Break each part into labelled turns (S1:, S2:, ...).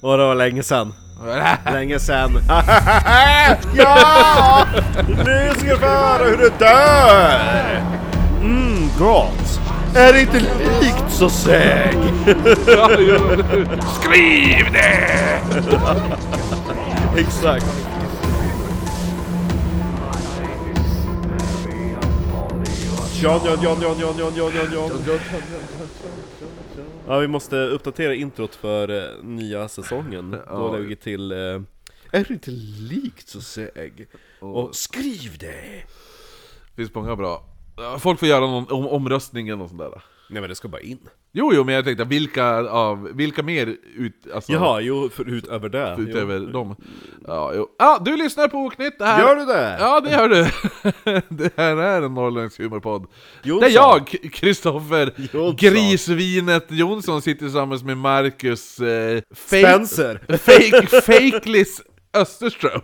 S1: Och det var länge sen. Länge sen.
S2: ja! Nu ska du få höra hur du dör!
S1: Mm, gott!
S2: Är det inte likt så säg? Skriv det!
S1: Exakt. John, John, John, John, John, John, John, John, John. Ja, vi måste uppdatera introt för eh, nya säsongen. Då
S2: Ja.
S1: lägger vi till... Eh, är det inte likt så säg? Och skriv det!
S3: finns många bra. Folk får göra någon om, omröstning eller något sånt där.
S1: Nej men det ska bara in.
S3: Jo, jo, men jag tänkte vilka av, vilka mer ut, alltså,
S1: Jaha, jo, för utöver det.
S3: utöver dem? Ja, jo. Ah, du lyssnar på Oknytt, det här...
S2: Gör du det?
S3: Ja, det gör du! det här är en norrländsk humorpodd.
S1: Jonsson.
S3: Det är jag, K- Kristoffer
S1: Jonsson.
S3: Grisvinet Jonsson, sitter tillsammans med Marcus... Eh, fake,
S1: Spencer!
S3: Fake, fakeless Österström.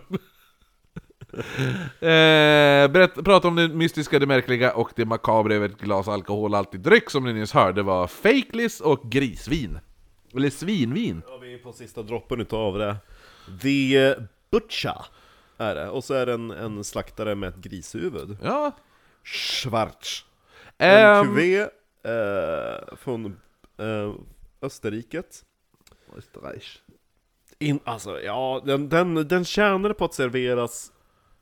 S3: Eh, berätt, prata om det mystiska, det märkliga och det makabra över ett glas alkoholhaltig dryck som ni nyss hörde var fakeless och grisvin. Eller svinvin.
S1: Ja, vi är på sista droppen utav det. The Butcha är det. Och så är det en, en slaktare med ett grishuvud.
S3: Ja.
S1: Schwarz. En
S3: Ehm,
S1: kuvé eh, från eh, Österriket.
S3: Österreich.
S1: In, alltså, ja, den, den, den tjänade på att serveras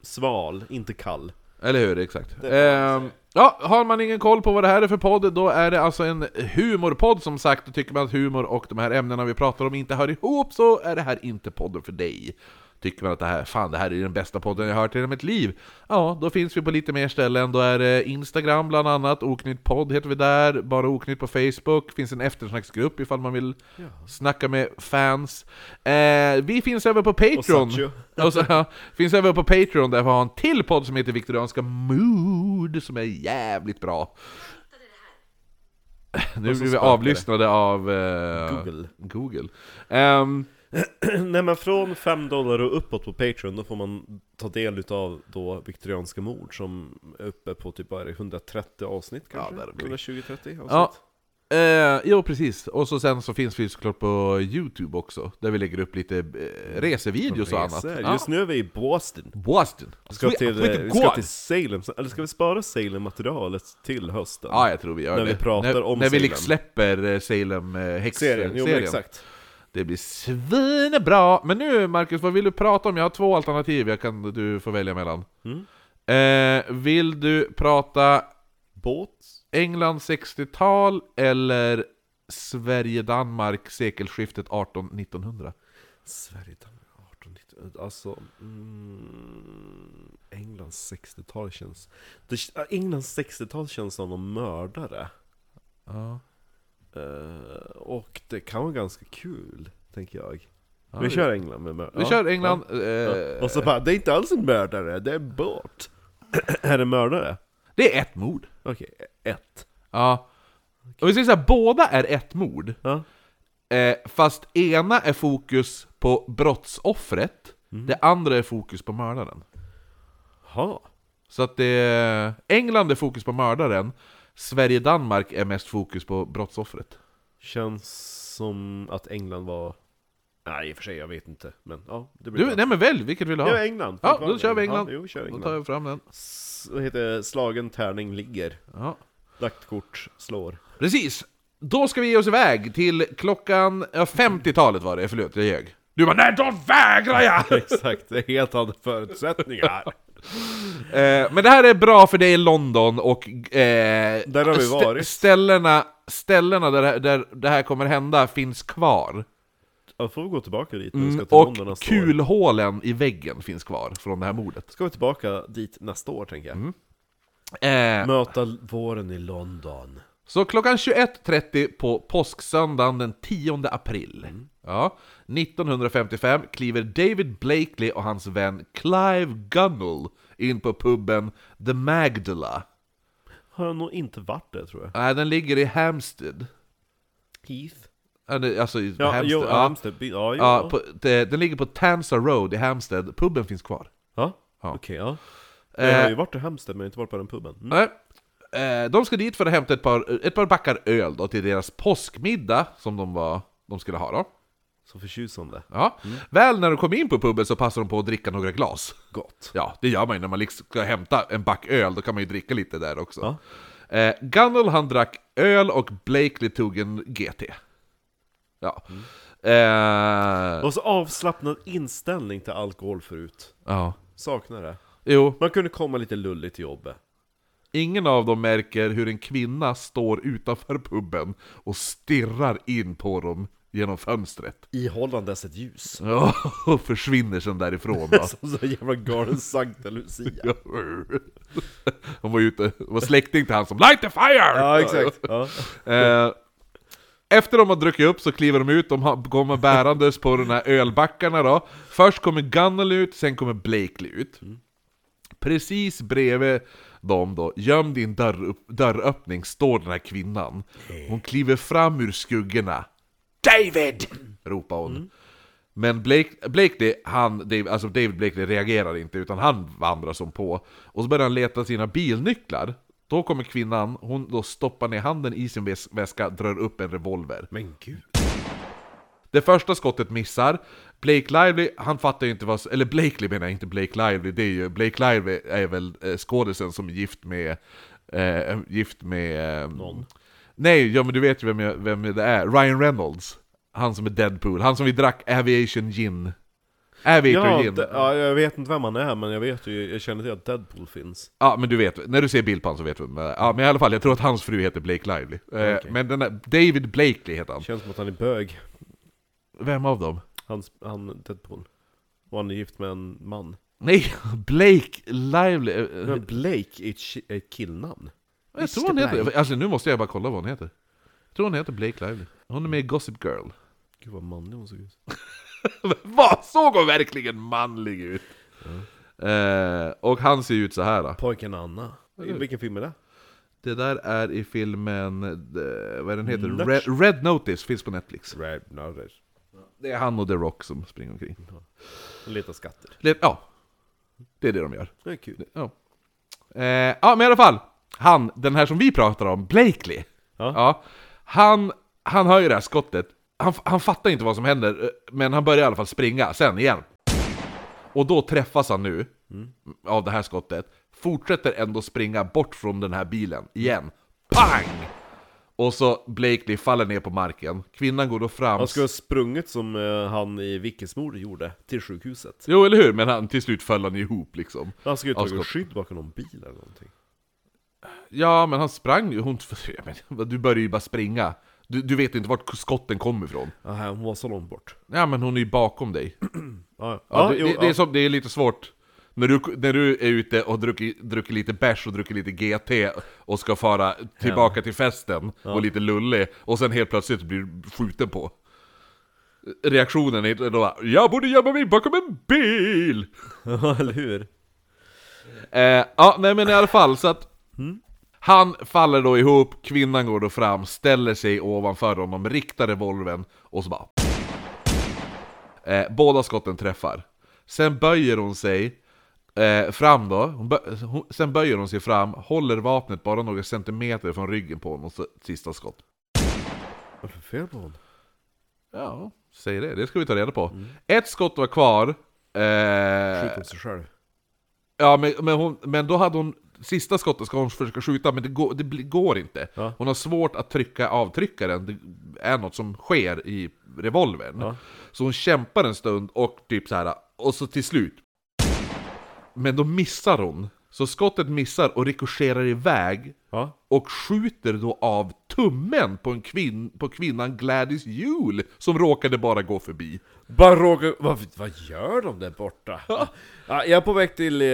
S1: sval, inte kall.
S3: Eller hur, exakt.
S1: får man
S3: Ehm, ja, har man ingen koll på vad det här är för podd, då är det alltså en humorpodd som sagt. Och tycker man att humor och de här ämnena vi pratar om inte hör ihop, så är det här inte podden för dig. Tycker man att det här, fan det här är den bästa podden jag hört i hela mitt liv. Ja, då finns vi på lite mer ställen. Då är det Instagram bland annat, Oknytt podd heter vi där, Bara Oknytt på Facebook, finns en eftersnacksgrupp ifall man vill snacka med fans. Eh, vi finns även på Patreon.
S1: Satchio.
S3: Och så, ja, finns även på Patreon där vi har en till podd som heter Viktorianska Mood som är jävligt bra. Nu
S1: Och så
S3: blir vi
S1: spökar det.
S3: avlyssnade av eh,
S1: Google.
S3: Google. Ehm,
S1: Nej men från 5 dollar och uppåt på Patreon, då får man ta del utav då viktorianska mord som är uppe på typ vad är det, 130 avsnitt kanske?
S3: där blir det.
S1: 120-30 avsnitt?
S3: Ja. eh, jo, precis. Och så sen så finns vi såklart på YouTube också, där vi lägger upp lite eh, resevideos och annat.
S1: Resor.
S3: Ja.
S1: Just nu är vi i Boston.
S3: Boston.
S1: Ska
S3: Sweet-
S1: till,
S3: sweet
S1: eh, vi
S3: God.
S1: ska till Salem, eller ska vi spara Salem-materialet till hösten?
S3: Ja, jag tror vi gör
S1: När
S3: det.
S1: vi pratar
S3: när,
S1: om
S3: När vi
S1: Salem.
S3: liksom släpper eh, Salem
S1: Serien,
S3: eh,
S1: jo men
S3: häx-serien.
S1: exakt.
S3: Det blir svinbra! Men nu Marcus, vad vill du prata om? Jag har två alternativ jag kan du får välja mellan.
S1: Mm.
S3: Eh, vill du prata
S1: Båt?
S3: England 60-tal eller Sverige-Danmark sekelskiftet 18-1900?
S1: Sverige, Danmark, 18, 19, alltså... Mm, Englands 60-tal känns... Det, äh, Englands 60-tal känns som någon mördare.
S3: Ja.
S1: Eh, och det kan vara ganska kul, tänker jag.
S3: Ja,
S1: vi kör England med mördare.
S3: Vi kör England. Eh,
S1: Och så bara, det är inte alls en mördare, det är en båt. är det mördare?
S3: Det är ett mord.
S1: Okej, ett.
S3: Ja. Och vi säger så här, båda är ett mord.
S1: Ja.
S3: Eh, fast ena är fokus på brottsoffret,
S1: Mm.
S3: det andra är fokus på mördaren.
S1: Ha.
S3: Så att det... England är fokus på mördaren, Sverige-Danmark är mest fokus på brottsoffret.
S1: Känns som att England var... Nej i och för sig, jag vet inte. Men ja, det blir
S3: Du, nej men välj, vilket vill du ha?
S1: Ja, England.
S3: Ja, då
S1: fortfarande.
S3: kör vi England.
S1: Ja, jo, vi kör
S3: Då
S1: England.
S3: tar jag fram den.
S1: S- vad heter det? slagen tärning ligger.
S3: Ja.
S1: Lagt kort slår.
S3: Precis! Då ska vi ge oss iväg till klockan... Ja, 50-talet var det, förlåt, jag ljög. Du bara 'Nej, då vägrar jag!'
S1: Exakt, det är helt andra förutsättningar.
S3: Eh, men det här är bra för dig i London och... Eh,
S1: Där har vi
S3: stä-
S1: varit.
S3: Ställena, ställena där, det här- där det här kommer hända finns kvar.
S1: Ja, får vi gå tillbaka dit när vi ska till London
S3: Mm, Och
S1: nästa år.
S3: kulhålen i väggen finns kvar från det här mordet.
S1: Ska vi tillbaka dit nästa år tänker jag.
S3: Mm. Eh,
S1: Möta l- våren i London.
S3: så klockan 21.30 på påsksöndagen den 10 april
S1: Mm.
S3: ja, 1955 kliver David Blakely och hans vän Clive Gunnell in på puben The Magdala.
S1: Har jag nog inte varit där tror jag.
S3: Äh, den ligger i Hampstead.
S1: Heath?
S3: Äh, det- Alltså i
S1: Ja,
S3: Hampstead.
S1: jo,
S3: ja.
S1: Halmstad. by- Ja, jo.
S3: Ja,
S1: ja.
S3: på, det, den ligger på Tansa Road i Hampstead. Puben finns kvar.
S1: ja.
S3: Ja. Eh.
S1: Okej, ja. Jag har ju varit i Halmstad men jag har inte varit på den puben. Mm.
S3: Nej. Eh, De ska dit för att hämta ett par, ett par backar öl då till deras påskmiddag som de, var, de skulle ha då.
S1: Så förtjusande.
S3: Ja. Väl när de kom in på puben så passade de på att dricka några glas.
S1: Gott.
S3: Ja, det gör man ju när man liksom ska hämta en back öl, då kan man ju dricka lite där också.
S1: Ja.
S3: Eh, Gunnel han drack öl och Blakely tog en GT. Ja. Eh,
S1: Mm. Och så avslappnad inställning till alkohol förut.
S3: ja.
S1: Saknar det.
S3: Jo,
S1: Man kunde komma lite lulligt till jobbet.
S3: ingen av dem märker hur en kvinna står utanför puben och stirrar in på dem genom fönstret.
S1: Ihållandes ett ljus.
S3: Ja, och försvinner sen därifrån. Va?
S1: Som så jävla galen Sankta Lucia.
S3: Hon var ju ute, hon var släkting till han som 'Light the fire!'
S1: Ja, exakt. Ja.
S3: Eh, efter de har druckit upp så kliver de ut, de har- kommer bärandes på de här ölbackarna då. Först kommer Gunnel ut, sen kommer Blakely ut.
S1: Mm.
S3: Precis bredvid dem då, gömd i en dörr, dörröppning, står den här kvinnan. Hon kliver fram ur skuggorna. David! ropar hon. Men Blake, Blakely, han, Dave, alltså David Blakely reagerar inte utan han vandrar som på. Och så börjar han leta sina bilnycklar. Då kommer kvinnan, hon då stoppar ner handen i sin väs- väska, drar upp en revolver.
S1: Men gud.
S3: Det första skottet missar. Blake Lively, han fattar ju inte vad... Eller Blakely menar jag, inte Blake Lively. Det är ju, Blake Lively är väl eh, skådisen som är gift med... Eh, gift med... Eh, Någon? Nej, ja men du vet ju vem, jag, vem det är. Ryan Reynolds. Han som är Deadpool. Han som vi drack Aviation Gin. Aviator
S1: Ja,
S3: Gin.
S1: d- ja, jag vet inte vem han är, men jag vet ju, jag känner till att Deadpool finns.
S3: Ja, men du vet, när du ser bild på honom så vet du vem det är. Ja, men i alla fall, jag tror att hans fru heter Blake Lively. Eh, Men den där, David Blakely heter han.
S1: Känns som att han är bög.
S3: Vem av dem?
S1: Han, han Deadpool. Och han är gift med en man.
S3: Nej, Blake Lively. eh, eh,
S1: Men Blake är ett, ki- ett killnamn.
S3: Jag tror hon heter, alltså nu måste jag bara kolla vad hon heter. Jag tror hon heter Blake Lively. Hon är med i Gossip Girl.
S1: Gud vad manlig hon såg ut.
S3: Vad såg hon verkligen manlig ut? Eh, och han ser ju ut så här. Då.
S1: Pojken Anna. I vilken film är det?
S3: Det där är i filmen, eh, vad är den heter?
S1: Notch.
S3: Red, Red Notice, finns på Netflix.
S1: Red Notice.
S3: Det är han och The Rock som springer omkring.
S1: Leta skatter.
S3: Le- Ja, det är det de gör.
S1: Det är kul.
S3: Ja. Eh, ja, men i alla fall. Han, den här som vi pratar om, Blakely.
S1: Ja.
S3: han, han hör ju det här skottet. Han, f- han fattar inte vad som händer, eh, men han börjar i alla fall springa sen igen. Och då träffas han nu
S1: Mm.
S3: av det här skottet. Fortsätter ändå springa bort från den här bilen igen. Pang! Och så Blakely faller ner på marken. Kvinnan går då fram.
S1: Han skulle ha sprungit som eh, han i Vickesmord gjorde, till sjukhuset.
S3: Jo, eller hur? Men han, till slut föll han ihop liksom.
S1: Han skulle ju
S3: Ja,
S1: tagit
S3: skott.
S1: skydd bakom någon bil eller någonting.
S3: Ja, men han sprang ju. Hon... jag menar, Du börjar ju bara springa. Du, du vet inte vart skotten kommer ifrån.
S1: Aha, hon var så långt bort.
S3: Ja, men hon är ju bakom dig.
S1: Ja, ja.
S3: Ja,
S1: ja,
S3: det,
S1: jo,
S3: det, det, är
S1: ja.
S3: som, det är lite svårt. När du, när du är ute och druckit, druckit lite bärs och druckit lite GT och ska fara tillbaka till festen och lite lullig och sen helt plötsligt blir du skjuten på. Reaktionen är då bara, 'Jag borde gömma mig bakom en bil!'
S1: ja, eller hur?
S3: Eh, ja, nej men i alla fall så att Han faller då ihop, kvinnan går då fram, ställer sig ovanför honom, riktar revolvern och så bara eh, Båda skotten träffar Sen böjer hon sig eh, fram då, hon bö- hon, sen böjer hon sig fram, håller vapnet bara några centimeter från ryggen på honom, så sista skott
S1: Varför fel på hon?
S3: Ja, säg det, det ska vi ta reda på Ett skott var kvar eh,
S1: Mm. Skjut mot sig själv.
S3: Ja, men, men, hon, men då hade hon... Sista skottet ska hon försöka skjuta, men det går, det blir- går inte.
S1: Ja.
S3: Hon har svårt att trycka avtryckaren, det är något som sker i revolvern.
S1: Ja.
S3: Så hon kämpar en stund och typ så här och så till slut... Men då missar hon. Så skottet missar och rikoscherar iväg
S1: Ja.
S3: och skjuter då av tummen på, en kvinn, på kvinnan Gladys Jul som råkade bara gå förbi.
S1: Bara råkar... Vad, vad gör de där borta? Ja, jag är på väg till eh,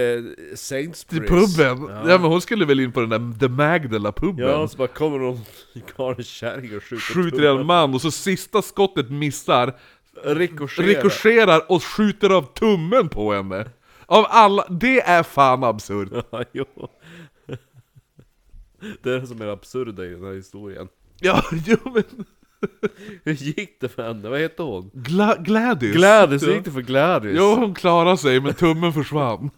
S1: Saintsbury's.
S3: Till puben! Ja. men hon skulle väl in på den där The Magdala-puben?
S1: Ja, så bara kommer någon galen kärring och skjuter
S3: skjuter
S1: tummen.
S3: ihjäl en man och så sista skottet missar,
S1: Rikoscherar.
S3: rikoscherar och skjuter av tummen på henne. Av alla, det är fan absurt.
S1: Ja, jo. Det är det som är absurda i den här historien.
S3: Ja, jo men...
S1: Hur gick det för henne? Vad hette hon?
S3: Gla, Gladys.
S1: Gladys, hur
S3: Ja.
S1: gick det för Gladys?
S3: Jo, hon klarade sig men tummen försvann.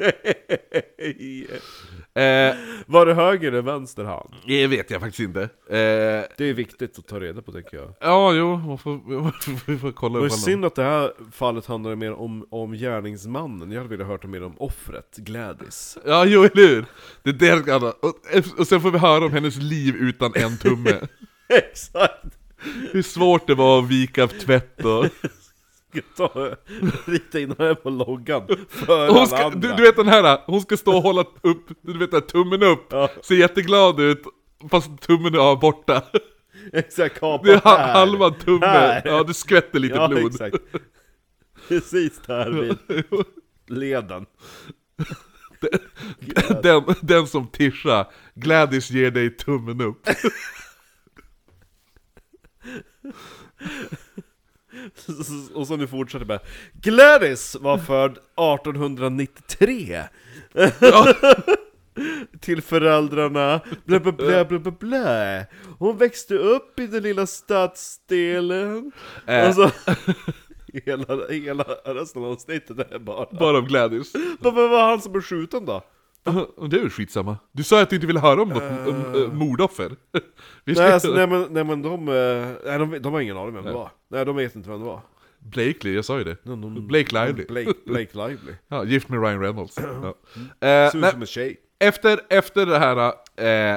S3: Eh,
S1: Var det höger eller vänster hand?
S3: det vet jag faktiskt inte. Eh,
S1: Det är viktigt att ta reda på tycker jag.
S3: ja, jo, man får, man får, man får kolla
S1: Det var
S3: upp
S1: ju synd att det här fallet handlade mer om, om gärningsmannen. Jag hade velat höra mer om offret, Gladys.
S3: Ja, jo, eller hur? Det är det jag ska handla. och, och sen får vi höra om hennes liv utan en tumme.
S1: Exakt!
S3: Hur svårt det var att vika tvätt och...
S1: Ska ta, rita in här på loggan. För
S3: Hon
S1: alla
S3: ska,
S1: andra.
S3: du, du vet den här, hon ska stå och hålla upp, du vet den här, tummen upp,
S1: Ja.
S3: ser jätteglad ut, fast tummen är av borta.
S1: Exakt, kapat
S3: Det är ha-
S1: här.
S3: halva tummen,
S1: Här.
S3: ja du skvätter lite
S1: ja,
S3: blod.
S1: Exakt. Precis där vid leden.
S3: Den, den som Tisha, Gladys ger dig tummen upp.
S1: Och så nu fortsätter med Gladys var född 1893
S3: Ja.
S1: Till föräldrarna blä, blä, blä, blä, blä, blä. Hon växte upp i den lilla stadsdelen
S3: Eh.
S1: Och så hela, hela resten av avsnittet är bara
S3: Bara om Gladys.
S1: Varför var han som blev skjuten då?
S3: Och Det är väl skitsamma. Du sa att du inte ville höra om något om, eh, mordoffer. Vi ska,
S1: Nej, alltså, nej, men, nej men de, eh, nej, de, de har ingen aning vem det var Nej de vet inte vem det var
S3: Blakely, jag sa ju det.
S1: de-
S3: Blake Lively.
S1: Mm. Blake, Blake Lively
S3: Ja, gift med Ryan Reynolds. Ja. Eh,
S1: Ser ut
S3: nej,
S1: som en tjej
S3: Efter, efter det här,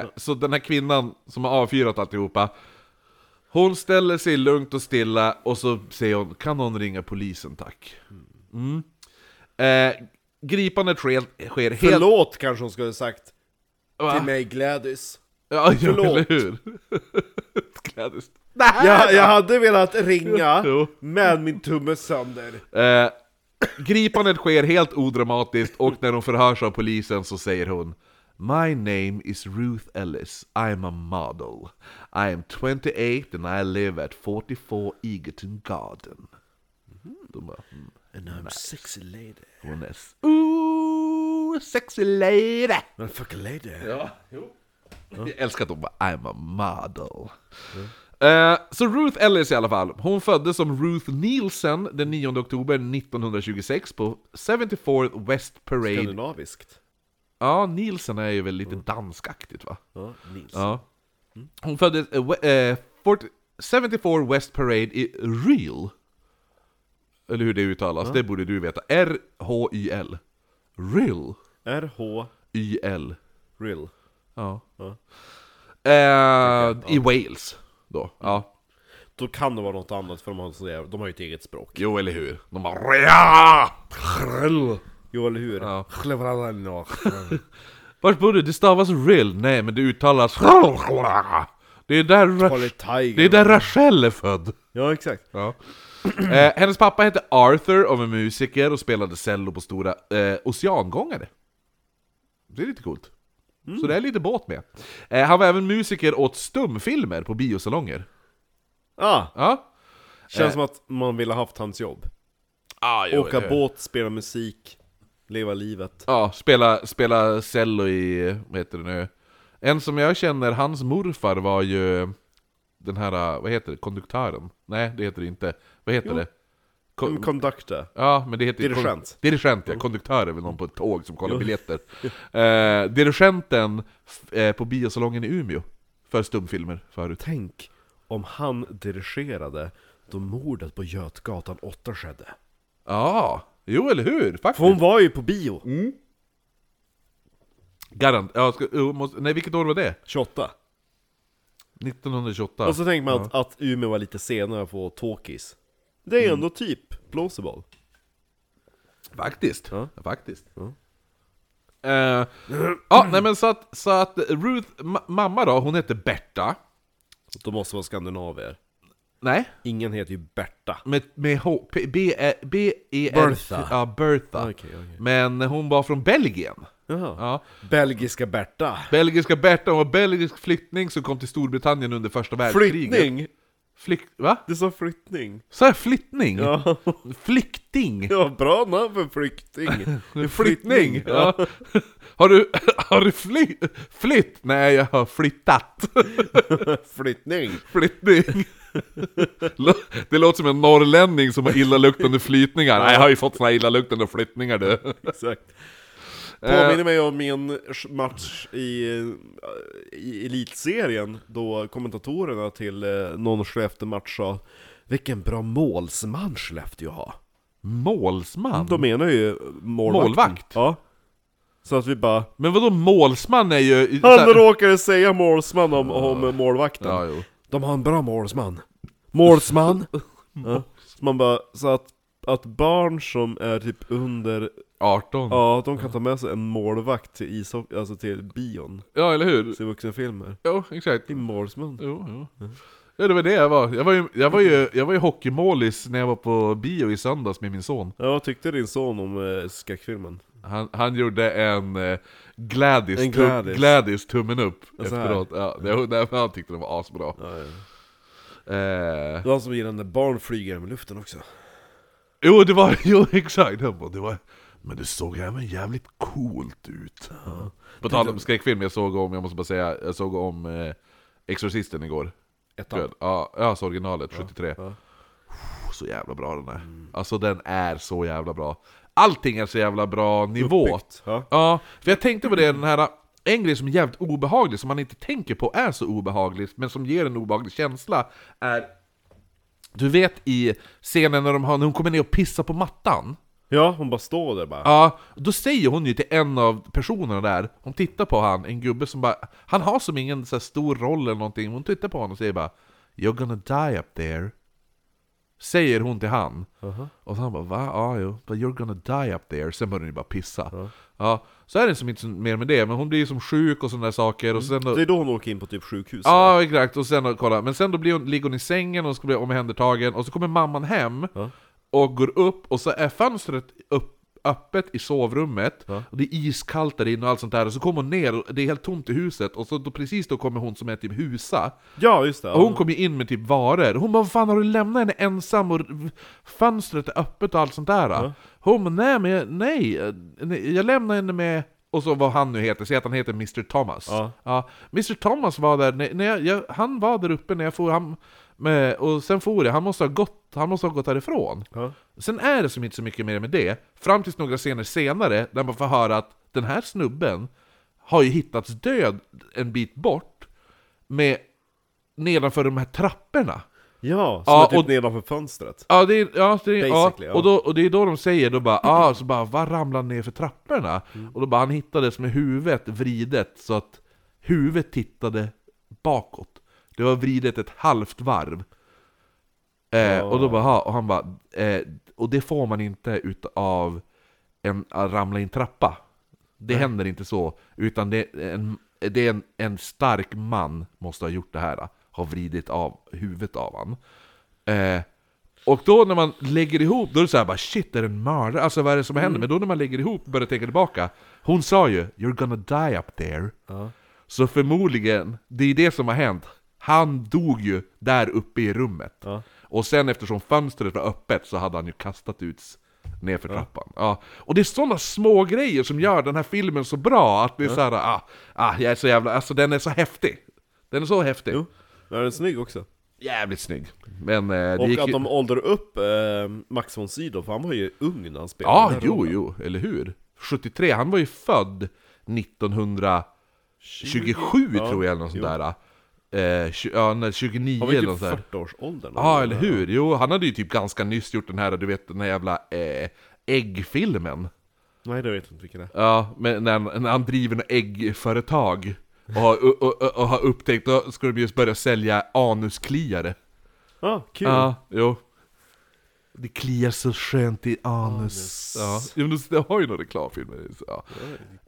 S3: eh, så den här kvinnan som har avfyrat alltihopa Hon ställer sig lugnt och stilla och så säger hon Kan någon ringa polisen tack? Mm. Eh, gripandet sker, sker helt...
S1: Förlåt kanske hon skulle ha sagt
S3: Va?
S1: Till mig Gladys
S3: Ja, ja,
S1: förlåt.
S3: eller hur? Gladys.
S1: jag, jag hade velat ringa,
S3: Jo.
S1: men min tumme är sönder
S3: Eh, gripandet sker helt odramatiskt och när hon förhörs av polisen så säger hon My name is Ruth Ellis, I'm a model. I am 28 and I live at 44 Egerton Garden. De bara, mm,
S1: And I'm sexy lady
S3: hon är s- Ooh, sexy lady!
S1: Men fuck a lady
S3: Ja, jo. Jag älskar att hon bara I'm a model. Eh, så Ruth Ellis i alla fall, hon föddes som Ruth Nielsen den 9 oktober 1926 på 74th West Parade.
S1: Skandinaviskt
S3: Ja, Nielsen är ju väl lite danskaktigt va?
S1: Ja, Nils
S3: Ja. Hon föddes eh, we- eh, 40 74 West Parade i Ryl. Eller hur det uttalas, det borde du veta. R-H-Y-L. Ryl.
S1: R-H
S3: Y-L.
S1: Real
S3: Ja.
S1: Ja.
S3: Eh, I Wales då. Ja.
S1: Då kan det vara något annat för de har, så jävla, de har ju ett eget språk
S3: Jo, eller hur? De bara ja!
S1: Jo eller hur?
S3: Ja.
S1: Ja.
S3: Vart bor du? Det stavas Rill. Nej, men det uttalas Det är där, Ra- det är där Rachel är född.
S1: Ja exakt
S3: Eh, hennes pappa hette Arthur och var musiker och spelade cello på stora eh, oceangångare. Det är lite coolt. Så det är lite båt med. Eh, han var även musiker åt stumfilmer på biosalonger.
S1: Ah,
S3: Ja.
S1: känns som att man ville haft hans jobb
S3: Ah, Eh. jo,
S1: Åka
S3: eller hur?
S1: båt, spela musik, leva livet
S3: Ja, spela, spela cello i, vad heter det nu? En som jag känner, hans morfar var ju den här, vad heter det, konduktören? Nej, det heter det inte. Vad heter det? Ko-
S1: Som Conductor
S3: ja, men det heter ju kon-
S1: Mm, Dirigent. Mm.
S3: Dirigent, ja. Konduktör är väl någon på ett tåg som kollar biljetter. Eh, dirigenten f- eh, på biosalongen i Umeå. För stumfilmer förut.
S1: Tänk om han dirigerade då mordet på Götgatan 8 skedde.
S3: Ja, jo eller hur? Faktiskt.
S1: För hon var ju på bio,
S3: Garant, ja, ska, jo, måste, nej vilket år var det?
S1: 28.
S3: 1928.
S1: Och så tänker man att, att Umeå var lite senare på Tåkis. Det är ändå typ plausible.
S3: Faktiskt.
S1: Ja.
S3: Faktiskt. Eh, ja, nej men så att, så att Ruth, ma- mamma då, hon heter Berta.
S1: Så de måste vara skandinavier.
S3: Nej,
S1: Ingen heter ju Berta.
S3: med, med H, P, B, E, B, E, R,
S1: Bertha.
S3: Ja, Bertha.
S1: Ah. Okej, okej. Ah.
S3: Men hon var från Belgien.
S1: Jaha.
S3: Ja.
S1: Belgiska Berta.
S3: Belgiska Berta, hon var belgisk flyktning som kom till Storbritannien under första världskriget.
S1: Flyttning!
S3: Flyk, va?
S1: Du sa flyttning.
S3: Sa jag flyttning?
S1: Ja,
S3: Flykting?
S1: det var bra namn för flykting.
S3: Flyttning! Ja. Har du, har du fly, flytt? Nej, jag har flyttat.
S1: Flyttning.
S3: Flyttning. Lå- Det låter som en norrlänning som har illaluktande flytningar. Nej, jag har ju fått såna här illaluktande flyttningar du.
S1: Exakt. Påminner
S3: Eh,
S1: mig om min match i, eh, i elitserien då kommentatorerna till eh, någon Skellefteå-match sa Vilken bra målsman Skellefteå har.
S3: Målsman?
S1: De menar ju målvakt.
S3: Mm. Målvakt?
S1: Ja. Så att vi bara
S3: Men vadå målsman är ju... så
S1: Han
S3: här-
S1: råkade säga målsman om, om målvakten.
S3: Ja, jo.
S1: De har en bra målsman. Målsman! ja. Så Man bara, så att, att barn som är typ under,
S3: 18. Ja.
S1: ja de kan ta med sig en målvakt till ishockey, alltså till bion,
S3: eller hur?
S1: till vuxenfilmer.
S3: Jo, exakt.
S1: Det är målsman.
S3: Jo, jo. Ja, det var det jag var. Jag var ju, jag var ju, jag var ju hockeymålis när jag var på bio i söndags med min son.
S1: Ja, vad tyckte din son om eh, skräckfilmen?
S3: Han, han gjorde en eh, Gladys,
S1: En
S3: tum-
S1: Gladys.
S3: Gladys tummen upp
S1: Ja, så här.
S3: efteråt. Ja, det, nej, men han tyckte den var asbra.
S1: Ja, ja.
S3: Eh,
S1: Det var han som gillade när barn flyger med luften också.
S3: jo, det var, jo, exakt. Han bara, det var, men det såg även jävligt coolt ut. På tal om skräckfilm, jag såg om, jag måste bara säga, jag såg om eh, Exorcisten igår.
S1: Ettan.
S3: Ja, ja, så originalet, 73.
S1: ja.
S3: Puh, Så jävla bra den är. Alltså den är så jävla bra. Allting är så jävla bra nivå.
S1: Uppbyggt, ja.
S3: Ja, för jag tänkte på det, den här en grej som är jävligt obehaglig, som man inte tänker på är så obehagligt, men som ger en obehaglig känsla, är... Du vet i scenen när, de har, när hon kommer ner och pissar på mattan?
S1: Ja, hon bara står där bara.
S3: Ja, då säger hon ju till en av personerna där, hon tittar på han, en gubbe som bara, han har som ingen så här stor roll eller någonting, hon tittar på honom och säger bara You're gonna die up there. Säger hon till han.
S1: Uh-huh.
S3: Och så han bara va? Ja, jo. But you're gonna die up there. Sen börjar ni bara pissa.
S1: Uh-huh.
S3: Ja, så är det som inte så- mer med det, men hon blir ju som sjuk och sådana där saker. Och sen då,
S1: Mm. Det är då hon åker in på typ sjukhus.
S3: Alltså- Ja, exakt. Och sen då, kolla. Men sen då blir hon, ligger hon i sängen och ska bli omhändertagen, och så kommer mamman hem
S1: Ja.
S3: och går upp, och så är fönstret upp, öppet i sovrummet, och det är iskallt där inne och allt sånt där, och så kommer hon ner, och det är helt tomt i huset, och så då, precis då kommer hon som är typ husa,
S1: ja just det.
S3: och hon kom ju in med typ varor. Hon bara 'Vad fan har du lämnat henne ensam och v- fönstret är öppet och allt sånt där?' Hon bara 'Nej men jag- nej, eh, nej, jag lämnade henne med' Och så vad han nu heter, säg att han heter Mr Thomas.
S1: Ja.
S3: Mr Thomas var där, när, när jag, jag, han var där uppe när jag for, han, med, och sen for jag, han måste ha gått, han måste ha gått härifrån.
S1: Ja.
S3: Sen är det som inte så mycket mer med det, fram tills några scener senare, där man får höra att den här snubben har ju hittats död en bit bort, med nedanför de här trapporna.
S1: Ja, som
S3: Ja,
S1: är typ
S3: och-
S1: nedanför fönstret.
S3: Ja, det är, ja, det är, ja.
S1: Basically, ja.
S3: Och, då, och det är då de säger då bara ah, så bara vad ramlade han ner för trapporna?
S1: Mm.
S3: Och då bara han hittades med huvudet vridet så att huvudet tittade bakåt. Det var vridet ett halvt varv. Eh, Och då bara "Ha", och han bara eh, och det får man inte utav en att ramla i en trappa. Det händer inte så, utan det är en, det är en, en stark man måste ha gjort det här. Har vridit av huvudet av han. Eh, och då när man lägger ihop, då är det så här bara shit, är det en mördare? Alltså vad är det som
S1: Mm.
S3: händer? Men då när man lägger ihop och börjar tänka tillbaka, hon sa ju 'You're gonna die up there' Så förmodligen, det är det som har hänt. Han dog ju där uppe i rummet. Och sen eftersom fönstret var öppet så hade han ju kastat ut ner för trappan. Ja. Och det är sådana små grejer som gör den här filmen så bra, att det är så här, ah, ah, jag är så jävla, alltså den är så häftig. Den är så häftig.
S1: Jo, men den är snygg också.
S3: Jävligt snygg. Men eh, det
S1: Och
S3: gick
S1: att
S3: ju...
S1: de åldrar upp eh, Max von Sydow, för han var ju ung när han spelade
S3: Ja,
S1: den här
S3: jo,
S1: rollen.
S3: jo, eller hur? 73, han var ju född 1927
S1: Ja,
S3: tror jag eller något sånt
S1: jo.
S3: där. Eh, tju- ja, nej, 29
S1: Han var ju
S3: eller något
S1: typ
S3: sånt där.
S1: 40-årsåldern.
S3: Ja, eller hur? Jo, han hade ju typ ganska nyss gjort den här, du vet, den här jävla eh, äggfilmen.
S1: Nej, det vet jag inte vilken det är.
S3: Ja, men när han, när han driver något äggföretag och har, och, och, och, och har upptäckt, då ska de just börja sälja anuskliare.
S1: Ja, kul.
S3: Ja, jo. Det kliar så skönt i anus. Ja, jo, men det har ju några reklamfilmer. så, Ja.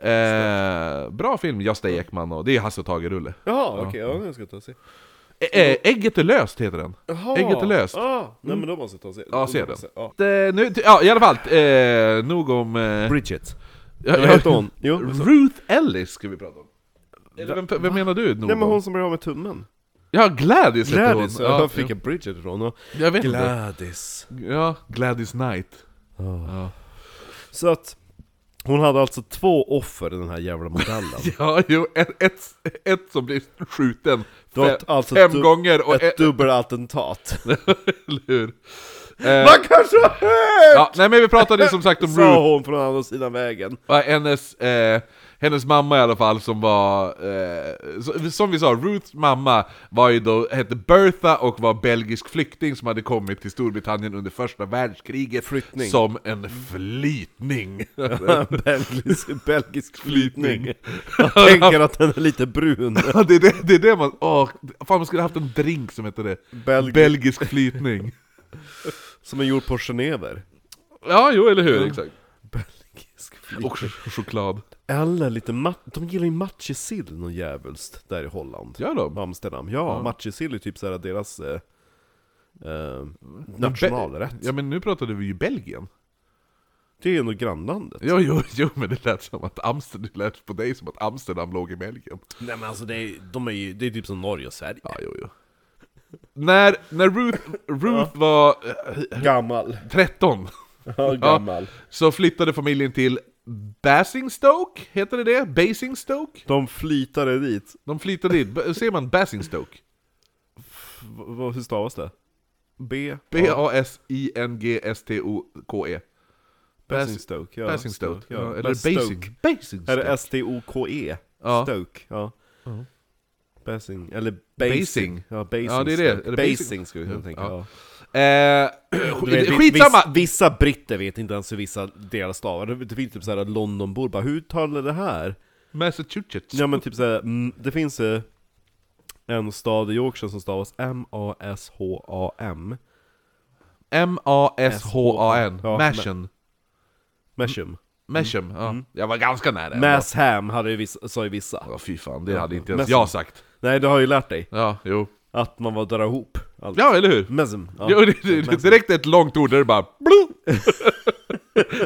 S3: Eh, bra film, Gösta Ekman och det är Hasse och Tage-rulle.
S1: Jaha, okej, ja, den ska jag ta och se.
S3: Ä- ä- Eh, Ägget är löst heter den.
S1: Jaha!
S3: Ägget är löst.
S1: Ja, nej men då måste jag ta och se.
S3: Ja, se den.
S1: Ja.
S3: Eh, nu, ja, i alla fall. Eh, nog om... Eh,
S1: Bridget.
S3: ja,
S1: Vad heter hon? Jo, men så-
S3: Ruth Ellis ska vi prata om. Eller vem, vem menar du? Nog
S1: Nej men
S3: om?
S1: hon som blev av med tummen.
S3: Ja, Gladys heter hon.
S1: Gladys,
S3: Ja,
S1: jag fick jag Bridget ifrån? Och...
S3: jag vet inte.
S1: Gladys.
S3: Ja, Gladys Knight.
S1: Så att, hon hade alltså två offer i den här jävla modellen.
S3: Ja, jo, ett, ett, ett som blir skjuten
S1: Det var
S3: fe-
S1: ett- alltså
S3: fem
S1: du-
S3: gånger och
S1: Ett
S3: ett...
S1: dubbelattentat.
S3: Eller hur? Eh,
S1: Man kanske har hört!
S3: ja, nej men vi pratade som sagt om Ruth
S1: Sa hon från andra sidan vägen.
S3: Ja, hennes, eh, hennes mamma i alla fall som var, eh, så- som vi sa, Ruths mamma var ju då, hette Bertha och var belgisk flykting som hade kommit till Storbritannien under första världskriget
S1: Flyttning.
S3: som en flytning.
S1: belgisk, belgisk flytning. Jag tänker att den är lite brun.
S3: Ja, det, är det, det är det man, åh, fan man skulle haft en drink som hette det.
S1: Belg-
S3: Belgisk flytning.
S1: Som är gjord på genever.
S3: Ja, jo eller hur, exakt.
S1: Belgisk flytning.
S3: Och ch- choklad.
S1: Eller lite mat... De gillar ju matjessill något djävulskt där i Holland.
S3: Gör de?
S1: Amsterdam. Ja,
S3: Ja.
S1: matjessill är typ såhär deras... Eh, eh, nationalrätt.
S3: Ja men nu pratade vi ju Belgien.
S1: Det är ju ändå grannlandet.
S3: Jo, jo, jo men det lät som att Amsterdam, det lät på dig som att Amsterdam låg i Belgien.
S1: Nej men alltså det är, de är ju, det är typ som Norge och Sverige.
S3: Ja, jo, jo. När, när Ruth, Ruth var eh,
S1: Gammal.
S3: 13
S1: Ja,
S3: gammal. så flyttade familjen till Basingstoke, heter det det? Basingstoke?
S1: De flytade dit.
S3: De flyttade dit, B- ser man Basingstoke?
S1: V- vad- hur stavas det? B?
S3: B-A-S-I-N-G-S-T-O-K-E
S1: Basingstoke. Ja.
S3: E. Basingstoke,
S1: Ja.
S3: ja, eller
S1: Bastoke.
S3: Basing,
S1: Är det
S3: Basingstoke?
S1: S-T-O-K-E?
S3: Ja.
S1: E? Stoke, ja.
S3: Ja.
S1: Basing, eller
S3: Basing.
S1: basing. Ja, basing.
S3: Ja, det är det.
S1: Stoke.
S3: Eller basing.
S1: basing skulle vi kunna tänka.
S3: Ja.
S1: Ja.
S3: Eh,
S1: Du vet, vi-
S3: Skitsamma!
S1: Viss, vissa britter vet inte ens hur vissa delar stavar. Det finns typ såhär Londonbor bara, hur talar det här?
S3: Massachusetts.
S1: Ja men typ såhär, mm, det finns eh, en stad i Yorkshire som stavas M-A-S-H-A-M.
S3: M-A-S-H-A-N.
S1: Ja,
S3: Masham.
S1: Mesham.
S3: Masham, ja. Jag var ganska nära.
S1: Massham hade ju vissa, sa ju vissa.
S3: Ja, fy fan, det hade inte ens
S1: Masham.
S3: jag sagt.
S1: Nej, du har ju lärt dig
S3: Ja, jo.
S1: att man var drar ihop allt.
S3: Ja, eller hur?
S1: Mesham. Ja.
S3: Jo, det, det, det, direkt ett långt ord där det bara... Blu!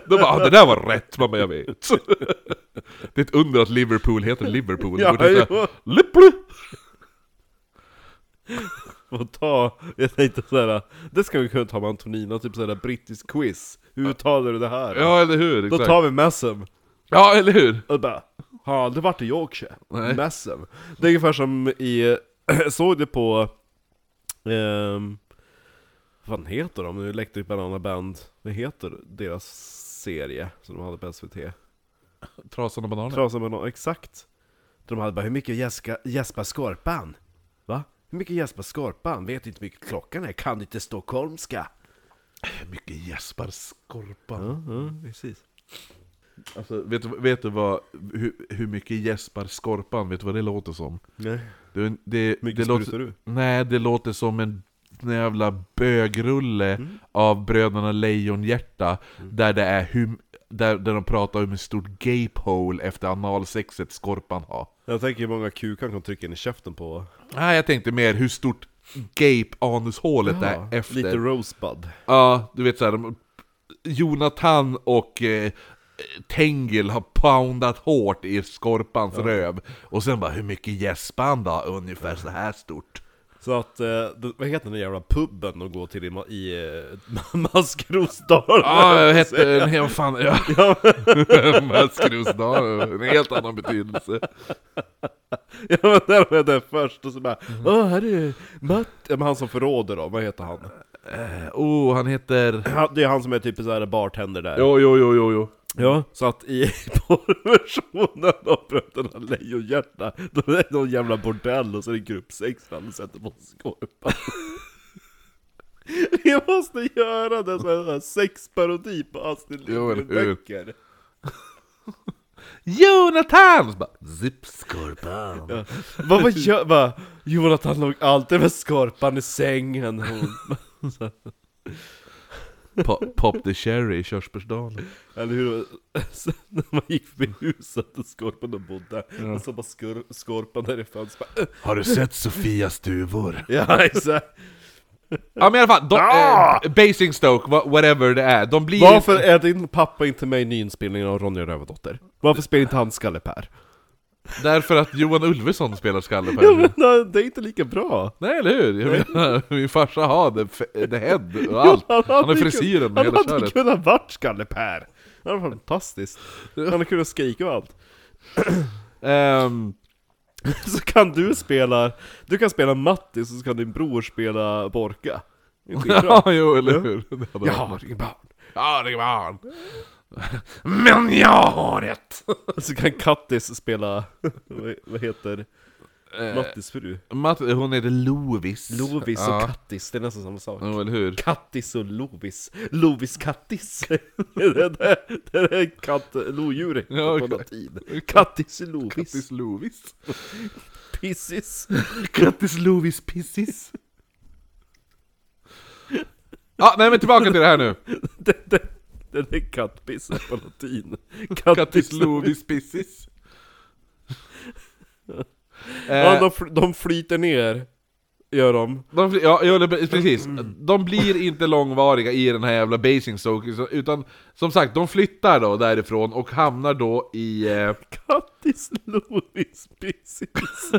S3: Då bara, ah, det där var rätt, mamma, jag vet. Det är ett under att Liverpool heter Liverpool. Det
S1: Ja,
S3: borde heta
S1: jo.
S3: Lipplu.
S1: Och ta, jag tänkte såhär, det ska vi kunna ta med Antonina, typ såhär brittisk quiz. Hur uttalar du det här?
S3: Ja, eller hur?
S1: Då
S3: Exakt.
S1: tar vi Messam.
S3: Ja, eller hur?
S1: Och bara, har han aldrig varit i Yorkshire?
S3: Nej.
S1: Messam. Det är ungefär som i, jag såg det på, ehm, vad fan heter de nu? Electric Banana Band. Vad heter deras serie som de hade på SVT?
S3: Trasan och bananen.
S1: Frasen med någon, exakt. De hade bara, hur mycket jäska, gäspar skorpan? Va? Hur mycket gäspar skorpan? Vet inte hur mycket klockan är, kan inte stockholmska.
S3: Mycket gäspar skorpan.
S1: Ja, ja, precis.
S3: Alltså, vet, du- vet du vad, hur, hur mycket gäspar skorpan, vet du vad det låter som?
S1: Nej.
S3: Det, är- det,
S1: Mycket
S3: det
S1: sprutar
S3: låter,
S1: du?
S3: Nej, det låter som en en jävla bögrulle av Bröderna Lejonhjärta, där det är hur, där, där de pratar om hur stort gaphole efter analsexet skorpan har.
S1: Jag tänker hur många kukar han kan trycka in i käften på.
S3: Nej, jag tänkte mer hur stort gape-anushålet är efter.
S1: Lite Rosebud.
S3: Ja, du vet såhär, de- Jonathan och eh, Tengil har poundat hårt i Skorpans röv. Och sen bara, hur mycket gäspar han då? Ungefär så här stort.
S1: Så att, eh, det- vad heter den där jävla puben de går till i, ma- i eh, Maskrosdalen?
S3: Ja, jag hette... Nej, vad fan... Ja. Maskrosdalen, en helt annan betydelse.
S1: Ja men där var jag där först och så bara Åh här är Matt, ja, men han som förråder dem, vad heter han?
S3: Oh, han heter...
S1: Han- Det är han som är typ så här bartender där
S3: Jo, jo, jo, jo, jo.
S1: Ja, så att i porrversionen av Bröderna Lejonhjärta, då är det någon jävla bordell och så är det gruppsex där och sätter på skorpan. Vi måste göra det som en sexparodi på Astrid
S3: Jo, eller hur?
S1: Lindgren-böcker.
S3: Jonathan! Så bara, Zipp Skorpan.
S1: Vad vad gör, vad? Jonathan låg alltid med skorpan i sängen. Hon.
S3: Pop, pop the cherry i körsbärsdalen.
S1: Eller hur? Sen när man gick förbi huset där skorpan och bodde, och så bara skur, skorpan där i fönstret. bara, "Äh."
S3: Har du sett Sofias duvor?
S1: Ja, exakt.
S3: Ja men i alla fall, de,
S1: Ah!
S3: eh, Basingstoke, wha- whatever det är, de blir...
S1: Varför är din pappa inte med i nyinspelningen av Ronja Rövardotter? Varför spelar inte han Skalle-Per?
S3: Därför att Johan Ulveson spelar skalle på
S1: Ja,
S3: henne.
S1: men nej, det är inte lika bra!
S3: Nej eller hur? Jag menar, min farsa har the, f- the head och allt. Han har
S1: hade ju
S3: frisyren
S1: kun-
S3: och hela
S1: Han hade
S3: köret.
S1: kunnat varit Skalle-Per! Det var fantastiskt! Han hade kunnat skrika och allt.
S3: Ehm,
S1: Så kan du spela, du kan spela Mattis och så kan din bror spela Borka. Det är
S3: Ja,
S1: bra.
S3: jo, eller hur? Det hade
S1: Jag
S3: varit-
S1: har inget barn.
S3: Ja, det var han. Men jag har ett!
S1: Så kan Kattis spela, vad- vad heter
S3: Eh.
S1: Mattis fru?
S3: Matt, hon heter Lovis.
S1: Lovis och Kattis, det är nästan samma sak.
S3: Jo, eller hur?
S1: Kattis och Lovis. Lovis Kattis. det där det där är katt, lodjuret
S3: Ja,
S1: på
S3: okej.
S1: latin. Kattis och Lovis.
S3: Kattis Lovis.
S1: Pissis.
S3: Grattis Lovis Pissis. Ja, nej men tillbaka till det här nu.
S1: Det, det, det är kattpiss på latin.
S3: Kattis Lovis Pissis.
S1: Ja,
S3: Eh,
S1: de, fl- de flyter ner, gör de.
S3: de, fly- ja, jag håller med- precis. De blir inte långvariga i den här jävla basing soaking, utan som sagt, de flyttar då därifrån och hamnar då i... Eh,
S1: Kattis, Lovis, Pissis.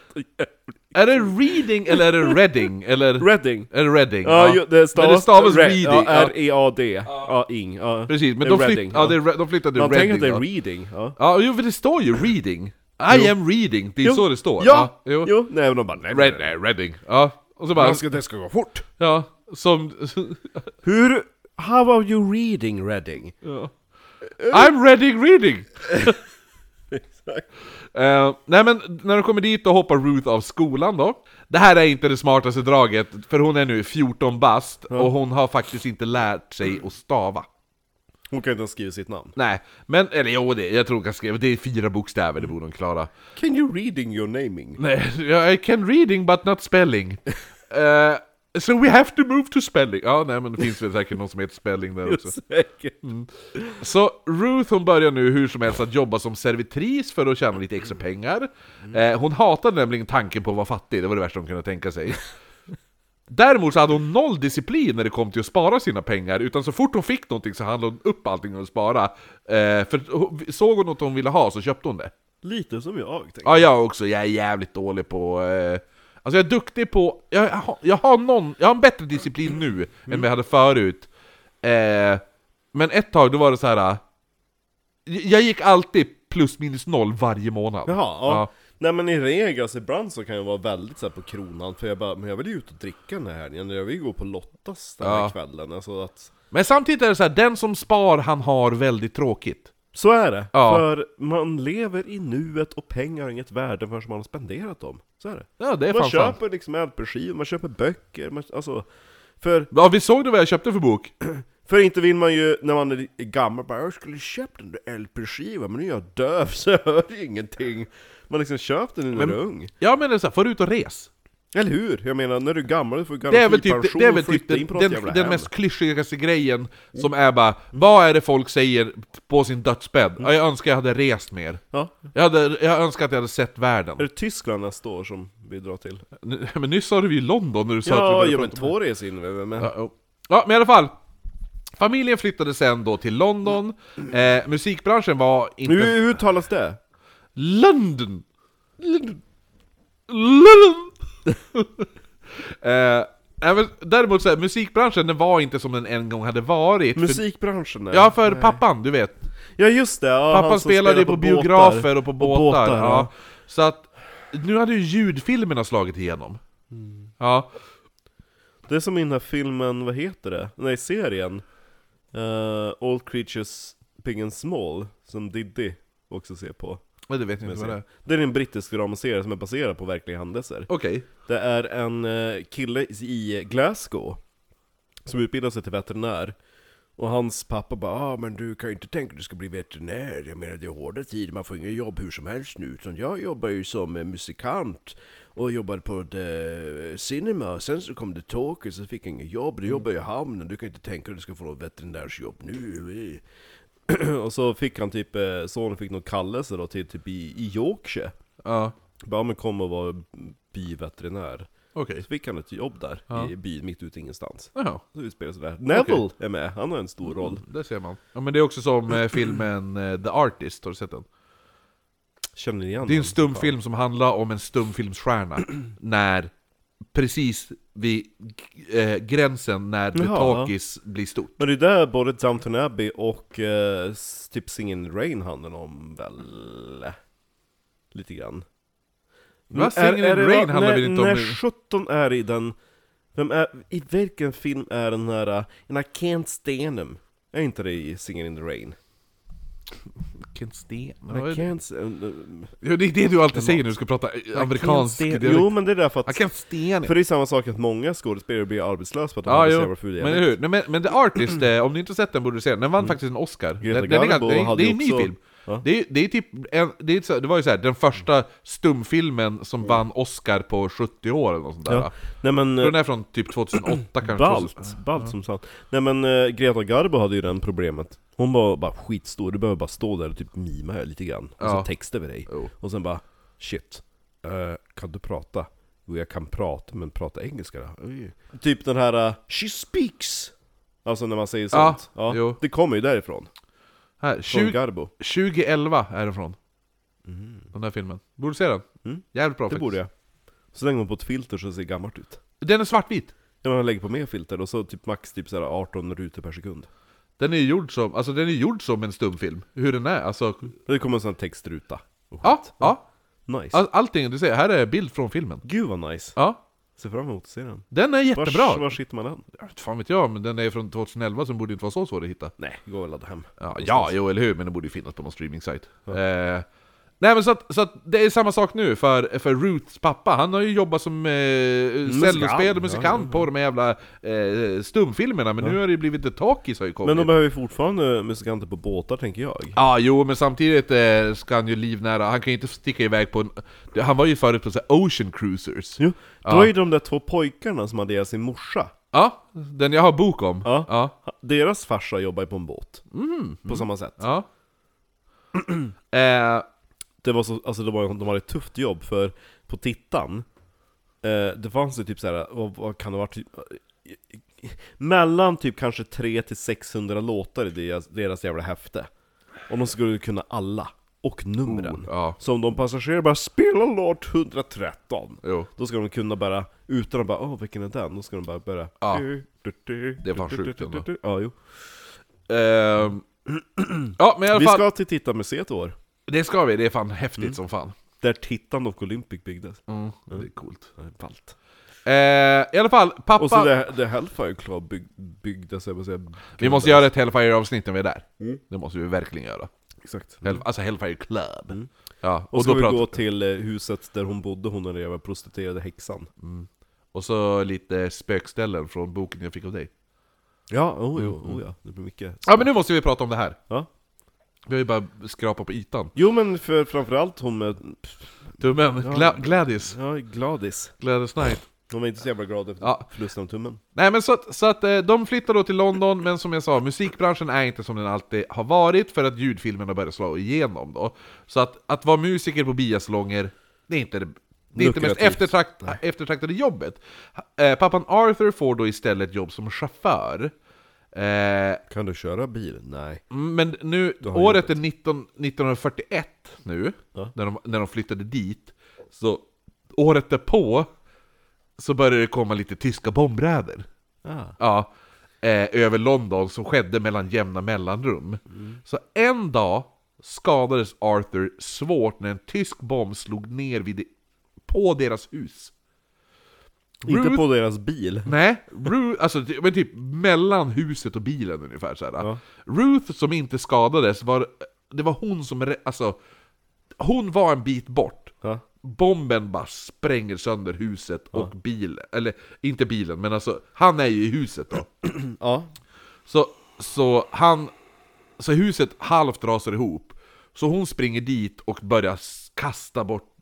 S3: är det Reading eller är det Reading? Eller
S1: Reading.
S3: är det Reading?
S1: Ja, ju- det stavas,
S3: Men det stavas
S1: Re-
S3: reading,
S1: Ja,
S3: ja.
S1: R-E-A-D. Ja, ing. Ja.
S3: Precis, men
S1: Det är
S3: de, flytt,
S1: Reading,
S3: ja, det är, Re- de flyttar till
S1: Man
S3: Reading.
S1: tänker att det är
S3: då.
S1: reading. Ja.
S3: Ja, jo, för det står ju reading. I am reading, det är
S1: Jo.
S3: så det står.
S1: Ja,
S3: jo.
S1: jo. Nej, men de bara nej,
S3: Red,
S1: nej.
S3: nej, reading. Ja, och så bara...
S2: det ska gå fort!
S3: Ja, som...
S1: Hur... How are you reading reading?
S3: ja. I'm reading reading! Eh, nej men, när de kommer dit då hoppar Ruth av skolan då. Det här är inte det smartaste draget, för hon är nu 14 bast och hon har faktiskt inte lärt sig att stava.
S1: Hon kan inte ens skriva sitt namn.
S3: Nej, men, eller jo, det, jag tror hon kan skriva, det är fyra bokstäver, det borde hon klara.
S1: Can you reading your naming?
S3: Nej, I can reading but not spelling. Eh, so we have to move to spelling. Ja, nej men det finns väl säkert någon som heter spelling där också.
S1: Säkert.
S3: Så Ruth hon börjar nu hur som helst att jobba som servitris för att tjäna lite extra pengar. Eh, hon hatade nämligen tanken på att vara fattig, det var det värsta hon kunde tänka sig. Däremot så hade hon noll disciplin när det kom till att spara sina pengar, utan så fort hon fick någonting så handlade hon upp allting hon sparade. Eh, för hon- såg hon något hon ville ha så köpte hon det.
S1: Lite som jag, tänker jag.
S3: Ja, jag också. Jag är jävligt dålig på... Eh, alltså jag är duktig på... Jag, jag, har, jag, har, någon, jag har en bättre disciplin nu än vad jag hade förut. Eh, men ett tag då var det så här. eh, Jag gick alltid plus minus noll varje månad.
S1: Jaha, ja. Nej men i regel, så ibland så kan jag vara väldigt så här på kronan, för jag bara, men jag vill ju ut och dricka den här helgen, jag vill ju gå på Lottas den här
S3: Ja.
S1: kvällen, alltså att...
S3: Men samtidigt är det så här, den som spar han har väldigt tråkigt.
S1: Så är det!
S3: Ja.
S1: För man lever i nuet och pengar har inget värde förrän man har spenderat dem. Så är det.
S3: Ja, det är
S1: Man
S3: fan sant.
S1: köper liksom LP-skivor, man köper böcker, man, alltså... För,
S3: Ja, vi såg du vad jag köpte för bok?
S1: för inte vill man ju, när man är gammal, bara 'Jag skulle köpt den där LP-skivan, men nu är jag döv så jag hör ju ingenting' Man liksom köpte den när
S3: Men-
S1: du är ung.
S3: Ja, men det är så här, får du ut och res?
S1: Eller hur? Jag menar, när du är gammal, du får
S3: Det är väl typ,
S1: garantipension,
S3: det är väl typ
S1: flytta
S3: den,
S1: in på något
S3: den,
S1: jävla
S3: den
S1: hem.
S3: mest klyschigaste grejen som är bara Vad är det folk säger på sin dödsbädd?
S1: Mm.
S3: Ja, jag önskar jag hade rest mer.
S1: Ja.
S3: Jag, hade, jag önskar att jag hade sett världen.
S1: Är det Tyskland nästa år som vi drar till?
S3: N- Men nyss sa du ju London när du sa att vi
S1: Ja,
S3: började
S1: ja men
S3: prata om-
S1: två resor in vi men...
S3: Ja, jo. ja, men i alla fall. Familjen flyttade sen då till London. Eh, musikbranschen var inte...
S1: Hur hur uttalas det?
S3: London! London! eh, nej, men däremot så här, musikbranschen den var inte som den en gång hade varit. för-
S1: Musikbranschen? där.
S3: Ja, för pappan, du vet.
S1: ja just det! Ja,
S3: Pappan
S1: han som
S3: spelade ju på,
S1: båtar.
S3: biografer och på båtar. ja.
S1: ja.
S3: Så att, nu hade ju ljudfilmerna slagit igenom.
S1: Mm.
S3: Ja,
S1: Det är som i den här filmen, vad heter det? Nej, serien Eh, All Creatures Big and Small, som Diddy också ser på
S3: men det vet jag inte vad det är.
S1: Det är en brittisk dramaserie som är baserad på verkliga händelser
S3: Okej.
S1: Det är en eh, kille i Glasgow Som utbildar sig till veterinär Och hans pappa bara ah, men du kan ju inte tänka dig att du ska bli veterinär Jag menar det är hårda tider, man får inga jobb hur som helst nu Utan jag jobbar ju som eh, musikant Och jobbade på the cinema Och sen så kom det Tokyo så fick jag inget jobb Du jobbar ju i hamnen, du kan ju inte tänka dig att du ska få något veterinärsjobb nu Och så fick han typ, eh, sonen fick någon kallelse då till typ i, i Yorkshire
S3: Ja,
S1: Bara "Ah, men kom och var biveterinär
S3: okej.
S1: så fick han ett jobb där,
S3: Ja.
S1: i byn mitt ute i ingenstans.
S3: Jaha,
S1: Så utspelar sig där. Neville är med, han har en stor roll.
S3: där ser man. Ja, men det är också som eh, filmen eh, The Artist, har du sett den?
S1: Känner ni igen
S3: Det är en
S1: honom?
S3: stumfilm som handlar om en stumfilmsstjärna när precis vid eh, gränsen när The
S1: Jaha.
S3: Talkies blir stort.
S1: Men det är där både Downton Abbey och eh, s- typ Singin' in the Rain handlar om väl? Lite grann. Mm,
S3: Va? Singin' in the
S1: det-
S3: Rain handlar
S1: när-
S3: väl inte om
S1: När
S3: det?
S1: 17 är i den... Vem är, I vilken film är den här uh, And I can't stand him? Är inte det i Singing in the Rain?
S3: Vilken sten.
S1: I can't... stand- uh,
S3: Ja, det är det du alltid säger när du ska prata eh, amerikansk
S1: I can't stand-
S3: dialekt.
S1: Jo men det är därför
S3: Jag
S1: att...
S3: kan sten.
S1: För det är samma sak att många skådespelare blir arbetslösa för att de
S3: Ja,
S1: inte
S3: jo.
S1: ser vad ful
S3: Men,
S1: dialekt.
S3: eller hur? Nej, men, Mm. men The Artist, eh, om ni inte sett den borde du se den. Den vann faktiskt en Oscar.
S1: Greta
S3: den, den är,
S1: Garbo
S3: ganska- det är,
S1: hade
S3: det är
S1: ju
S3: en ny
S1: också-
S3: film.
S1: Ja.
S3: Det, är, det är typ, en, det, är, så- det var ju så här, den första stumfilmen som vann Oscar på 70 år eller något sånt där.
S1: Ja.
S3: va?
S1: Nej men...
S3: Så
S1: eh,
S3: Den är från typ 2008 kanske.
S1: Balt, balt som sant. Nej men eh, Greta Garbo hade ju det problemet. Hon var bara skitstor, du behöver bara stå där och typ mima här lite grann. Och
S3: Ja.
S1: så text över dig.
S3: Jo.
S1: Och sen bara shit, eh, kan du prata? Jo jag kan prata, men prata engelska då? Oj. Typ den här eh, 'She speaks' Alltså när man säger
S3: Ja,
S1: sånt. Ja,
S3: jo.
S1: det kommer ju därifrån.
S3: Här,
S1: Från
S3: 20,
S1: Garbo.
S3: 2011 är den från. Den här filmen. Borde du se den?
S1: Mm.
S3: Jävligt bra
S1: Det
S3: faktiskt.
S1: borde jag. Så länge man på ett filter så ser det gammalt ut.
S3: Den är svartvit.
S1: Ja, man lägger på mer filter och så typ max typ så här 18 rutor per sekund.
S3: Den är ju gjord som, alltså den är gjord som en stumfilm. Hur den är, alltså.
S1: Det kommer en sån här textruta. Och
S3: Ja, Alltså-
S1: skit.
S3: ja.
S1: Nice.
S3: All, allting du ser, här är bild från filmen.
S1: Gud vad nice!
S3: Ja.
S1: Ser fram emot att se den.
S3: Den är
S1: Vars,
S3: jättebra!
S1: Var sitter man den?
S3: Jag vet Fan vet jag, men den är från 2011 så den borde inte vara så svår att hitta.
S1: Nej, gå och ladda hem.
S3: Ja, ja jo eller hur, men den borde ju finnas på någon streaming-sajt. Eh, nej men så att, så att det är samma sak nu för, för Ruths pappa, han har ju jobbat som eh, cellospelare och musikant
S1: Ja, ja,
S3: på de här jävla eh, stumfilmerna, men nu har det ju blivit The Talkies har ju kommit.
S1: Men de behöver ju fortfarande musikanter på båtar tänker jag.
S3: Ja, jo, men samtidigt eh, ska han ju livnära, han kan ju inte sticka iväg på en... Han var ju förut på så här Ocean Cruisers.
S1: Jo, det
S3: Ja.
S1: var ju de där två pojkarna som hade ihjäl sin morsa.
S3: Ja, den jag har bok om.
S1: Ja.
S3: ja.
S1: Deras farsa jobbar ju på en båt.
S3: Mm.
S1: På samma sätt.
S3: ja. eh,
S1: Det var så, alltså det var, de hade ett tufft jobb för på Tittan, eh, det fanns ju typ såhär, vad, vad kan det vara? Typ, mellan typ kanske 300 till 600 låtar i deras, deras jävla häfte. Om de skulle kunna alla, och numren.
S3: Oh, ja.
S1: Så om de passagerare bara 'Spela låt 113'
S3: Jo.
S1: Då ska de kunna bara, utan att bara 'Åh vilken är den?' Då ska de bara börja
S3: Ja.
S1: Det
S3: är fan sjukt ändå.
S1: Ja, jo.
S3: Ehm, ja, men i alla
S1: Vi
S3: fall,
S1: ska Mm. till Tittanmuseet i år,
S3: det ska vi. Det är fan häftigt som fan.
S1: där Tittan och Olympic byggdes.
S3: Det är coolt.
S1: Ballt.
S3: Eh, I alla fall,
S1: Och så
S3: pappa...
S1: det, det Hellfire Club bygg, byggdes, alltså jag vill säga.
S3: Vi måste göra ett Hellfire-avsnitt när vi är där. Det måste vi verkligen göra.
S1: Exakt. Mm.
S3: Hell, alltså Hellfire Club. Ja, och,
S1: Och, så ska
S3: då
S1: vi
S3: pratar...
S1: gå till eh, huset där hon bodde, hon den där jävla prostituerade häxan.
S3: och så lite spökställen från boken jag fick av dig.
S1: Ja, oh, jo, oh, ja. Det blir mycket.
S3: Ja, men nu måste vi prata om det här.
S1: Ja.
S3: Vi har ju bara skrapat på ytan.
S1: Jo men för, framförallt hon med,
S3: Tummen, Gla Gladys.
S1: ja, Gladys.
S3: Gladys Knight.
S1: Hon var inte så jävla glad efter
S3: Ja.
S1: förlusten av tummen.
S3: Nej men så att, så att eh, de flyttar då till London, men som jag sa, musikbranschen är inte som den alltid har varit för att ljudfilmerna börjar slå igenom då. Så att, att vara musiker på biasalonger, det är inte det, det, är inte det mest
S1: Lukrativt.
S3: eftertrakt, eftertraktade jobbet. Eh, pappan Arthur får då istället jobb som chaufför. Eh,
S1: Kan du köra bil? Nej.
S3: men nu,
S1: har
S3: året är 19, 1941 nu,
S1: Ja.
S3: när, de, när de flyttade dit. Så året därpå så började det komma lite tyska bombräder.
S1: Ah.
S3: Ja, eh, över London som skedde mellan jämna mellanrum. Så en dag skadades Arthur svårt när en tysk bomb slog ner vid det, på deras hus.
S1: Inte
S3: Ruth-
S1: på deras bil.
S3: Nej, Ruth, alltså ty- men typ mellan huset och bilen ungefär så här.
S1: Ja.
S3: Ruth som inte skadades, var, det var hon som, re- alltså, hon var en bit bort.
S1: Ja.
S3: Bomben bara spränger sönder huset och bilen, eller inte bilen, men alltså han är ju i huset då.
S1: Mm. ja.
S3: Så, så han... Så huset halvt rasar ihop. Så hon springer dit och börjar s- kasta bort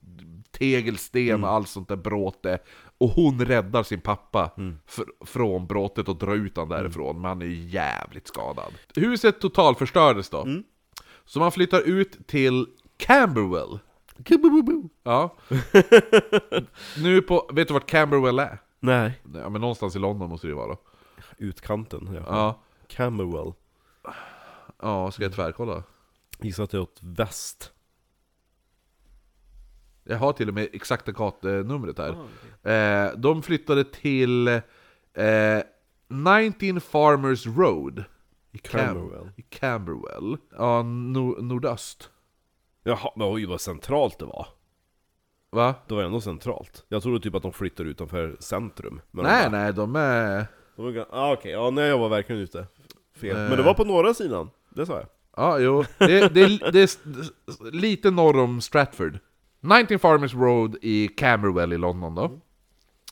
S3: tegelsten och allt sånt där bråte. Och hon räddar sin pappa fr- från bråtet och drar ut honom därifrån. Men han är ju jävligt skadad. Huset totalförstördes då. Så man flyttar ut till Camberwell. Ja. nu på... Vet du vart Camberwell är?
S1: Nej.
S3: Ja, men någonstans i London måste det ju vara då.
S1: Utkanten. Ja.
S3: Ja.
S1: Camberwell.
S3: Ja, ska jag tvärkolla?
S1: Gissar att det är åt väst.
S3: Jag har till och med exakta gatnumret här.
S1: Ah,
S3: eh, de flyttade till eh, 19 Farmers Road. I Cam-
S1: Camberwell.
S3: I Camberwell. Ja, no- nordöst.
S1: Jaha, men oj vad centralt det var.
S3: Va?
S1: Det var ändå centralt. Jag trodde typ att de flyttar utanför centrum. Men de
S3: Nej,
S1: bara-
S3: nej, de är...
S1: de var gan- Ah, Okej, ja nej jag var verkligen ute. Fel.
S3: Eh.
S1: Men det var på norra sidan, det sa jag.
S3: Ja, jo. Det, det, det är s- s- lite norr om Stratford. 19 Farmers Road i Camberwell i London då.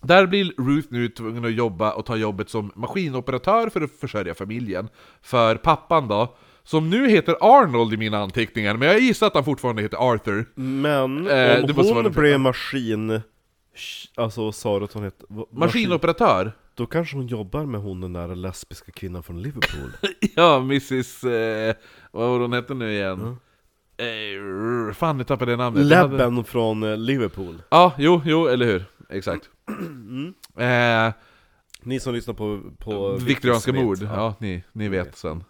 S3: Där blir Ruth nu tvungen att jobba och ta jobbet som maskinoperatör för att försörja familjen. För pappan då, som nu heter Arnold i mina anteckningar, men jag gissar att han fortfarande heter Arthur.
S1: Men
S3: Eh,
S1: om
S3: du måste vara
S1: hon
S3: den-
S1: blev maskin... sh- Alltså sa du att hon hette... va-
S3: Maskinoperatör?
S1: Då kanske hon jobbar med hon den där lesbiska kvinnan från Liverpool.
S3: Ja, Mrs... Eh, vad var hon hette nu igen? Eh, fan, nu tappade jag namnet. Hon hade-
S1: Lebben från eh, Liverpool.
S3: Ja, jo, jo, eller hur. Exakt. Eh,
S1: Ni som lyssnar på... på
S3: Viktorianska
S1: Smith.
S3: mord,
S1: Ja.
S3: ja ni, ni vet sen.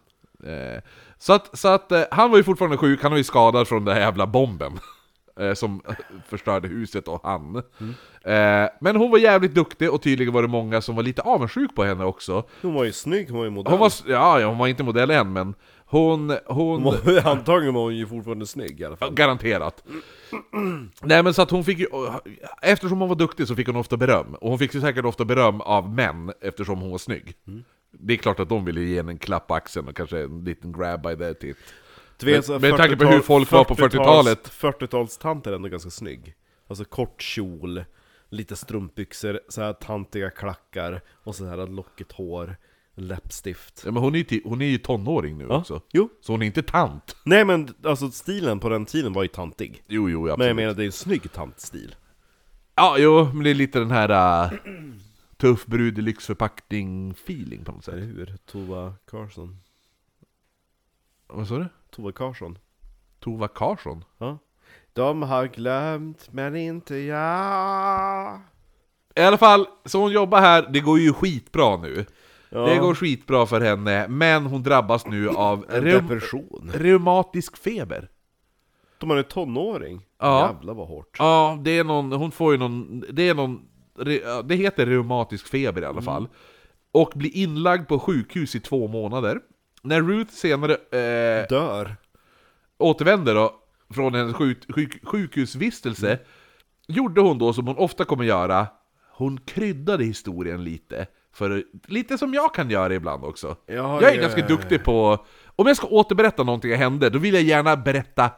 S3: Eh, så att, så att eh, han var ju fortfarande sjuk, han var ju skadad från den här jävla bomben. eh, som förstörde huset och han.
S1: Mm.
S3: Eh, men hon var jävligt duktig och tydligen var det många som var lite avundsjuk på henne också.
S1: Hon var ju snygg, hon var ju modern.
S3: Hon var, s- ja, ja, hon var inte modell än men hon... hon
S1: Antagligen var hon ju fortfarande snygg i alla fall.
S3: Garanterat. Nej men så att hon fick ju, eftersom hon var duktig så fick hon ofta beröm. Och hon fick ju säkert ofta beröm av män eftersom hon var snygg. Det är klart att de ville ge henne en klapp på axeln och kanske en liten grab by the tit.
S1: Du vet, så
S3: Med-
S1: här
S3: med tanke på hur folk var på 40-talet.
S1: 40-talstant är ändå ganska snygg. Alltså kort kjol, lite strumpbyxor, så här tantiga klackar och så här lockigt hår, läppstift.
S3: Ja, men hon är, ju, ti- hon är ju tonåring nu också.
S1: Jo.
S3: Så hon är inte tant.
S1: Nej men alltså stilen på den tiden var ju tantig.
S3: Jo, jo, absolut.
S1: Men jag menar det är en snygg tantstil.
S3: Ja, jo, men det är lite den här äh, tuff brud i lyxförpackning-feeling på något
S1: Eller
S3: sätt.
S1: hur? Tova Karlsson.
S3: Vad sa du?
S1: Tova Karlsson.
S3: Tova Karsson?
S1: Ja. De har glömt men inte jag.
S3: I alla fall, så hon jobbar här, det går ju skitbra nu.
S1: Ja.
S3: Det går skitbra för henne, men hon drabbas nu av
S1: En
S3: reum-
S1: depression.
S3: reumatisk feber.
S1: De är en tonåring.
S3: Ja.
S1: Jävlar vad hårt.
S3: Ja, det är någon, hon får ju någon, det är någon, re- ja, det heter reumatisk feber i alla fall. Och blir inlagd på sjukhus i två månader. När Ruth senare eh,
S1: Dör.
S3: återvänder då, från hennes sjuk, sjuk, sjukhusvistelse, gjorde hon då som hon ofta kommer göra, hon kryddade historien lite. För, lite som jag kan göra ibland också.
S1: Ja,
S3: jag är
S1: ja,
S3: ganska
S1: ja, ja.
S3: duktig på... Om jag ska återberätta någonting som hände, då vill jag gärna berätta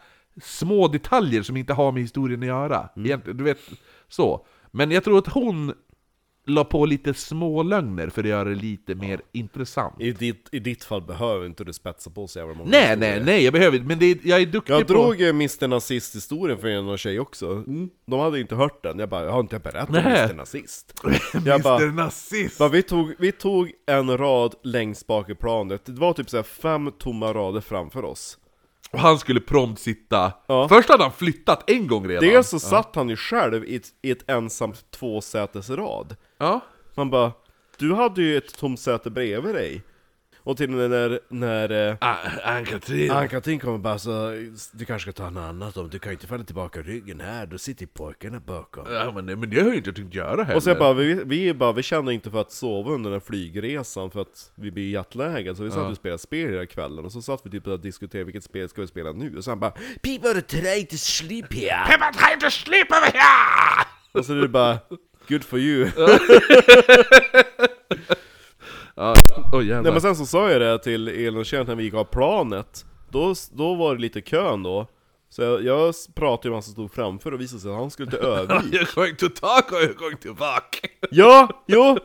S3: små detaljer som inte har med historien att göra.
S1: Mm.
S3: Egentligen, du vet, så. Men jag tror att hon la på lite små lögner för att göra det lite mer intressant.
S1: I ditt, I ditt fall behöver inte du spetsa på så jävla många
S3: Nej,
S1: historier.
S3: nej, nej, jag behöver inte, men det, är- jag är duktig
S1: Jag
S3: på...
S1: drog ju Mr Nazist-historien för en och tjej också. De hade inte hört den. Jag bara, jag har inte jag berättat om
S3: Nej.
S1: Mr Nazist? jag bara,
S3: Nazist!
S1: bara vi, tog, vi tog en rad längst bak i planet. Det var typ så här fem tomma rader framför oss.
S3: Och han skulle prompt sitta...
S1: Ja.
S3: Först hade han flyttat en gång redan.
S1: Dels så satt han ju själv i ett, i ett ensamt tvåsätesrad.
S3: Ja.
S1: Man bara, du hade ju ett tomt säte bredvid dig. Och till och med när, när eh,
S3: Ann-Katrin.
S1: Ann-Katrin kommer bara så, du kanske ska ta en annan om, du kan ju inte falla tillbaka ryggen här, då sitter ju pojkarna bakom.
S3: Ja, men, nej, men det har jag inte tänkt göra heller.
S1: Och så jag bara, vi, vi, är bara, vi känner inte för att sova under den här flygresan för att vi blir jetlaggade, så vi satt och spelade spel hela kvällen, och så satt vi typ och diskuterade vilket spel ska vi spela nu, och så han bara 'People are trying to sleep here'
S3: Peppa trying to sleep over here!
S1: Och så är det bara 'Good for you'
S3: Åh jävlar.
S1: Nej men sen så sa jag det till Elin och Kjell när vi gick av planet, då, då var det lite kön då, så jag, jag pratade ju med han som stod framför och visade sig att han skulle till Örnsköldsvik
S3: Jag går inte tillbaka och jag går inte tillbaka.
S1: Ja, jo!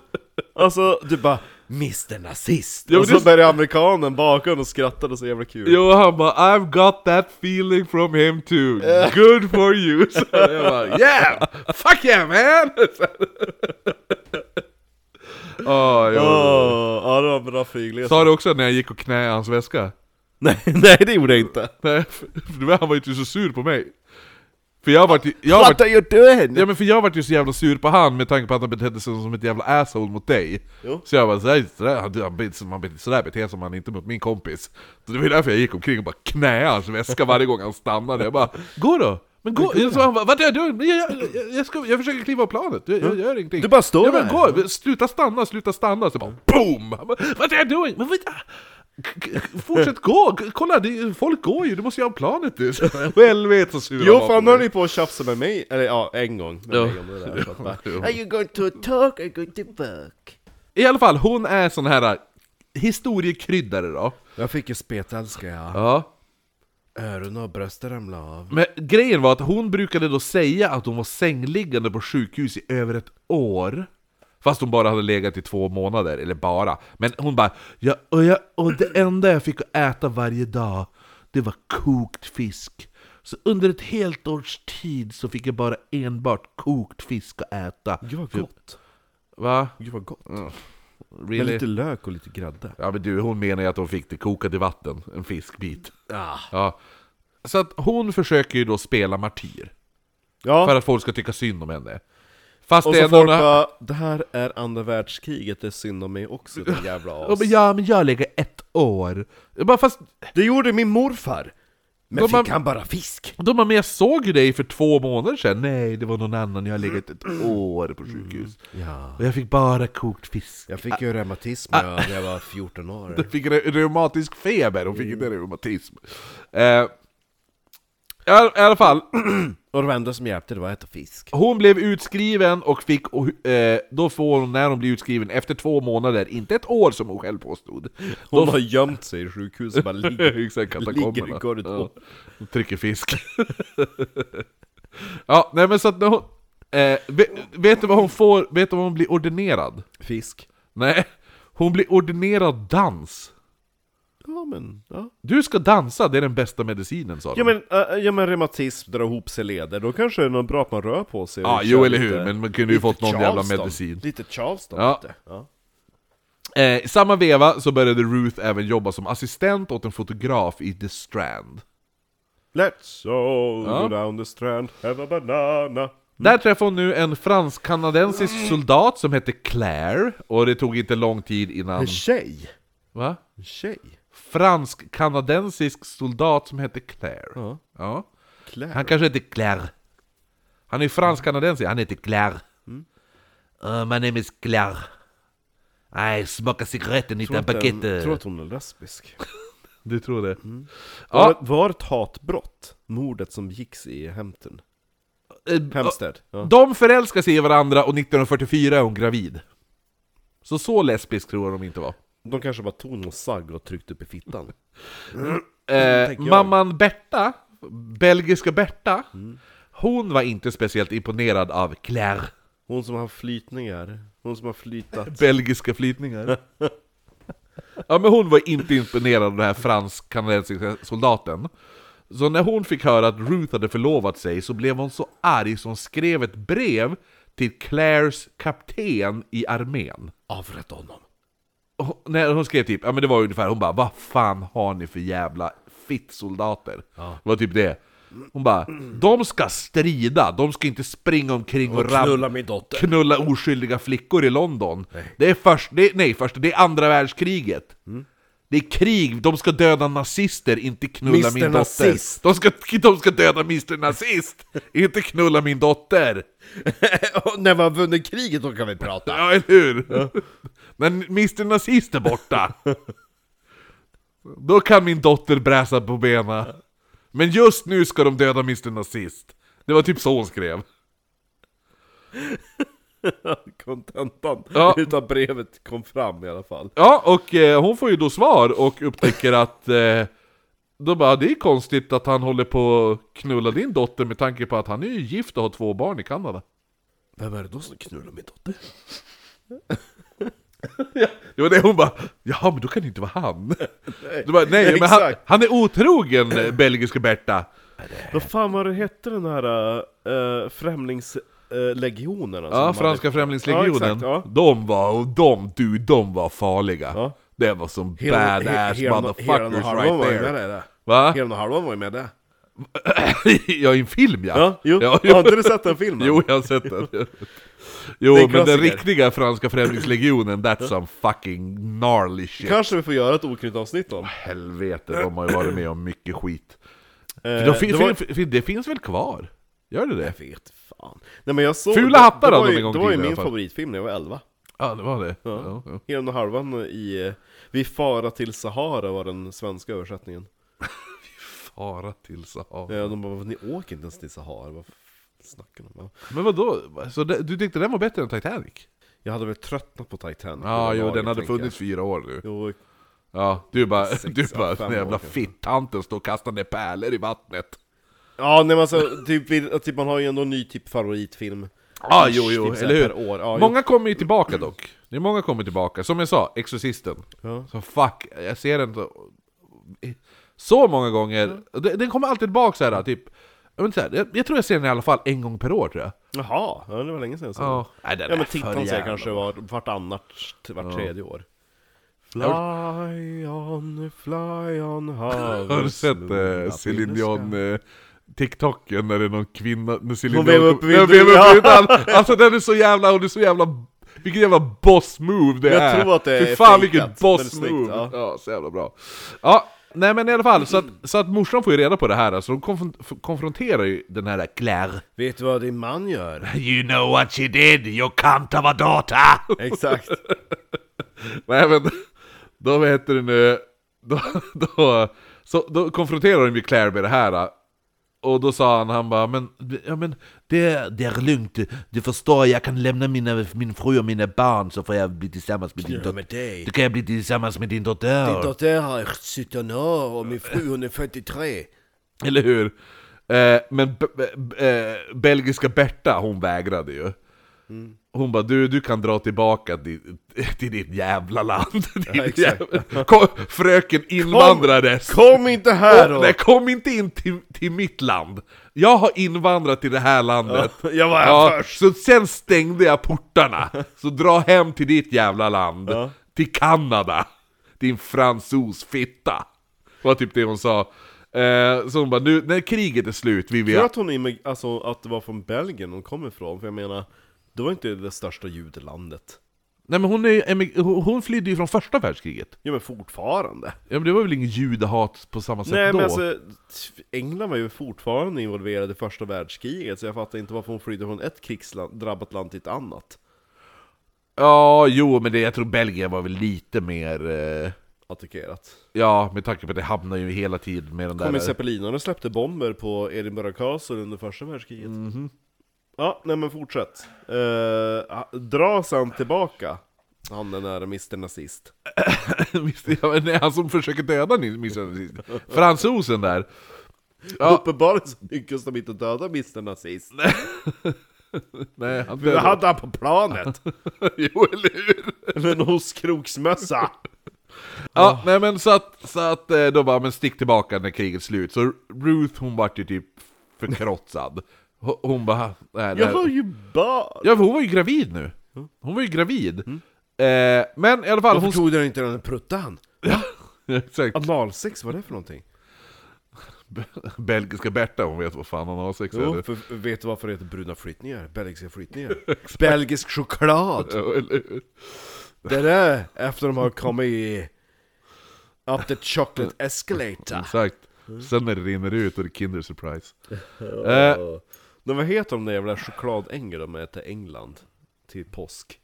S1: Alltså, du bara 'Mr Nazist'
S3: Jo,
S1: Och
S3: det-
S1: så började amerikanen bakom och skrattade så jävla kul
S3: Jo, han bara I've got that feeling from him too. Good for you. Så jag bara yeah! Fuck yeah man! Åh, jo.
S1: Åh, ja det var en bra flygresa
S3: Sa du också när jag gick och knä i hans väska?
S1: nej, nej det gjorde jag inte!
S3: Nej, för för han var ju inte så sur på mig. För jag vart ju- jag vart-
S1: What are you doing?
S3: Ja men för jag vart ju så jävla sur på han med tanke på att han betedde sig som ett jävla asshole mot dig
S1: Jo.
S3: Så jag bara sådär, sådär, han, han, bet- man bet- sådär beter sig man inte mot min kompis Så det var ju därför jag gick omkring och bara knäade hans väska varje gång han stannade Jag bara 'Gå då!' Men gå! Jag sa, han bara, Vad är du? Men Jag, jag, jag, jag, ska, jag försöker kliva av planet, jag, jag gör ingenting
S1: Du bara står
S3: ja, men
S1: där.
S3: gå! Sluta stanna, sluta stanna! Så bara BOOM! Han bara, What are you doing? Men, vad- K- k- Fortsätt gå! K- Kolla, det, är- folk går ju, du måste ju ha planet du! Helvete vad sura
S1: Jo
S3: var på
S1: fan
S3: mig.
S1: höll ni på att tjafsa med mig, eller ja, en gång med
S3: Ja.
S1: mig om det där. Så att bara,
S3: Jo.
S1: Are you going to talk or going to work?
S3: I alla fall, hon är sån här äh, historiekryddare då.
S1: Jag fick en spetälska ja.
S3: Ja.
S1: Öron och bröstet ramlade av.
S3: Men grejen var att hon brukade då säga att hon var sängliggande på sjukhus i över ett år. Fast hon bara hade legat i två månader, eller bara. Men hon bara ja, och, jag, och det enda jag fick att äta varje dag, det var kokt fisk. Så under ett helt års tid så fick jag bara enbart kokt fisk att äta.
S1: Gud vad gott.
S3: Va?
S1: Gud vad gott. Med
S3: Really?
S1: lite lök och lite grädde.
S3: Ja men du, hon menar ju att hon fick det kokat i vatten, en fiskbit.
S1: Ja.
S3: Ja. Så att hon försöker ju då spela martyr. För
S1: ja.
S3: att folk ska tycka synd om henne. Fast
S1: Och
S3: det är
S1: så
S3: ändå...
S1: folk
S3: Bara...
S1: bara, det här är andra världskriget, det är synd om mig också din jävla
S3: Ja, men
S1: as.
S3: ja, men jag lägger ett år. Jag Bara, fast
S1: Det gjorde min morfar! Men
S3: De
S1: fick
S3: har-
S1: han bara fisk?
S3: de bara, men jag såg ju dig för två månader sedan. Nej, det var någon annan. Jag har legat ett år på sjukhus.
S1: Ja.
S3: Och jag fick bara kokt fisk.
S1: Jag fick ju reumatism
S3: Ah.
S1: när jag var 14 år.
S3: Hon fick re- reumatisk feber, hon fick inte reumatism. Eh, I alla- i alla fall,
S1: Och det enda som hjälpte det var att äta fisk.
S3: Hon blev utskriven och fick, och, eh, då får hon när hon blir utskriven, efter två månader, inte ett år som hon själv påstod.
S1: Hon har gömt sig i sjukhuset och bara ligger,
S3: Exakt, katakomberna.
S1: ligger i korridoren.
S3: Ja, hon trycker fisk. ja, nej men så att när hon, eh, vet, vet du vad hon får, vet du vad hon blir ordinerad?
S1: Fisk.
S3: Nej, hon blir ordinerad dans.
S1: Ja men, ja.
S3: Du ska dansa, det är den bästa medicinen sa de.
S1: Ja men, äh, ja, men reumatism drar ihop sig leder, då kanske det är något bra att man rör på sig. och
S3: Ja,
S1: kör
S3: jo eller
S1: lite-
S3: hur, men man kunde ju
S1: lite
S3: fått någon jävla
S1: Charleston.
S3: medicin.
S1: Lite Charleston.
S3: Ja.
S1: Lite. Ja.
S3: Eh, I samma veva så började Ruth även jobba som assistent åt en fotograf i The Strand.
S1: Let's all
S3: Ja.
S1: go down the strand, have a banana.
S3: Där träffade hon nu en fransk-kanadensisk soldat som hette Claire, och det tog inte lång tid innan...
S1: En tjej.
S3: Va?
S1: En tjej.
S3: Fransk-kanadensisk soldat som hette Claire.
S1: Ja.
S3: Ja.
S1: Claire.
S3: Han kanske heter Claire. Han är fransk-kanadensisk, han heter Claire.
S1: Mm.
S3: Uh, my name is Claire. I smakar cigaretten i
S1: Tror
S3: den
S1: att den- Tror Mm.
S3: paketet.
S1: att hon är lesbisk.
S3: Du tror det?
S1: Var,
S3: Ja,
S1: det- var det ett hatbrott, mordet som begicks i Hampton?
S3: eh,
S1: Hempstead? Ja.
S3: De förälskar sig i varandra och 1944 är hon gravid. Så så lesbisk tror jag de inte var.
S1: De kanske bara tog någon sagg och tryckte upp i fittan.
S3: Eh,
S1: tänker jag.
S3: mamman Berta, belgiska Berta,
S1: Mm.
S3: hon var inte speciellt imponerad av Claire.
S1: Hon som har flytningar, hon som har flytat.
S3: Belgiska flytningar. ja, men hon var inte imponerad av den här fransk-kanadensiska soldaten. Så när hon fick höra att Ruth hade förlovat sig så blev hon så arg så hon skrev ett brev till Claires kapten i armén.
S1: Avrätta honom.
S3: Och- Nej, hon skrev typ, ja men det var ungefär, hon bara Vad fan har ni för jävla fittsoldater? Det var typ det Hon bara, de ska strida, de ska inte springa omkring och, ram-
S1: Knulla min dotter.
S3: knulla oskyldiga flickor i London Det är först, det är, nej först, det är andra världskriget
S1: Mm.
S3: Det är krig, de ska döda nazister, inte knulla
S1: Mr.
S3: min dotter
S1: Nazist.
S3: de ska, de ska döda Mr Nazist, inte knulla min dotter!
S1: Och när vi har vunnit kriget då kan vi prata.
S3: Ja, eller hur? Men Mr Nazist är borta. Då kan min dotter bräsa på benen. Men just nu ska de döda Mr Nazist. Det var typ så hon skrev.
S1: Kontentan
S3: Ja.
S1: utav brevet kom fram i alla fall.
S3: Ja, och eh, hon får ju då svar och upptäcker att... Eh, då bara, det är konstigt att han håller på att knulla din dotter med tanke på att han är ju gift och har två barn i Kanada.
S1: Vem är det då som knullar min dotter?
S3: Det var det hon bara, jaha men då kan det inte vara han. Du bara, nej men han,
S1: Exakt.
S3: han är otrogen, eh, belgiske Berta.
S1: Vad fan var det hette den här äh, eh, främlingslegionen?
S3: Ja, Franska
S1: Ja,
S3: Främlingslegionen.
S1: exakt, ja.
S3: De var, och de, du, de var farliga.
S1: Ja.
S3: Det var som
S1: Helen-
S3: badass
S1: He- Helen- Helen och
S3: motherfuckers
S1: Harlan
S3: right
S1: var ju med
S3: there.
S1: där, där.
S3: Va?
S1: Helen och Harlan var ju med där.
S3: ja, i en film ja.
S1: Ja, jo.
S3: Ja,
S1: Har inte du sett den filmen?
S3: Jo, jag har sett den. Jo,
S1: Det är en
S3: men
S1: klassiker.
S3: den riktiga Franska Främlingslegionen, that's some fucking gnarly shit.
S1: Kanske vi får göra ett oknytt avsnitt om.
S3: Helvete, de har ju varit med om mycket skit.
S1: Eh,
S3: För de fin,
S1: det var-
S3: fin, fin, det finns väl kvar? Gör det det?
S1: Jag vet fan. Nej, men jag såg,
S3: Fula hattar
S1: det, det
S3: hade
S1: var
S3: de
S1: ju,
S3: en gång
S1: Det var ju
S3: till i
S1: min
S3: alla fall. Mm.
S1: favoritfilm när jag var 11.
S3: Ja, det var det.
S1: Ja.
S3: Ja, ja.
S1: Hela den här halvan i eh, Vi fara till Sahara var den svenska översättningen.
S3: Fara till Sahara.
S1: Ja, de bara, ni åker inte ens till Sahara, vad f- snackar de om?
S3: Men vadå? Så det, du tyckte den var bättre än Titanic?
S1: Jag hade väl tröttnat på Titanic.
S3: Ja,
S1: vid det
S3: jo
S1: laget,
S3: den hade
S1: tänker jag.
S3: funnits fyra år nu.
S1: Jo,
S3: Ja, du bara,
S1: Sex,
S3: du
S1: ja,
S3: bara,
S1: fem
S3: den jävla
S1: år kanske.
S3: fittanten står och kastar ner pärlor i vattnet.
S1: ja nej men alltså, typ, vi- typ, man har ju ändå en ny typ favoritfilm.
S3: Ja, jo, jo,
S1: Typ så här
S3: eller hur?
S1: Per år. Ja,
S3: Många kommer ju tillbaka dock. Det är många kommer tillbaka. Som jag sa, Exorcisten.
S1: Ja.
S3: Så fuck, jag ser den så, så många gånger. Den, den kommer alltid tillbaka så här, typ. Jag, vet inte, så här, jag, jag tror jag ser den i alla fall en gång per år tror jag.
S1: Jo. Jaha, ja, det var länge sedan jag såg den.
S3: Ja, Nej, den
S1: Ja men
S3: är för
S1: tittan ser
S3: jävla
S1: kanske
S3: bra.
S1: var, vartannat, till vart
S3: Ja.
S1: tredje år. Fly on, fly on high.
S3: Har du sett eh, Céline Dion eh, TikToken när det är någon kvinna med Céline
S1: Hon
S3: Dion
S1: vevar upp
S3: Ja,
S1: vinduet,
S3: vevar
S1: ja.
S3: vinduet. Alltså den är så jävla, hon är så jävla vilken jävla boss move det
S1: Jag
S3: är!
S1: tror att det
S3: Fy
S1: är
S3: fan
S1: fejkat,
S3: vilket
S1: men
S3: boss
S1: snyggt,
S3: move!
S1: ja.
S3: ja. så jävla bra Ja, nej men i alla fall, så att, så att morsan får ju reda på det här, alltså, så hon konf- konfronterar ju den här Claire
S1: Vet du vad din man gör?
S3: You know what she did, you cunt of a daughter!
S1: Exakt.
S3: Nej men, då vad heter det nu, då, då, så, då konfronterade de ju Claire med det här äh, Och då sa han, han bara men, ja, men det, det är lugnt, du, du förstår jag kan lämna mina, min fru och mina barn så får jag bli tillsammans med din
S4: Ja,
S3: dotter
S4: med dig.
S3: Då kan jag bli tillsammans med din dotter
S4: Din dotter har 17 år och min fru hon är 43.
S3: Eller hur? Eh, men b- b- b- eh, belgiska Berta, hon vägrade ju. Hon bara du, du kan dra tillbaka till, till ditt jävla land. Din
S1: exakt.
S3: jävla... Kom, fröken invandrades!
S1: Kom inte här
S3: Åh,
S1: då!
S3: nej, kom inte in till, till mitt land! Jag har invandrat till det här landet.
S1: jag var här först.
S3: Så sen stängde jag portarna. Så dra hem till ditt jävla land.
S1: Ja.
S3: Till Kanada. Din fransosfitta. Var typ det hon sa. Eh, så hon bara, nu när kriget är slut, vi vill...
S1: Jag tror att hon är med, alltså att det var från Belgien hon kom ifrån, för jag menar, det var inte det största judelandet.
S3: Nej men hon, är, ju emig- hon hon flydde ju från första världskriget.
S1: Ja men fortfarande.
S3: Ja, men det var väl ingen judehat på samma sätt
S1: Nej
S3: Typ då?
S1: men alltså, England var ju fortfarande involverad i första världskriget, så jag fattar inte varför hon flydde från ett krigsdrabbat land till ett annat.
S3: Ja, jo, men det, jag tror Belgien var väl lite mer... Eh...
S1: Attackerat.
S3: Ja, med tanke på att det hamnar ju hela tiden med den
S1: Kom ju
S3: där...
S1: zeppelinarna och släppte bomber på Edinburgh Castle under första världskriget.
S3: Mhm.
S1: Ja, nej men fortsätt. Eh, dra sen tillbaka, han den där Mr Nazist.
S3: Visst, ja, men det är han som försöker döda ni- missen Fransosen där. Ja,
S1: Uppenbarligen så lyckas de inte döda Mr Nazist.
S3: nej, han
S1: Det
S3: dödade.
S1: hade han på planet!
S3: Jo, eller hur?
S1: Med en ostkroksmössa!
S3: Ja, nej men så att, så att eh, då bara, men stick tillbaka när kriget är slut. Så Ruth hon vart ju typ förkrossad. Ho- Hon bara, nej, det
S1: Jag
S3: här-
S1: var ju barn!
S3: Ja, för hon var ju gravid nu. Hon var ju gravid. Eh, men i alla fall, hon...
S4: Varför tog den inte den pruttan?
S3: Exakt.
S1: Analsex, vad är det för någonting?
S3: Belgiska Berta, hon vet vad fan hon har sex
S1: Jo,
S3: eller?
S1: för, vet du varför det heter bruna flyttningar? Belgiska flyttningar? Belgisk choklad!
S3: Ja, eller hur?
S1: Det där! Efter de har
S4: Kommer i... Up the chocolate escalator.
S3: Exakt. Sen när det rinner ut och det är Kinder Surprise. Eh,
S1: Men vad heter de där jävla chokladängel de är till England? Till påsk?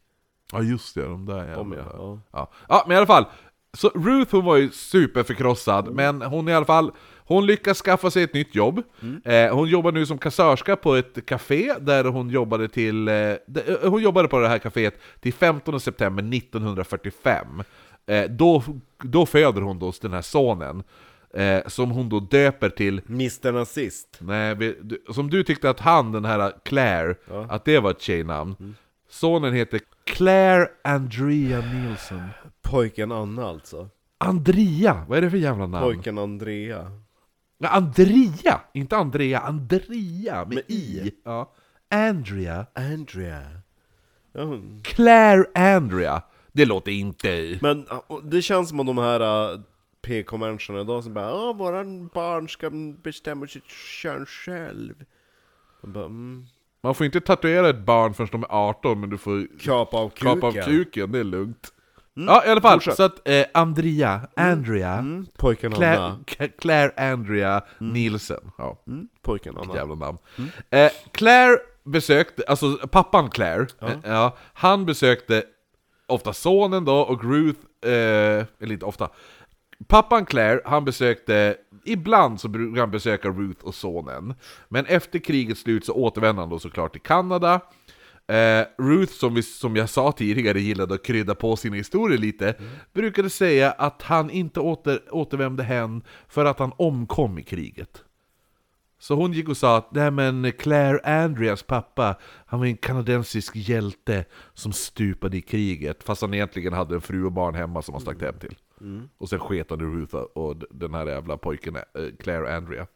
S3: Ja just det, de där
S1: De
S3: jävlarna.
S1: ja.
S3: ja.
S1: ja.
S3: Ja. men i alla fall. Så Ruth hon var ju superförkrossad, men hon i alla fall Hon lyckas skaffa sig ett nytt jobb. Eh, hon jobbar nu som kassörska på ett café där hon jobbade till eh, där- eh, Hon jobbade på det här caféet till 15 september 1945. Eh, då, då föder hon då den här sonen. Eh, som hon då döper till
S1: Mr Nazist.
S3: Nej, vi, du, som du tyckte att han, den här Claire, att det var ett tjejnamn. Sonen heter Claire Andrea Nilsson.
S1: Pojken Anna alltså.
S3: Andrea, vad är det för jävla namn?
S1: Pojken Andrea.
S3: Nej, Andrea, inte Andrea, Andrea med, i. Ja. Andrea.
S1: Andrea. Ja, hon-
S3: Claire Andrea. Det låter inte...
S1: Men ah, och det känns som att de här äh, PK-människorna idag som bara Åh, våran barn ska bestämma sitt kön själv. Man bara, mm.
S3: Man får inte tatuera ett barn förrän de är 18, men du får
S1: Kapa av kuken. Mm.
S3: kapa av kuken, det är lugnt. Ja, i alla fall.
S1: fortsätt.
S3: Så att eh, Andrea, Andrea,
S1: Mm. Pojken
S3: Claire,
S1: Anna.
S3: K- Claire Andrea Nilsson. Ja.
S1: Mm. Pojken Anna.
S3: Vilket jävla namn. Eh, Claire besökte, alltså pappan Claire, eh, ja, han besökte ofta sonen då, och Ruth, eh, eller inte ofta, pappan Claire, han besökte, ibland så brukar han besöka Ruth och sonen. Men efter krigets slut så återvände han då såklart till Kanada. Eh, Ruth, som, vi, som jag sa tidigare, gillade att krydda på sina historier lite, brukade säga att han inte åter, återvände hem för att han omkom i kriget. Så hon gick och sa att nej men Claire Andreas pappa, han var en kanadensisk hjälte som stupade i kriget. Fast han egentligen hade en fru och barn hemma som han stack hem till.
S1: Mm.
S3: Och sen sket han i Ruth och d- den här jävla pojken eh, Claire Andrea.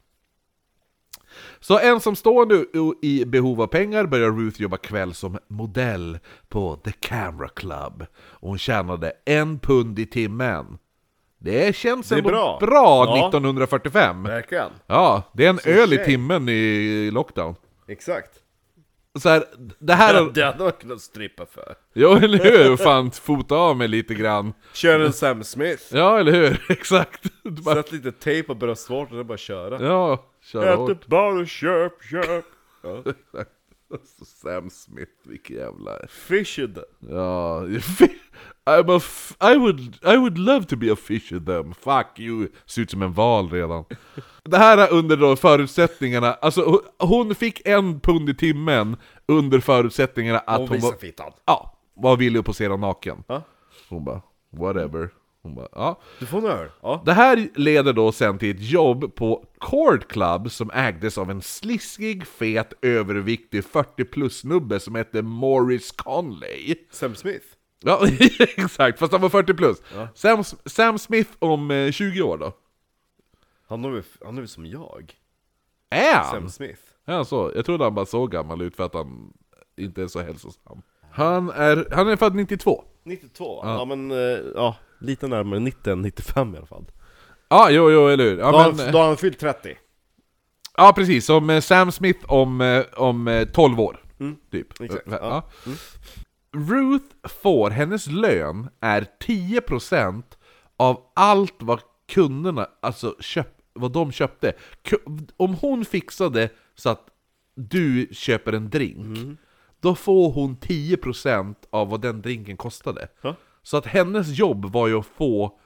S3: Så ensamstående och i behov av pengar började Ruth jobba kväll som modell på The Camera Club. Och hon tjänade en pund i timmen. Det känns
S1: är
S3: ändå bra,
S1: bra. Ja.
S3: 1945.
S1: Verkligen.
S3: Ja, det är en öl i
S1: tjej.
S3: timmen i lockdown.
S1: Exakt.
S3: Så här, det här...
S1: Det hade man kunnat strippa för.
S3: Ja, eller hur? Fan, fota av mig lite grann.
S1: Kör en Sam Smith.
S3: Ja, eller hur? Exakt. Du bara,
S1: Mm. Sätt lite tejp på bröstvårtan och bara köra.
S3: ja, kör hårt.
S1: Ät bara köp, köp.
S3: Alltså, Sam Smith, vilken jävla...
S1: Fished.
S3: Ja... fi- I'm a f- I, would, I would love to be a fish with them. Fuck you. Ser ut som en val redan. Det här är under då förutsättningarna, alltså hon- hon fick en pund i timmen under förutsättningarna att hon,
S1: Hon visar
S3: var...
S1: fittan.
S3: Ja, var villig att posera naken.
S1: Ja.
S3: Hon bara, whatever. Hon bara, ja.
S1: Du får en öl. Ja.
S3: Det här leder då sen till ett jobb på Cord Club som ägdes av en sliskig, fet, överviktig 40 plus-snubbe som hette Morris Conley.
S1: Sam Smith.
S3: Ja, exakt, fast han var 40 plus. Sam, Sam Smith om eh, 20 år då.
S1: Han är väl han är väl som jag?
S3: Är han?
S1: Sam Smith.
S3: Är han så? Jag trodde han bara såg gammal ut för att han inte är så hälsosam. Han är, han är född 92.
S1: 92? Ja, men eh, ja, lite närmare 90 än 95 i alla fall.
S3: Ja, ah, jo, jo, eller hur? Ja,
S1: Då, har
S3: men- eh,
S1: han, då har han fyllt 30.
S3: Ja precis, som eh, Sam Smith om, eh, om eh, 12 år. Typ.
S1: Mm. exakt.
S3: Ja.
S1: Ja. Mm.
S3: Ruth får, hennes lön är 10% av allt vad kunderna, alltså köp, vad de köpte. Ku- Om hon fixade så att du köper en drink,
S1: Mm.
S3: då får hon 10% av vad den drinken kostade.
S1: Ja.
S3: Så att hennes jobb var ju att få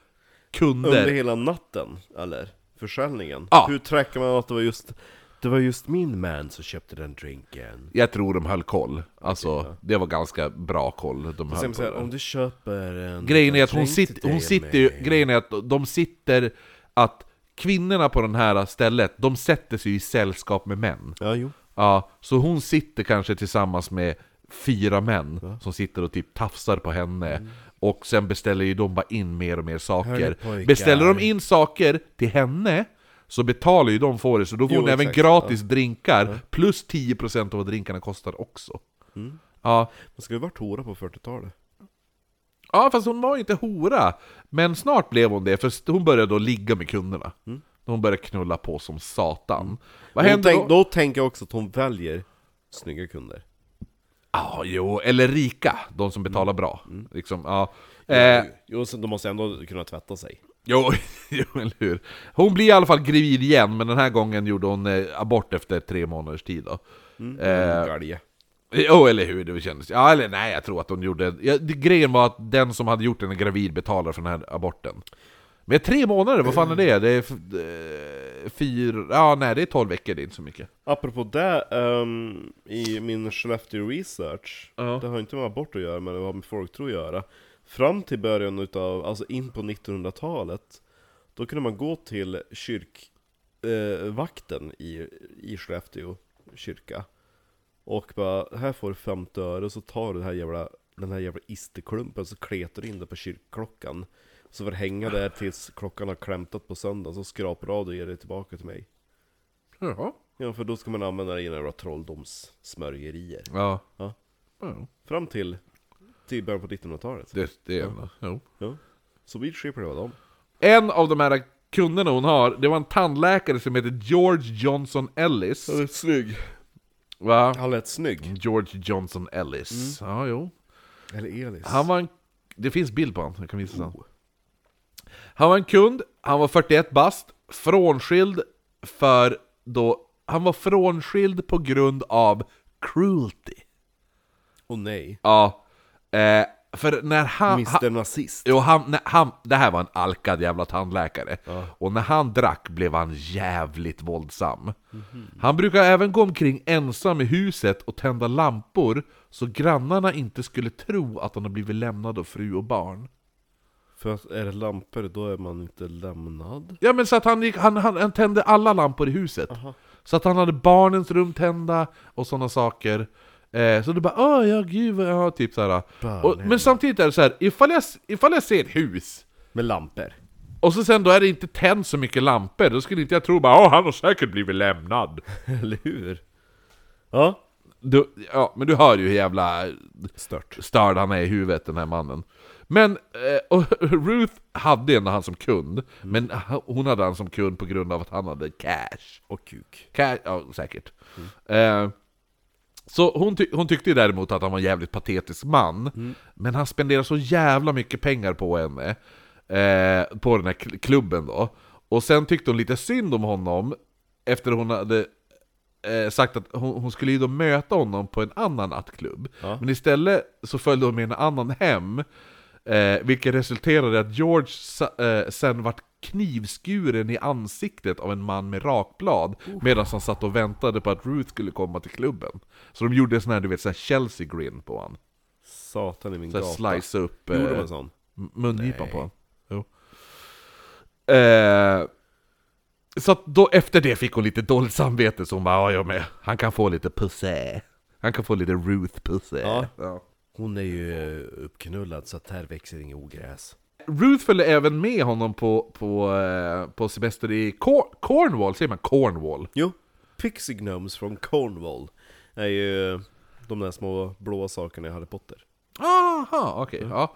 S3: kunder
S1: Under hela natten, eller? Försäljningen.
S3: Ja.
S1: Hur trackar man att det var just det var just min man som köpte den drinken.
S3: Jag tror de höll koll. Alltså, det var ganska bra koll de höll
S1: Sen så här, om
S3: koll.
S1: du köper en
S3: Grejen är att
S1: drink
S3: hon,
S1: till
S3: sit, hon
S1: dig
S3: sitter ju,
S1: med-
S3: grejen är att de sitter, att kvinnorna på det här stället, de sätter sig i sällskap med män.
S1: Ja, jo.
S3: Ja, så hon sitter kanske tillsammans med fyra män som sitter och typ tafsar på henne. Och sen beställer ju de bara in mer och mer
S1: Hör ni,
S3: saker.
S1: pojkar?
S3: Beställer de in saker till henne så betalar ju de för det, så då får
S1: Jo,
S3: hon även
S1: exakt.
S3: gratis drinkar plus 10% av vad drinkarna kostar också.
S1: Mm.
S3: Ja.
S1: Man ska ju varit hora på 40-talet.
S3: ja, fast hon var inte hora, men snart blev hon det, för st- hon började då ligga med kunderna. Hon började knulla på som satan. Vad
S1: Hon
S3: hände
S1: Mm. tänk,
S3: då?
S1: då tänker jag också att hon väljer snygga kunder.
S3: Ja, jo, eller rika, de som betalar bra. Liksom, ja. Eh,
S1: Mm. Jo, så de måste ändå kunna tvätta sig.
S3: Jo, jo, eller hur. Hon blir i alla fall gravid igen, men den här gången gjorde hon eh, abort efter tre månaders tid då. Eh,
S1: Galge.
S3: Jo, eller hur, det kändes. Ja, eller nej, jag tror att hon gjorde... Ja, det, grejen var att den som hade gjort den är gravid betalar för den här aborten. Men tre månader, vad fan är det? Det är f- eh, fyra... Ja, nej, det är tolv veckor, det är inte så mycket.
S1: Apropå det, ehm, i min Skellefteå research, det har inte med abort att göra men det har med folktro att göra. Fram till början utav, alltså in på 1900-talet, då kunde man gå till kyrkvakten eh, vakten i, i Skellefteå kyrka och bara, här får du 50 öre så tar du det här jävla, den här jävla isterklumpen så kletar du in det på kyrkklockan. Så får det hänga där tills klockan har klämtat på söndag så skrapar du av det och ger det tillbaka till mig.
S3: Jaha.
S1: Ja, för då ska man använda det i några trolldomssmörjerier.
S3: Ja.
S1: Ja.
S3: Ja,
S1: Fram till, till början på 1900-talet.
S3: det, det är... Jo.
S1: Ja. Så weedshipper det var de.
S3: En av de här kunderna hon har, det var en tandläkare som heter George Johnson Ellis.
S1: är snygg.
S3: Va?
S1: Han lät snygg.
S3: George Johnson Ellis. Ja, jo.
S1: Eller Elis.
S3: Han var en... Det finns bild på honom, jag kan visa sen. Han var en kund, han var 41 bast, frånskild för då... Han var frånskild på grund av cruelty.
S1: Och nej.
S3: Ja. Eh, För när han... han
S1: Mr Nazist.
S3: Jo, han, när han, det här var en alkad jävla tandläkare. Och när han drack blev han jävligt våldsam. Han brukar även gå omkring ensam i huset och tända lampor så grannarna inte skulle tro att han har blivit lämnad av fru och barn.
S1: För att är det lampor då är man inte lämnad.
S3: Ja men så att han, gick, han, han, han tände alla lampor i huset. Så att han hade barnens rum tända och sådana saker. Eh, så du bara åh ja gud vad jag har", typ såhär. Och, men samtidigt är det så här, ifall jag, ifall jag ser ett hus
S1: Med lampor.
S3: och så sen då är det inte tänd så mycket lampor, då skulle inte jag tro bara åh han har säkert blivit lämnad.
S1: Eller hur? Ja.
S3: Du, ja, men du hör ju hur jävla
S1: Stört.
S3: störd han är i huvudet den här mannen. Men eh, och Ruth hade ändå han som kund, men hon hade han som kund på grund av att han hade cash.
S1: Och kuk.
S3: Ka- ja, säkert. Eh, så hon, ty- hon tyckte ju däremot att han var en jävligt patetisk man,
S1: Mm.
S3: men han spenderade så jävla mycket pengar på henne, eh, på den här kl- klubben då. Och sen tyckte hon lite synd om honom, efter hon hade eh, sagt att hon, hon skulle ju då möta honom på en annan nattklubb. Men istället så följde hon med en annan hem, eh, vilket resulterade i att George sa, eh, sen vart knivskuren i ansiktet av en man med rakblad medan han satt och väntade på att Ruth skulle komma till klubben. Så de gjorde sån här, du vet, sån här Chelsea grin på honom.
S1: Satan i min
S3: Så här
S1: gata.
S3: slice upp
S1: Gjorde de
S3: eh,
S1: en sån?
S3: m- mungipan på honom. Jo. Eh, så att då efter det fick hon lite dåligt samvete så hon bara "Ja, jag med. Han kan få lite pussä. Han kan få lite Ruth-pussä.
S1: Ja.
S3: Ja.
S1: Hon är ju eh, uppknullad så att här växer inget ogräs.
S3: Ruth följde även med honom på, på, eh, på semester i Cor- Cornwall, säger man Cornwall?
S1: Jo. Pixie Gnomes från Cornwall. Är ju de där små blåa sakerna i Harry Potter.
S3: Aha, okej. Ja.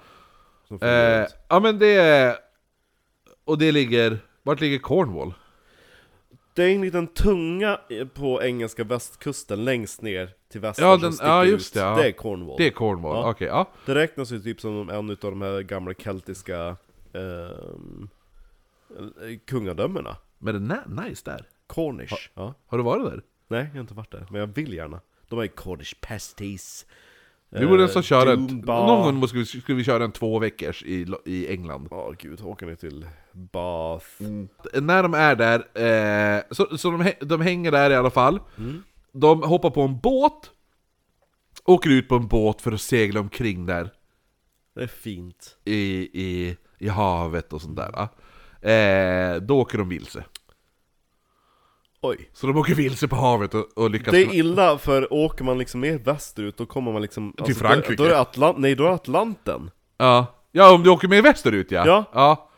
S1: Som flyger
S3: Eh,
S1: runt.
S3: ja men det... är- Och det ligger... Vart ligger Cornwall?
S1: Det är en liten tunga eh, på engelska västkusten längst ner till väster
S3: Ja,
S1: som
S3: den-
S1: sticker
S3: ja, just
S1: ut.
S3: det, ja.
S1: det är Cornwall.
S3: Det är Cornwall,
S1: Ja.
S3: okej. ja.
S1: Det räknas ju typ som en av de här gamla keltiska ehm, eh, kungadömena.
S3: Men det är na- nice där.
S1: Cornish. Ja.
S3: Har du varit där?
S1: Nej, jag har inte varit där, men jag vill gärna. De har ju Cornish pasties. Äh, Eh,
S3: Vi borde nästan köra en...
S1: Doombar.
S3: Någon gång måste vi, skulle vi köra en två veckors i, Lo- i England.
S1: Ja, gud, åker ni till Bath?
S3: När de är där, eh, så, så de, hä- de hänger där i alla fall.
S1: Mm.
S3: De hoppar på en båt, åker ut på en båt för att segla omkring där.
S1: Det är fint.
S3: i, i, i havet och sånt där. va? Eh, då åker de vilse.
S1: Oj.
S3: Så de åker vilse på havet och, och lyckas...
S1: Det är illa, för åker man liksom mer västerut, då kommer man liksom... Till
S3: Frankrike.
S1: Då, då är det Atlant- nej, då är det Atlanten.
S3: ja. ja, om du åker med västerut ja.
S1: Ja.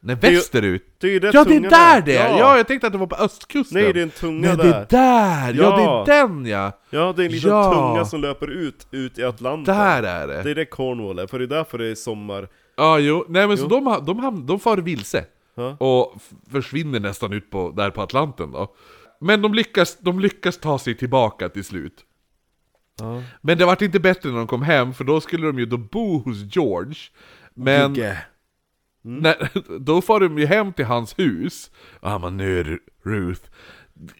S3: Nej,
S1: är ju-
S3: västerut?
S1: Det är ju det
S3: ja, det är
S1: tungan
S3: där det är!
S1: Ja.
S3: Ja. jag tänkte att det var på östkusten.
S1: Nej, det är en tunga
S3: Nej, det är
S1: där.
S3: där! Ja,
S1: Ja.
S3: det är den ja!
S1: Ja, det är en liten
S3: Ja.
S1: tunga som löper ut, ut i Atlanten.
S3: Där är det!
S1: Det är det Cornwall är, för det är därför det är sommar.
S3: Ja, jo. Nej, men så de, ha- de, ham- de far vilse.
S1: Ja.
S3: Och f- försvinner nästan ut på, där på Atlanten då. Men de lyckas, de lyckas ta sig tillbaka till slut. Men det vart inte bättre när de kom hem, för då skulle de ju då bo hos George. Men
S1: Gugge.
S3: när, då far de ju hem till hans hus. Och han bara, nu Ru- Ruth,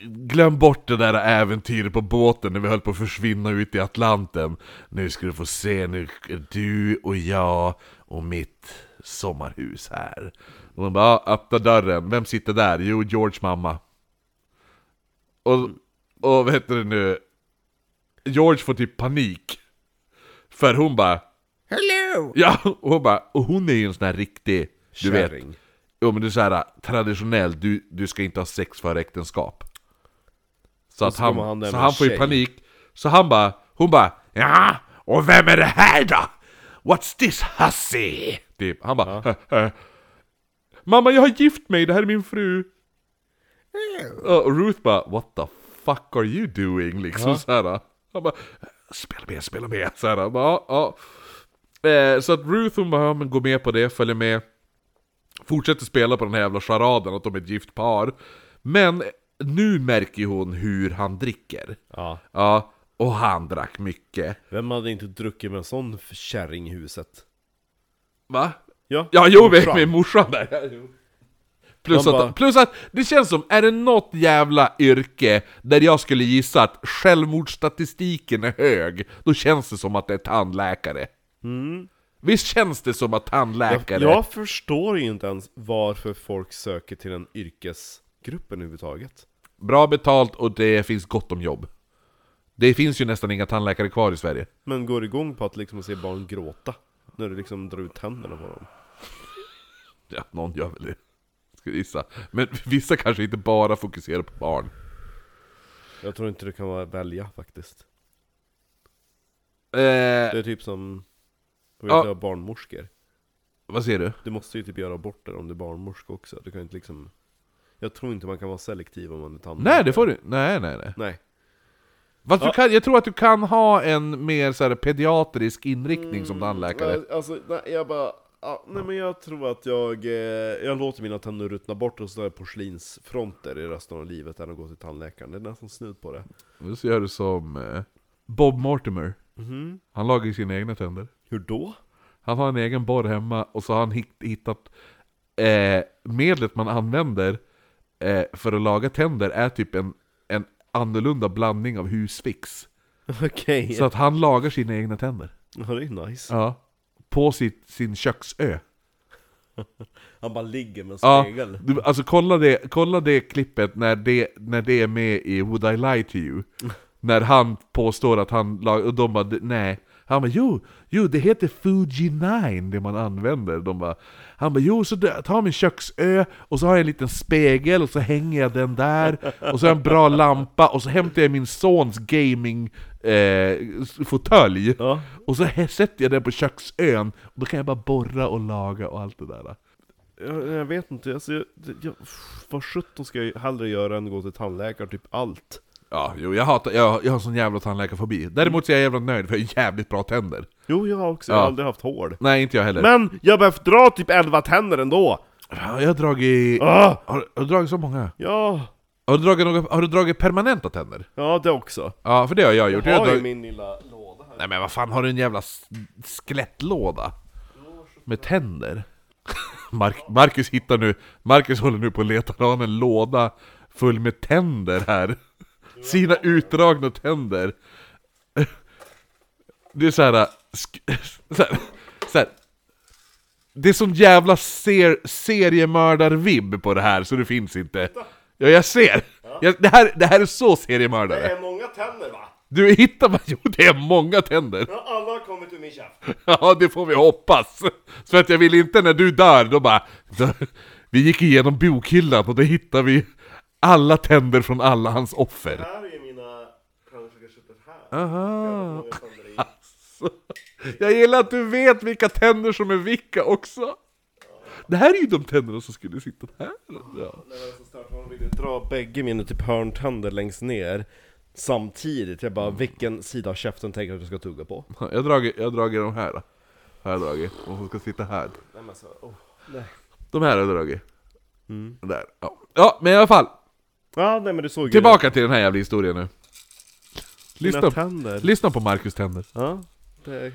S3: glöm bort det där äventyret på båten när vi höll på att försvinna ut i Atlanten. Nu ska du få se, nu är du och jag och mitt sommarhus här. Och de bara, "Ja, öppna dörren, vem sitter där? Jo, George mamma. Och, och vad heter det nu? George får typ panik. För hon bara, Ja, och hon bara, och hon är ju en sån här riktig, du vet,
S1: Kärring.
S3: jo men du är såhär traditionell, du, du ska inte ha sex före äktenskap. Så, att
S1: så
S3: han,
S1: kommer han där
S3: så
S1: med
S3: han
S1: en
S3: får ju
S1: tjej.
S3: panik, så han bara, hon bara, ja, och vem är det här då? What's this hussy? Typ, han bara, "Eh, eh, mamma jag har gift mig, det här är min fru. Och Ruth bara, what the fuck are you doing? Liksom såhär. Han bara, spela med, spela med. Såhär, Han bara, ja, ja. Eh, så att Ruth hon bara, ja, men går med på det, följer med. Fortsätter spela på den här jävla charaden att de är ett gift par. Men nu märker ju hon hur han dricker.
S1: Ja.
S3: Ja, och han drack mycket.
S1: Vem hade inte druckit med en sån f- kärring i huset?
S3: Va?
S1: Ja,
S3: Ja, jo, med,
S1: Morsan.
S3: med morsan där. Ja, jo. Plus,
S1: Man bara-
S3: att, plus att det känns som, är det något jävla yrke där jag skulle gissa att
S1: Mm.
S3: självmordsstatistiken är hög, då känns det som att det är tandläkare. Visst känns det som att tandläkare...
S1: Jag, jag förstår ju inte ens varför folk söker till den yrkesgruppen överhuvudtaget.
S3: Bra betalt och det finns gott om jobb. Det finns ju nästan inga tandläkare kvar i Sverige.
S1: Men går igång på att liksom se barn gråta när du liksom drar ut tänderna på dem.
S3: Ja, någon gör väl det. Ska jag gissa. Men vissa kanske inte bara fokuserar på barn.
S1: Jag tror inte du kan vara- välja faktiskt.
S3: Eh,
S1: Det är typ som, du
S3: Ja.
S1: vet, ja. barnmorskor.
S3: vad säger du?
S1: Du måste ju typ göra aborter om du är barnmorska också. Du kan ju inte liksom... Jag tror inte man kan vara selektiv om man är tandläkare.
S3: Nej, det får du Nej, nej, nej.
S1: Nej.
S3: Fast du kan, jag tror att du kan ha en mer så här, pediatrisk inriktning som tandläkare.
S1: Ja, Alltså, nej, jag bara... Ja, nej men jag tror att jag, eh, jag låter mina tänder ruttna bort och så har jag porslinsfronter i resten av livet än att gå till tandläkaren. Det är nästan snudd på det.
S3: Nu så gör du som eh, Bob Mortimer.
S1: Mhm.
S3: Han lagar ju sina egna tänder.
S1: Hur då?
S3: Han har en egen borr hemma och så har han hitt- hittat eh, medlet man använder eh, för att laga tänder är typ en, en annorlunda blandning av husfix.
S1: Okej.
S3: Så att han lagar sina egna tänder.
S1: Ja, det är ju nice.
S3: Ja. På sitt, sin köksö.
S1: Han bara ligger med en
S3: Ja,
S1: spegel.
S3: du, alltså kolla det, kolla det klippet när det, när det är med i Would I Lie To You? När han påstår att han lag, och de bara "D- nej. Han bara jo, jo det heter Fuji 9 det man använder. De bara, han bara jo så tar jag min köksö och så har jag en liten spegel och så hänger jag den där och så har jag en bra lampa och så hämtar jag min sons gaming eh, fåtölj
S1: Ja.
S3: och så här sätter jag den på köksön och då kan jag bara borra och laga och allt det där.
S1: Jag, jag vet inte, alltså, jag, det- jag, pff, vad sjutton ska jag hellre göra än att gå till tandläkaren, typ allt?
S3: Ja, jo, jag, hatar, jag, jag har sån jävla tandläkarfobi. Däremot så är jag jävla nöjd för jag har jävligt bra tänder.
S1: Jo, jag har också, jag har
S3: Ja.
S1: aldrig haft hål.
S3: Nej, inte jag heller.
S1: Men jag behöver dra typ 11 tänder ändå!
S3: Ja, Jag har dragit...
S1: Ah,
S3: Har, har du dragit så många?
S1: ja,
S3: Har du dragit, några, har du dragit permanenta tänder?
S1: ja det också.
S3: Ja, för det har jag gjort.
S1: Jag
S3: Jag
S1: har ju
S3: dragit,
S1: min lilla låda här.
S3: Nej men vad fan, har du en jävla s- skelettlåda? Med tänder? Mark, Marcus hittar nu... Marcus håller nu på att leta han har en låda full med tänder här. Sina utdragna tänder. Det är såhär... Sk- såhär, såhär det är sån jävla ser, seriemördar-vibb på det här, så det finns inte. Ja, jag ser! Jag, det, här, det här är så seriemördare.
S1: är många tänder va?
S3: Du hittar bara... Jo, det är många tänder.
S1: Ja, Alla har kommit ur min käft.
S3: Ja, det får vi hoppas! Så att jag vill inte när du dör, då bara... Då, vi gick igenom bokhyllan och då hittade vi alla tänder från alla hans offer.
S1: Här är mina... Kan du försöka sätta det här?
S3: Ah. Aha.
S1: Många tänder i.
S3: Så, jag gillar att du vet vilka tänder som är vilka också! Det här är ju de tänderna som skulle sitta här. Ja.
S1: När jag var så stört, hon ville dra bägge mina typ hörntänder längst ner samtidigt. Jag
S3: Mm.
S1: bara, vilken sida av käften tänker du att du ska tugga på?
S3: Jag har dragit, jag har dragit de här. då. Här har jag dragit. De som ska sitta här.
S1: Nej men så, oh.
S3: De här har jag dragit. Där. Ja. ja, men i alla fall.
S1: Ja, nej men du såg
S3: Tillbaka till den här jävla historien nu.
S1: ju
S3: Lyssna,
S1: tänder.
S3: lyssna på Marcus tänder.
S1: Ja, det är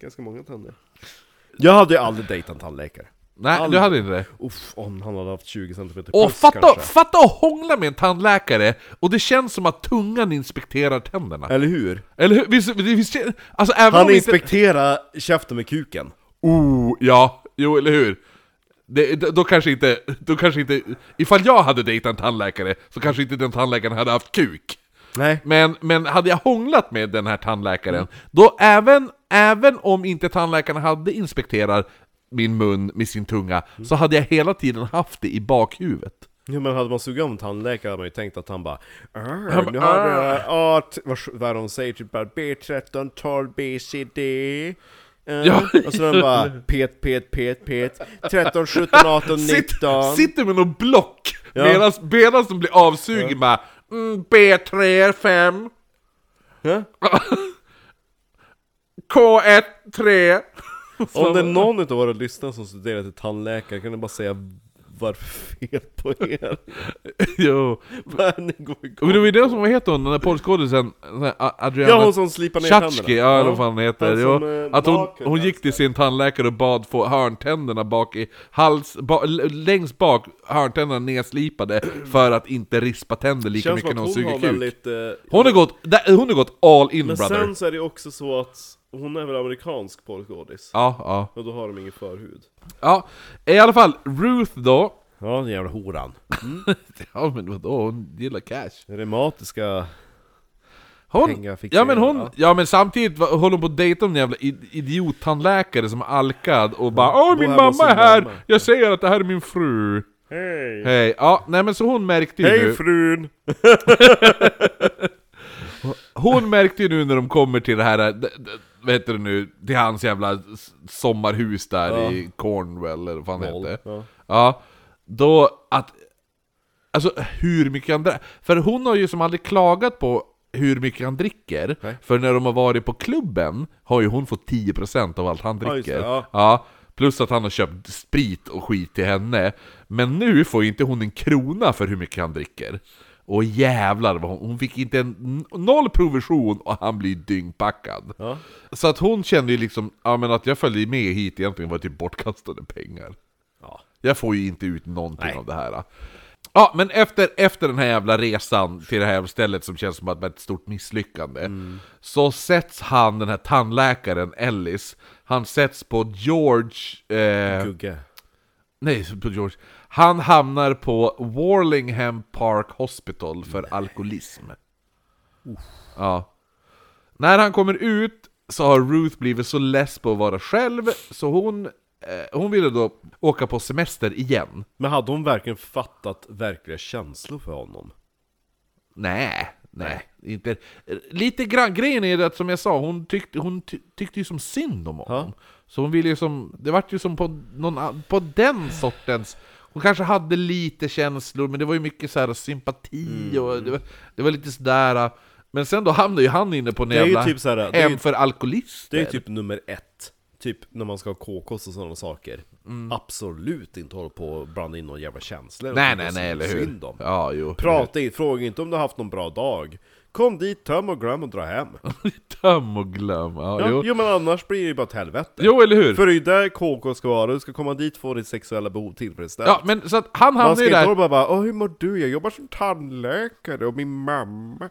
S1: ganska många tänder. Jag hade ju aldrig dejtat en tandläkare.
S3: Nej,
S1: Aldrig.
S3: du hade inte det.
S1: Uff, om han hade haft 20 cm plus
S3: Och fatta,
S1: kanske.
S3: fatta att hångla med en tandläkare och det känns som att tungan inspekterar tänderna.
S1: Eller hur?
S3: Eller hur? Visst, det- visst, alltså även
S1: Han
S3: om inte...
S1: inspekterar käften med kuken.
S3: Oh, ja. Jo, eller hur? Det, då- då kanske inte... Då kanske inte... Ifall jag hade dejtat en tandläkare så kanske inte den tandläkaren hade haft kuk.
S1: Nej.
S3: Men, men hade jag hånglat med den här tandläkaren, då även, även om inte tandläkaren hade inspekterat min mun med sin tunga, så hade jag hela tiden haft det i bakhuvudet.
S1: Ja, men hade man sugit om tandläkare hade man ju tänkt att han bara
S3: bara,
S1: "Arr, Nu har du art, vad, vad de säger, typ bara B13, 12, BCD
S3: Ja.
S1: Eh, Och så den bara pet, pet, pet, pet 13, 17, 18,
S3: Sitt,
S1: 19
S3: sitter med någon block
S1: Ja.
S3: medan medan de blir avsugen bara mm, B3, 5
S1: Ja.
S3: K1, 3
S1: Om det är någon av våra lyssnare som studerar till tandläkare kan ni bara säga varför fel på er?
S3: Jo,
S1: Vad är ni går igång?
S3: och det var ju det som, vad heter hon, den där porrskådisen? den där A- Adriana
S1: Ja hon som slipar ner
S3: Tjatski, ja eller vad fan hon heter.
S1: Han som,
S3: Jo,
S1: eh,
S3: att hon,
S1: naken
S3: hon gick till sin tandläkare och bad få hörntänderna bak i hals, ba, l- längst bak, hörntänderna nedslipade för att inte rispa tänder lika
S1: Känns som
S3: mycket
S1: att
S3: när hon
S1: hon har
S3: suger kuk.
S1: väldigt eh,
S3: Hon har gått, där- hon har gått all in
S1: Men
S3: brother.
S1: sen så är det också så att hon är väl amerikansk porrskådis?
S3: Ja, ja.
S1: Och då har de ingen förhud.
S3: Ja, i alla fall, Ruth då.
S5: Ja, den jävla horan.
S3: Ja men vadå, hon gillar cash.
S1: Reumatiska
S3: Hon,
S1: pengafixerare.
S3: ja men hon, ja men samtidigt va- håller hon på att dejta en jävla id- idiottandläkare som är alkad och bara Åh min
S1: hemma hos
S3: mamma är
S1: sin
S3: här!
S1: mamma."
S3: Jag säger att det här är min fru!
S1: Hej!
S3: Hej, ja nej men så hon märkte ju nu,
S1: Hej frun!
S3: hon märkte ju nu när de kommer till det här, eh, d- d- vad heter det nu, till hans jävla s- sommarhus där i Cornwall eller vad fan det hette.
S1: Ja.
S3: Ja, då att... Alltså hur mycket han dricker. För hon har ju som aldrig klagat på hur mycket han dricker. För när de har varit på klubben har ju hon fått 10% av allt han
S1: Ja, just det,
S3: dricker.
S1: ja.
S3: plus att han har köpt sprit och skit till henne. Men nu får ju inte hon en krona för hur mycket han dricker. Och jävlar vad hon, hon fick inte en noll provision och han blir dyngpackad.
S1: Ja.
S3: Så att hon kände ju liksom, ja men att jag följde med hit egentligen var typ bortkastade pengar.
S1: Ja.
S3: Jag får ju inte ut någonting av det här. Ja, men efter, efter den här jävla resan till det här jävla stället som känns som att det var ett stort misslyckande. Så sätts han, den här tandläkaren Ellis, han sätts på George... Eh,
S1: Gugge.
S3: nej, på George. Han hamnar på Warlingham Park Hospital för alkoholism. Ja. När han kommer ut så har Ruth blivit så less på att vara själv, så hon, eh, hon ville då åka på semester igen.
S1: Men hade hon verkligen fattat verkliga känslor för honom?
S3: Nej, nej, inte. Lite grann, grejen är det att som jag sa, hon tyckte, hon ty, tyckte ju som synd om honom. Så hon ville ju som, det vart ju som på, någon, an- på den sortens, hon kanske hade lite känslor, men det var ju mycket så här sympati
S1: Mm.
S3: och det var, det var lite sådär. äh. Men sen då hamnade ju han inne på en
S1: är ju
S3: jävla
S1: typ så här, det är
S3: hem
S1: ju-
S3: för alkoholister.
S1: Det är typ nummer ett. Typ när man ska ha kokos och sådana saker. Absolut inte hålla på och blanda in några jävla känslor.
S3: Mm. nej,
S1: Och
S3: nej,
S1: tycka
S3: nej, eller hur?
S1: Synd om.
S3: Ja, jo.
S1: Prata inte, fråga inte om du har haft någon bra dag. Kom dit, töm och glöm och dra hem.
S3: Töm och glöm. Ja,
S1: Ja,
S3: jo.
S1: jo men annars blir det ju bara ett helvete.
S3: jo, eller hur?
S1: För det är ju där kokos ska vara, du ska komma dit och få ditt sexuella behov tillfredsställt.
S3: Ja, men så att han
S1: Man
S3: hamnade
S1: ska
S3: ju
S1: inte
S3: där.
S1: hålla på och bara Åh, hur mår du? Jag jobbar som tandläkare och min mamma...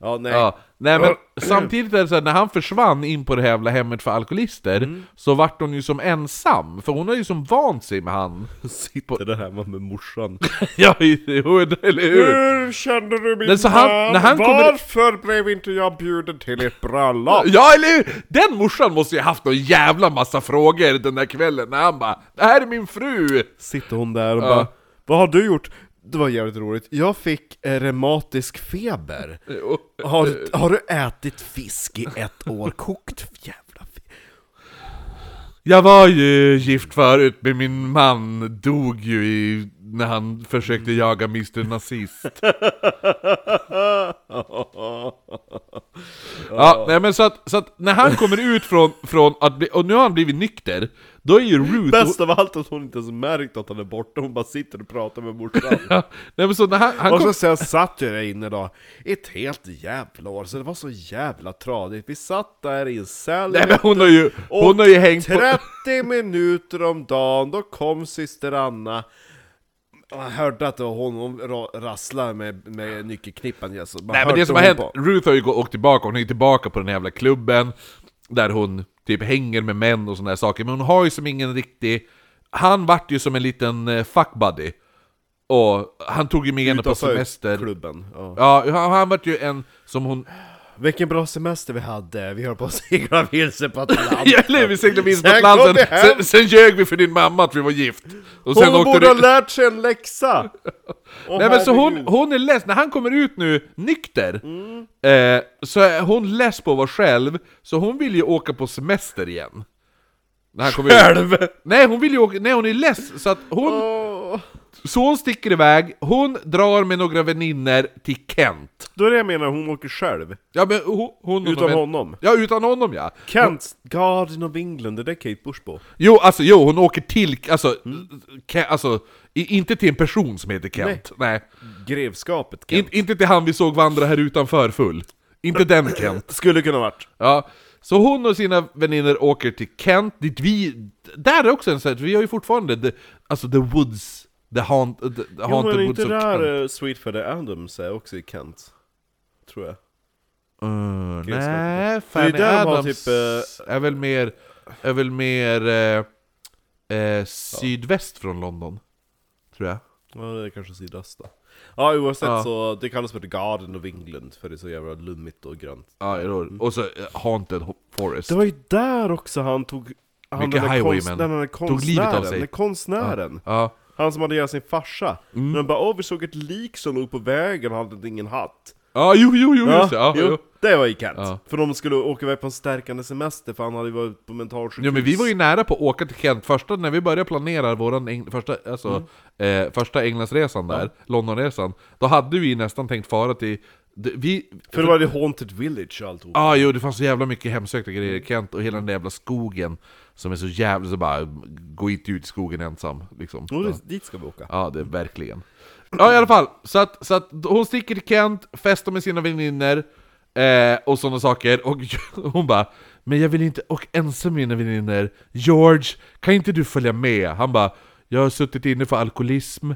S1: Ja, nej.
S3: Ja, nej men samtidigt är det så här, när han försvann in på det här jävla hemmet för alkoholister Så vart hon ju som ensam, för hon har ju som vant sig med han
S1: Sitter där hemma med morsan.
S3: Ja, jo, eller hur?
S1: Hur kände du min
S3: Men så han-
S1: man?
S3: när han kommer-
S1: Varför blev inte jag bjuden till ett bröllop?
S3: Ja, eller hur? Den morsan måste ju haft någon jävla massa frågor den där kvällen när han bara Det här är min fru!
S1: Sitter hon där och bara Vad har du gjort? Det var jävligt roligt. Jag fick eh, reumatisk feber. Har, har du ätit fisk i ett år? Kokt jävla fisk.
S3: Jag var ju gift förut, men min man dog ju i, när han försökte jaga Mr Nazist. ja, nej, men så att, så att när han kommer ut från, från att bli, och nu har han blivit nykter, då är ju Ruth...
S1: Bäst av allt att hon inte ens märkt att han är borta, hon bara sitter och pratar med morsan.
S3: Ja, nej, men så när han, han
S1: Och
S3: kom,
S1: så sen satt jag där inne då, ett helt jävla år, så det var så jävla tradigt. Vi satt där i en cell
S3: nej, men hon har ju, hon har ju hängt på...
S1: 30 minuter om dagen, då kom syster Anna och jag hörde att det var hon, hon ra- rasslade med, med nyckelknippan. ja, så man
S3: Nej men
S1: hörde
S3: det som har
S1: hon
S3: hänt,
S1: på.
S3: Ruth har ju gå- åkt tillbaka, hon är ju tillbaka på den här jävla klubben Där hon typ hänger med män och såna här saker, men hon har ju som ingen riktig Han vart ju som en liten eh, fuckbuddy Och han tog ju med henne på
S1: Utanför
S3: semester
S1: Klubben. Ja.
S3: Ja, han, han vart ju en som hon...
S1: Vilken bra semester vi hade, vi höll på att segla vilse på Atlanten.
S3: Ja, eller hur? vi seglade in på
S1: Sen kom
S3: Atlanten,
S1: vi hem.
S3: sen, sen ljög vi för din mamma att vi var gift! Och sen
S1: Hon
S3: åkte
S1: borde
S3: du-
S1: ha lärt sig en läxa! Åh,
S3: Nej men så hon,
S1: herregud.
S3: hon är less, när han kommer ut nu nykter, eh, så är hon less på att vara själv, så hon vill ju åka på semester igen. När han kommer ut.
S1: Själv!
S3: Nej hon vill ju åka, nej hon är less, så att hon,
S1: Åh.
S3: så hon sticker iväg, hon drar med några vänner till Kent.
S1: Då är det jag menar, hon åker själv.
S3: Ja men hon... hon
S1: Utan
S3: hon,
S1: honom.
S3: Ja utan honom ja.
S1: Kent, Garden of England, det där är Kate Bush på.
S3: Jo alltså jo, hon åker till, alltså, Ke- alltså i, inte till en person som heter Kent. Nej.
S1: Grevskapet Kent.
S3: In, inte till han vi såg vandra här utanför full. Inte den Kent.
S1: Skulle kunna varit.
S3: Ja, så hon och sina vänner åker till Kent, dit vi... Där är också en sån här, vi har ju fortfarande the, alltså the woods, the, haunt, the, the
S1: Jo
S3: haunted
S1: men är
S3: woods
S1: inte
S3: of
S1: där
S3: Kent.
S1: eh, Sweet for the Adams är också i Kent? Tror jag.
S3: Uh,
S1: Chris
S3: nej,
S1: För det är
S3: Fanny
S1: där de har
S3: Adams
S1: typ, eh,
S3: är väl mer, är väl mer eh, eh, sydväst från London. Tror jag.
S1: Ja, det är kanske sydöstra. Ja, oavsett
S3: Ja.
S1: så, det kallas för The Garden of England för det är så jävla lummigt och grönt.
S3: Ja, jag tror- och så eh, Haunted Ho- Forest.
S1: Det var ju där också han tog... Han
S3: Mycket
S1: den där
S3: highwaymen.
S1: konst- den där konstnären,
S3: Tog livet av sig.
S1: Den där konstnären.
S3: Ja,
S1: Han som hade ihjäl sin farsa. Mm. Men bara åh vi såg ett lik som låg på vägen och hade ingen hatt.
S3: ja jo, jo, jo, just det. Ja,
S1: jo,
S3: jo.
S1: Det var ju Kent.
S3: Ja.
S1: För de skulle åka iväg på en stärkande semester för han hade ju varit på mentalsjukhus.
S3: Ja, men vi var ju nära på att åka till Kent, första, när vi började planera våran Eng- första, alltså, eh, första Englandsresan där, Londonresan, då hade vi nästan tänkt fara till... d- Vi,
S1: För det var det Haunted Village och alltihop.
S3: Ja, jo, det fanns så jävla mycket hemsökta grejer i Kent och hela den där jävla skogen som är så jävla... Så bara, gå inte ut i skogen ensam, liksom.
S1: Jo,
S3: Ja.
S1: det, dit ska vi åka.
S3: Ja, det är verkligen. Ja, i alla fall. Så att, så att hon sticker till Kent, festar med sina vänner eh, och sådana saker. Och hon bara ”Men jag vill inte och ensam med mina vänner. George, kan inte du följa med?” Han bara ”Jag har suttit inne för alkoholism,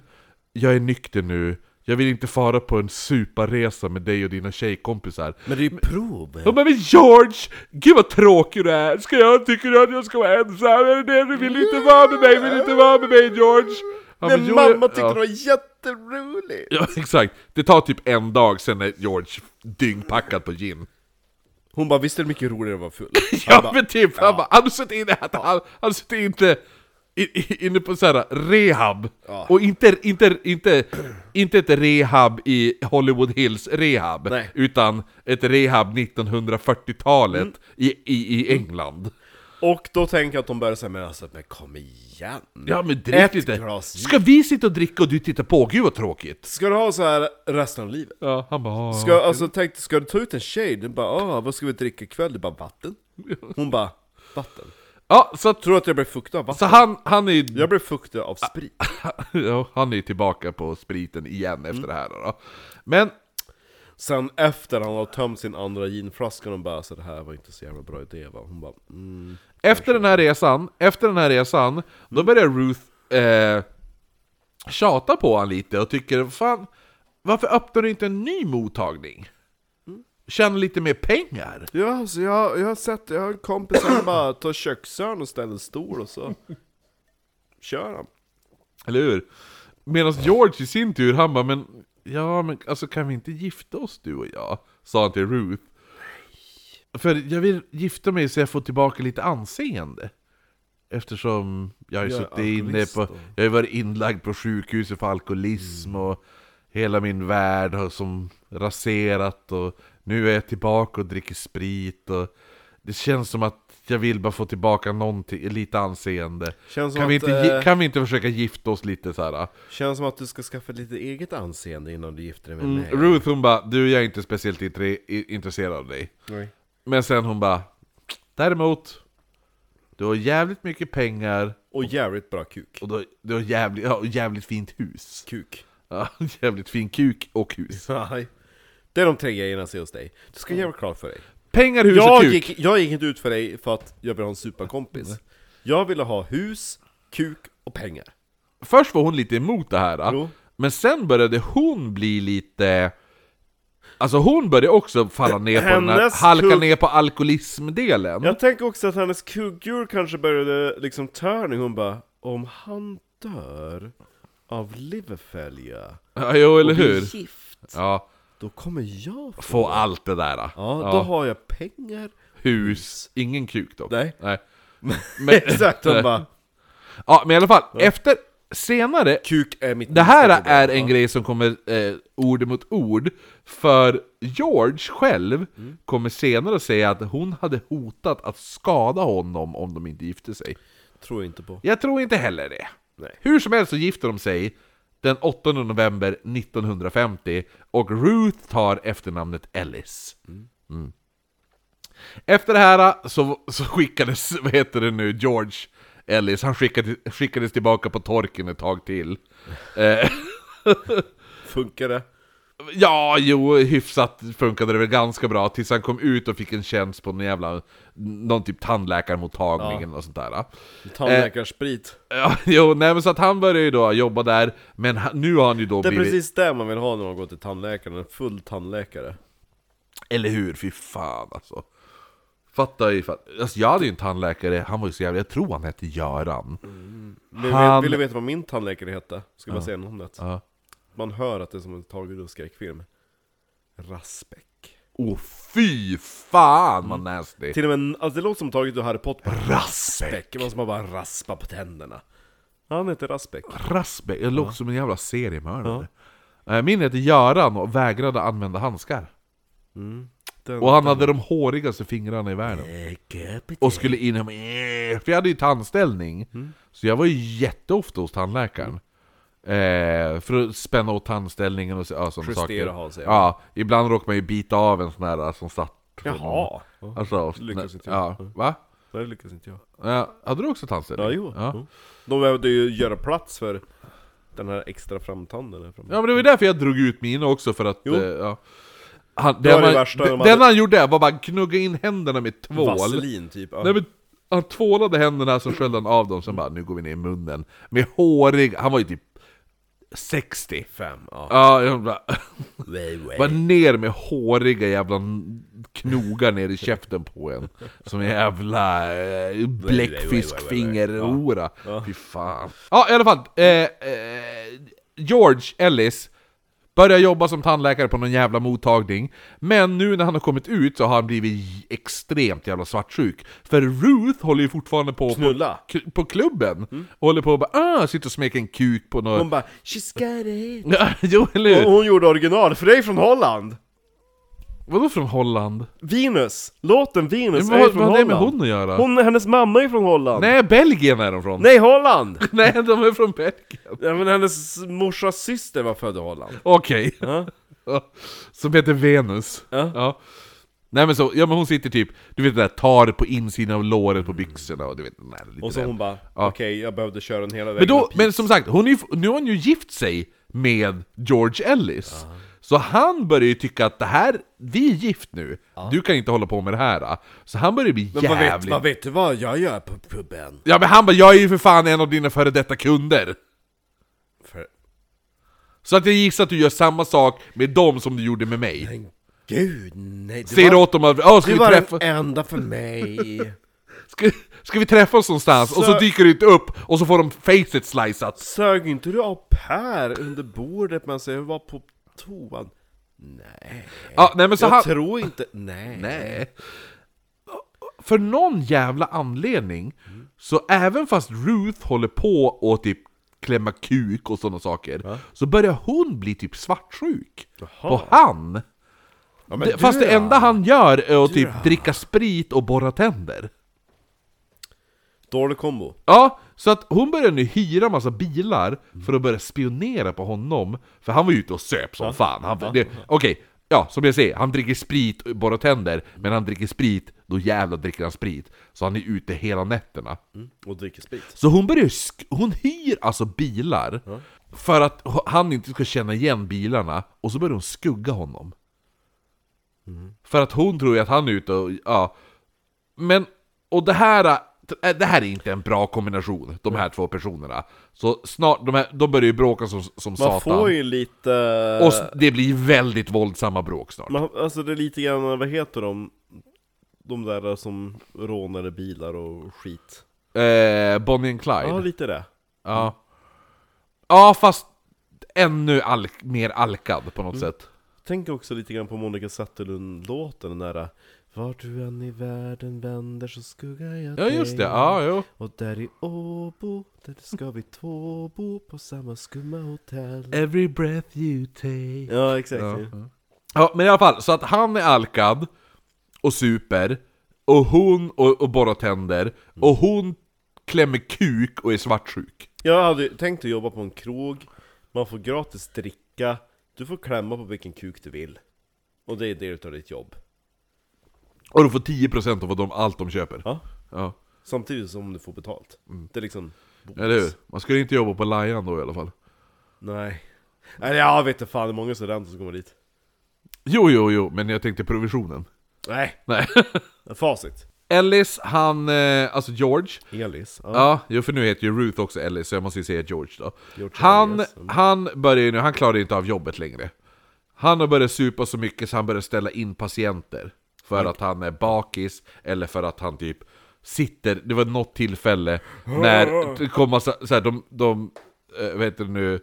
S3: jag är nykter nu, jag vill inte fara på en suparresa med dig och dina tjejkompisar.
S1: Men det är ju prov.
S3: Hon bara ”Men George, gud vad tråkig du är! Ska jag, tycker du att jag ska vara ensam? Är det det du vill inte vara med mig? Vill inte vara med mig George?” Han bara,
S1: Men
S3: "Jo,
S1: mamma
S3: jag-
S1: tyckte det var jätteroligt!
S3: Ja, exakt. Det tar typ en dag, sen är George dyngpackad på gin.
S1: Hon bara, visst är det mycket roligare att vara full? Han
S3: Ja
S1: bara,
S3: men typ, han bara, han sitter inne, han, han, han sitter inte i- i- inne på såhär rehab. Och inte, inte, inte, inte ett rehab i Hollywood Hills rehab,
S1: Nej.
S3: utan ett rehab 1940-talet i, i, i England.
S1: Och då tänker jag att de börjar säga, men alltså, men kom igen!
S3: Ja men drick
S1: Ett
S3: lite.
S1: glas gin.
S3: Ska vi sitta och dricka och du tittar på? Gud vad tråkigt.
S1: Ska du ha så här resten av livet?
S3: Ja, han bara,
S1: Ska, alltså, tänk, ska du ta ut en tjej? Du bara, ah, vad ska vi dricka ikväll? Du bara, vatten? Hon bara, vatten?
S3: ja, så, att,
S1: Tror du att jag blev fuktad av
S3: så
S1: vatten?
S3: han, han är ju
S1: Jag blev fuktad av sprit.
S3: ja, han är ju tillbaka på spriten igen efter det här då. Men,
S1: Sen efter han har tömt sin andra ginflaska, hon bara, så det här var inte så jävla bra idé va? Hon bara, mm.
S3: efter den här resan, efter den här resan, då börjar Ruth eh, tjata på han lite och tycker fan, varför öppnar du inte en ny mottagning? Tjäna lite mer pengar?
S1: Ja, alltså jag, jag har sett, jag har en kompis som bara tar köksön och ställer en stol och så kör han.
S3: Eller hur? Medan George i sin tur, han bara men, ja men alltså kan vi inte gifta oss du och jag? Sa han till Ruth. För jag vill gifta mig så jag får tillbaka lite anseende. Eftersom jag har ju
S1: Jag är
S3: suttit inne
S1: alkoholist
S3: på,
S1: då.
S3: jag har ju varit inlagd på sjukhuset för alkoholism
S1: Mm.
S3: och hela min värld har som raserat och nu är jag tillbaka och dricker sprit och det känns som att jag vill bara få tillbaka någonting, lite anseende.
S1: Känns som
S3: kan, vi
S1: att,
S3: inte, gi-
S1: eh, Mm.
S3: kan vi inte försöka gifta oss lite så här?
S1: Känns som att du ska skaffa lite eget anseende innan du gifter dig med mig.
S3: Ruth hon bara, du jag är inte speciellt intre- i- intresserad av dig.
S1: Nej.
S3: Men sen hon bara, däremot, du har jävligt mycket pengar
S1: Och jävligt bra kuk.
S3: och du har, du har jävligt, ja, och jävligt fint hus.
S1: Kuk.
S3: Ja, jävligt fin kuk och hus.
S1: Nej. Det är de tre grejerna jag ser hos dig. Du ska jävla klart för dig.
S3: Pengar, hus och
S1: Jag
S3: kuk!
S1: gick, jag gick inte ut för dig för att jag vill ha en superkompis. Jag ville ha hus, kuk och pengar.
S3: Först var hon lite emot det här,
S1: Jo.
S3: men sen började hon bli lite... Alltså hon började också falla ner på den här,
S1: Hennes
S3: halka
S1: kuk-
S3: ner på alkoholismdelen.
S1: Jag tänker också att hennes kugghjul kanske började liksom turning, hon bara Om han dör av leverfälga
S3: Ja, jo, eller
S1: och blir
S3: hur?
S1: gift,
S3: Ja,
S1: då kommer jag få...
S3: få allt det där.
S1: Ja, då har jag pengar
S3: Hus, ingen kuk dock.
S1: Nej.
S3: Men,
S1: Exakt, hon bara
S3: ja, men i alla fall, efter, senare,
S1: Kuk är mitt
S3: det här
S1: nästa
S3: är
S1: problem."
S3: en grej som kommer eh, ord mot ord, för George själv kommer senare att säga att hon hade hotat att skada honom om de inte gifte sig.
S1: Ja, tror jag inte på
S3: Jag tror inte heller det.
S1: Nej.
S3: Hur som helst så gifter de sig den 8 november 1950 och Ruth tar efternamnet Ellis. Mm. Efter det här eh, så, så skickades, vad heter det nu, George Ellis, han skickade, skickades tillbaka på torken ett tag till. Eh,
S1: Funkar det?
S3: Ja, jo, hyfsat funkade det väl ganska bra tills han kom ut och fick en tjänst på någon jävla, någon typ tandläkarmottagning eller något sånt där.
S1: Tandläkarsprit
S3: Ja, jo, nej men så att han började ju då jobba där, men han, nu har han ju då
S1: Det är
S3: blivit...
S1: precis det man vill ha när man går till tandläkaren, en full tandläkare
S3: Eller hur? Fy fan alltså. Fatta ju, fatta. Alltså, jag hade ju en tandläkare, han var ju så jävla, jag tror han hette Göran.
S1: Vill,
S3: Han-
S1: vill du veta vad min tandläkare hette? Ska jag bara säga namnet?
S3: Ja.
S1: Man hör att det är som en taget ur skräckfilm. Rasbeck.
S3: Åh fy fan vad nasty!
S1: Till och med, alltså det låter som taget ur Harry Potter.
S3: Rasbeck!
S1: Rasbeck, man som har bara raspa på tänderna. Han heter Rasbeck.
S3: Rasbeck, det låter som en jävla seriemördare. Ja. Min hette Göran och vägrade använda handskar.
S1: Den-
S3: Och han hade de hårigaste fingrarna i världen. Och skulle in och... Eh, För jag hade ju tandställning.
S1: Mm.
S3: Så jag var ju jätteofta hos tandläkaren. Eh, för att spänna åt tandställningen och så, ja, sådana
S1: Justera
S3: saker.
S1: halsen, ja.
S3: ja, ibland råkar man ju bita av en sån här eh, som satt. från-
S1: Jaha!
S3: Alltså,
S1: lyckas inte
S3: ja. Va?
S1: Det lyckas inte jag.
S3: Ja, hade du också tandställning?
S1: Ja, jo.
S3: Ja.
S1: jo. De behövde ju göra plats för den här extra framtanden där framme.
S3: Ja men det var ju därför jag drog ut min också för att...
S1: Jo.
S3: Eh, ja. han,
S1: var det
S3: man,
S1: värsta,
S3: den
S1: de hade-
S3: han gjorde var bara knugga in händerna med tvål.
S1: Vaselin typ. Ja.
S3: Nej, men, han tvålade händerna, så sköljde han av dem, sen bara nu går vi ner i munnen. Med hårig, han var ju typ 60.
S1: Fem, ja.
S3: Ja, jag bara,
S1: Way, way.
S3: bara ner med håriga jävla knogar ner i käften på en. Som en jävla eh, bläckfiskfingerhora. Fy fan. Ja, i alla fall. Eh, eh, George Ellis börjar jobba som tandläkare på någon jävla mottagning. Men nu när han har kommit ut så har han blivit j- extremt jävla svartsjuk. För Ruth håller ju fortfarande på på,
S1: Knulla.
S3: k- på klubben. Och håller på och bara ah, sitter och smeker en kuk på någon...
S1: Hon bara 'She's got it'
S3: jo, eller
S1: Och
S3: hur?
S1: hon gjorde original, för det är från Holland!
S3: Vadå från Holland?
S1: Venus! Låten Venus
S3: Men vad
S1: Alltså, är
S3: vad
S1: från
S3: har det
S1: Holland!
S3: med hon att göra?
S1: Hon, hennes mamma är från Holland!
S3: Nej, Belgien är de från!
S1: Nej Holland!
S3: Nej, de är från Belgien!
S1: Ja, men hennes morsas syster var född i Holland.
S3: Okej.
S1: Ja.
S3: Som heter Venus.
S1: Ja.
S3: Nej men så, ja men hon sitter typ, du vet det där tar på insidan av låret på byxorna och du vet den där lite
S1: Och så
S3: den.
S1: hon bara,
S3: Ja.
S1: okej jag behövde köra den hela
S3: Men,
S1: vägen
S3: då,
S1: upp hit."
S3: men som sagt, hon är, ju f- nu har hon ju gift sig med George Ellis. Så han börjar ju tycka att det här, vi är gift nu, du kan inte hålla på med det här. Så han börjar bli
S1: Men vad
S3: jävligt...
S1: vet, vad vet du vad jag gör på puben?
S3: Ja men han bara, jag är ju för fan en av dina före detta kunder!
S1: För
S3: Så att jag gissar att du gör samma sak med dem som du gjorde med mig.
S1: men gud nej! Det
S3: Säger
S1: var,
S3: åt dem att "Ja, ska,
S1: det
S3: vi
S1: var
S3: träffa,
S1: den enda för mig.
S3: ska, ska vi träffas någonstans? Och så
S1: Så-
S3: dyker det inte upp, och så får de facet slicat.
S1: Sög inte du upp här under bordet men jag var på toan? Nej.
S3: Ja, nej men så
S1: jag
S3: han,
S1: tror inte... Nej.
S3: Nej. För någon jävla anledning, så även fast Ruth håller på och typ klämma kuk och sådana saker, så börjar hon bli typ svartsjuk på han.
S1: Ja, men
S3: Det,
S1: du
S3: fast det
S1: då?
S3: enda han gör är att typ dricka sprit och borra tänder.
S1: Dålig kombo.
S3: Ja, så att hon började nu hyra massa bilar för att börja spionera på honom. För han var ju ute och söp som fan. Han, det, okej, ja som jag säger, han dricker sprit och borrar tänder. Men han dricker sprit, då jävlar dricker han sprit. Så han är ute hela nätterna.
S1: Och dricker sprit.
S3: Så hon börjar ju sk- hon hyr alltså bilar för att h- han inte ska känna igen bilarna. Och så börjar hon skugga honom.
S1: Mm.
S3: För att hon tror ju att han är ute och, ja. Men, och det här, äh, det här är inte en bra kombination, de här två personerna. Så snart, de, här, de börjar ju bråka som, som
S1: Man
S3: satan.
S1: får ju lite...
S3: Och s- det blir väldigt våldsamma bråk snart.
S1: Man, alltså det är lite grann, vad heter de? De där som rånade bilar och skit.
S3: Eh, Bonnie and Clyde.
S1: Ja, lite det.
S3: Ja. Ja, fast ännu alk- mer alkad på något
S1: Mm.
S3: sätt.
S1: Tänk också lite grann på Monica Zetterlund-låten, den där Vart du än i världen vänder så skuggar jag
S3: Ja,
S1: dig
S3: just det. Ja, jo.
S1: Och där i Åbo, där ska vi två bo på samma skumma hotell
S3: Every breath you take.
S1: Ja, exakt
S3: Ja. Ja, men i alla fall, så att han är alkad och super, och hon och, och borrar tänder, och hon klämmer kuk och är svartsjuk.
S1: Jag hade ju tänkt att jobba på en krog, man får gratis dricka, du får klämma på vilken kuk du vill Och det är det utav ditt jobb
S3: Och du får 10% av vad de, allt de köper.
S1: Ja.
S3: ja.
S1: Samtidigt som du får betalt Det är liksom
S3: Eller hur? Man skulle inte jobba på Lion då i alla fall.
S1: Nej Nej, jag vet inte fan, det är många studenter som kommer dit
S3: Jo, jo, jo, men jag tänkte provisionen.
S1: Nej,
S3: Nej.
S1: facit
S3: Ellis, han, eh, alltså George,
S1: Elis, ja.
S3: Ja, jo för nu heter ju Ruth också Ellis, så jag måste ju säga George då.
S1: George
S3: han,
S1: Elias, mm.
S3: han börjar ju nu, han klarar ju inte av jobbet längre. Han har börjat supa så mycket så han börjar ställa in patienter. För att han är bakis, eller för att han typ sitter, det var något tillfälle när det kom massa, så här, de, de, eh, vad heter det nu,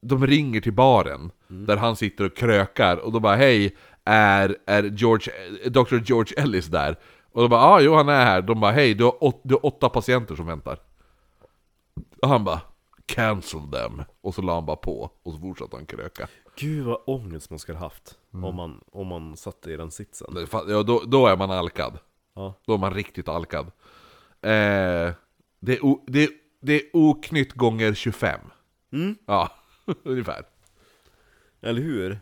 S3: de ringer till baren, där han sitter och krökar, och då bara hej, är, är George, eh, Dr. George Ellis där? Och de bara ah, jo han är här, de bara hej, du har, åt, du har åtta patienter som väntar. Och han bara Cancel them. Och så la han bara på, och så fortsatte han kröka.
S1: Gud vad ångest man skulle haft om, man, om man satt i den sitsen.
S3: Det fa- Ja, då, då är man alkad.
S1: Ja.
S3: Då är man riktigt alkad. Eh, det, är o, det, är- det är oknytt gånger 25. Ja, ungefär.
S1: Eller hur?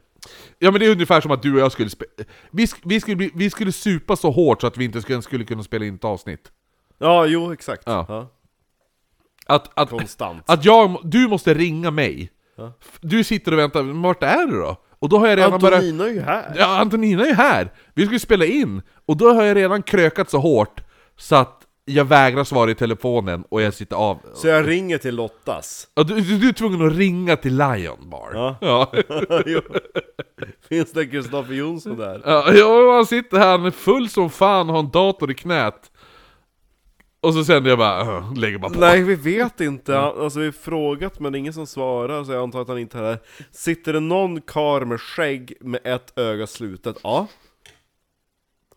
S3: Ja men det är ungefär som att du och jag skulle spe- vi, sk- vi, skulle bli, vi skulle supa så hårt så att vi inte skulle, skulle kunna spela in ett avsnitt.
S1: Ja, jo exakt.
S3: Ja.
S1: Ja. Alltså,
S3: Att, att,
S1: Konstant.
S3: att jag, du måste ringa mig. F- Du sitter och väntar, men vart är du då? Och då har jag redan börjat...
S1: Antonina är ju här.
S3: Ja, Antonina är ju här! Vi skulle spela in! Och då har jag redan krökat så hårt så att jag vägrar svara i telefonen och jag sitter av...
S1: Så jag ringer till Lottas.
S3: Ja, Du, du, du är tvungen att ringa till Lion Bar.
S1: Ja.
S3: Ja,
S1: Jo. Finns det Kristoffer Jonsson där?
S3: ja, ja, han sitter här, han är full som fan, har en dator i knät. Och så sen jag bara, "Ugh", lägger bara på.
S1: Nej vi vet inte, Han- alltså vi har frågat men det är ingen som svarar så jag antar att han inte är här Sitter det någon kar med skägg med ett öga slutet? Ja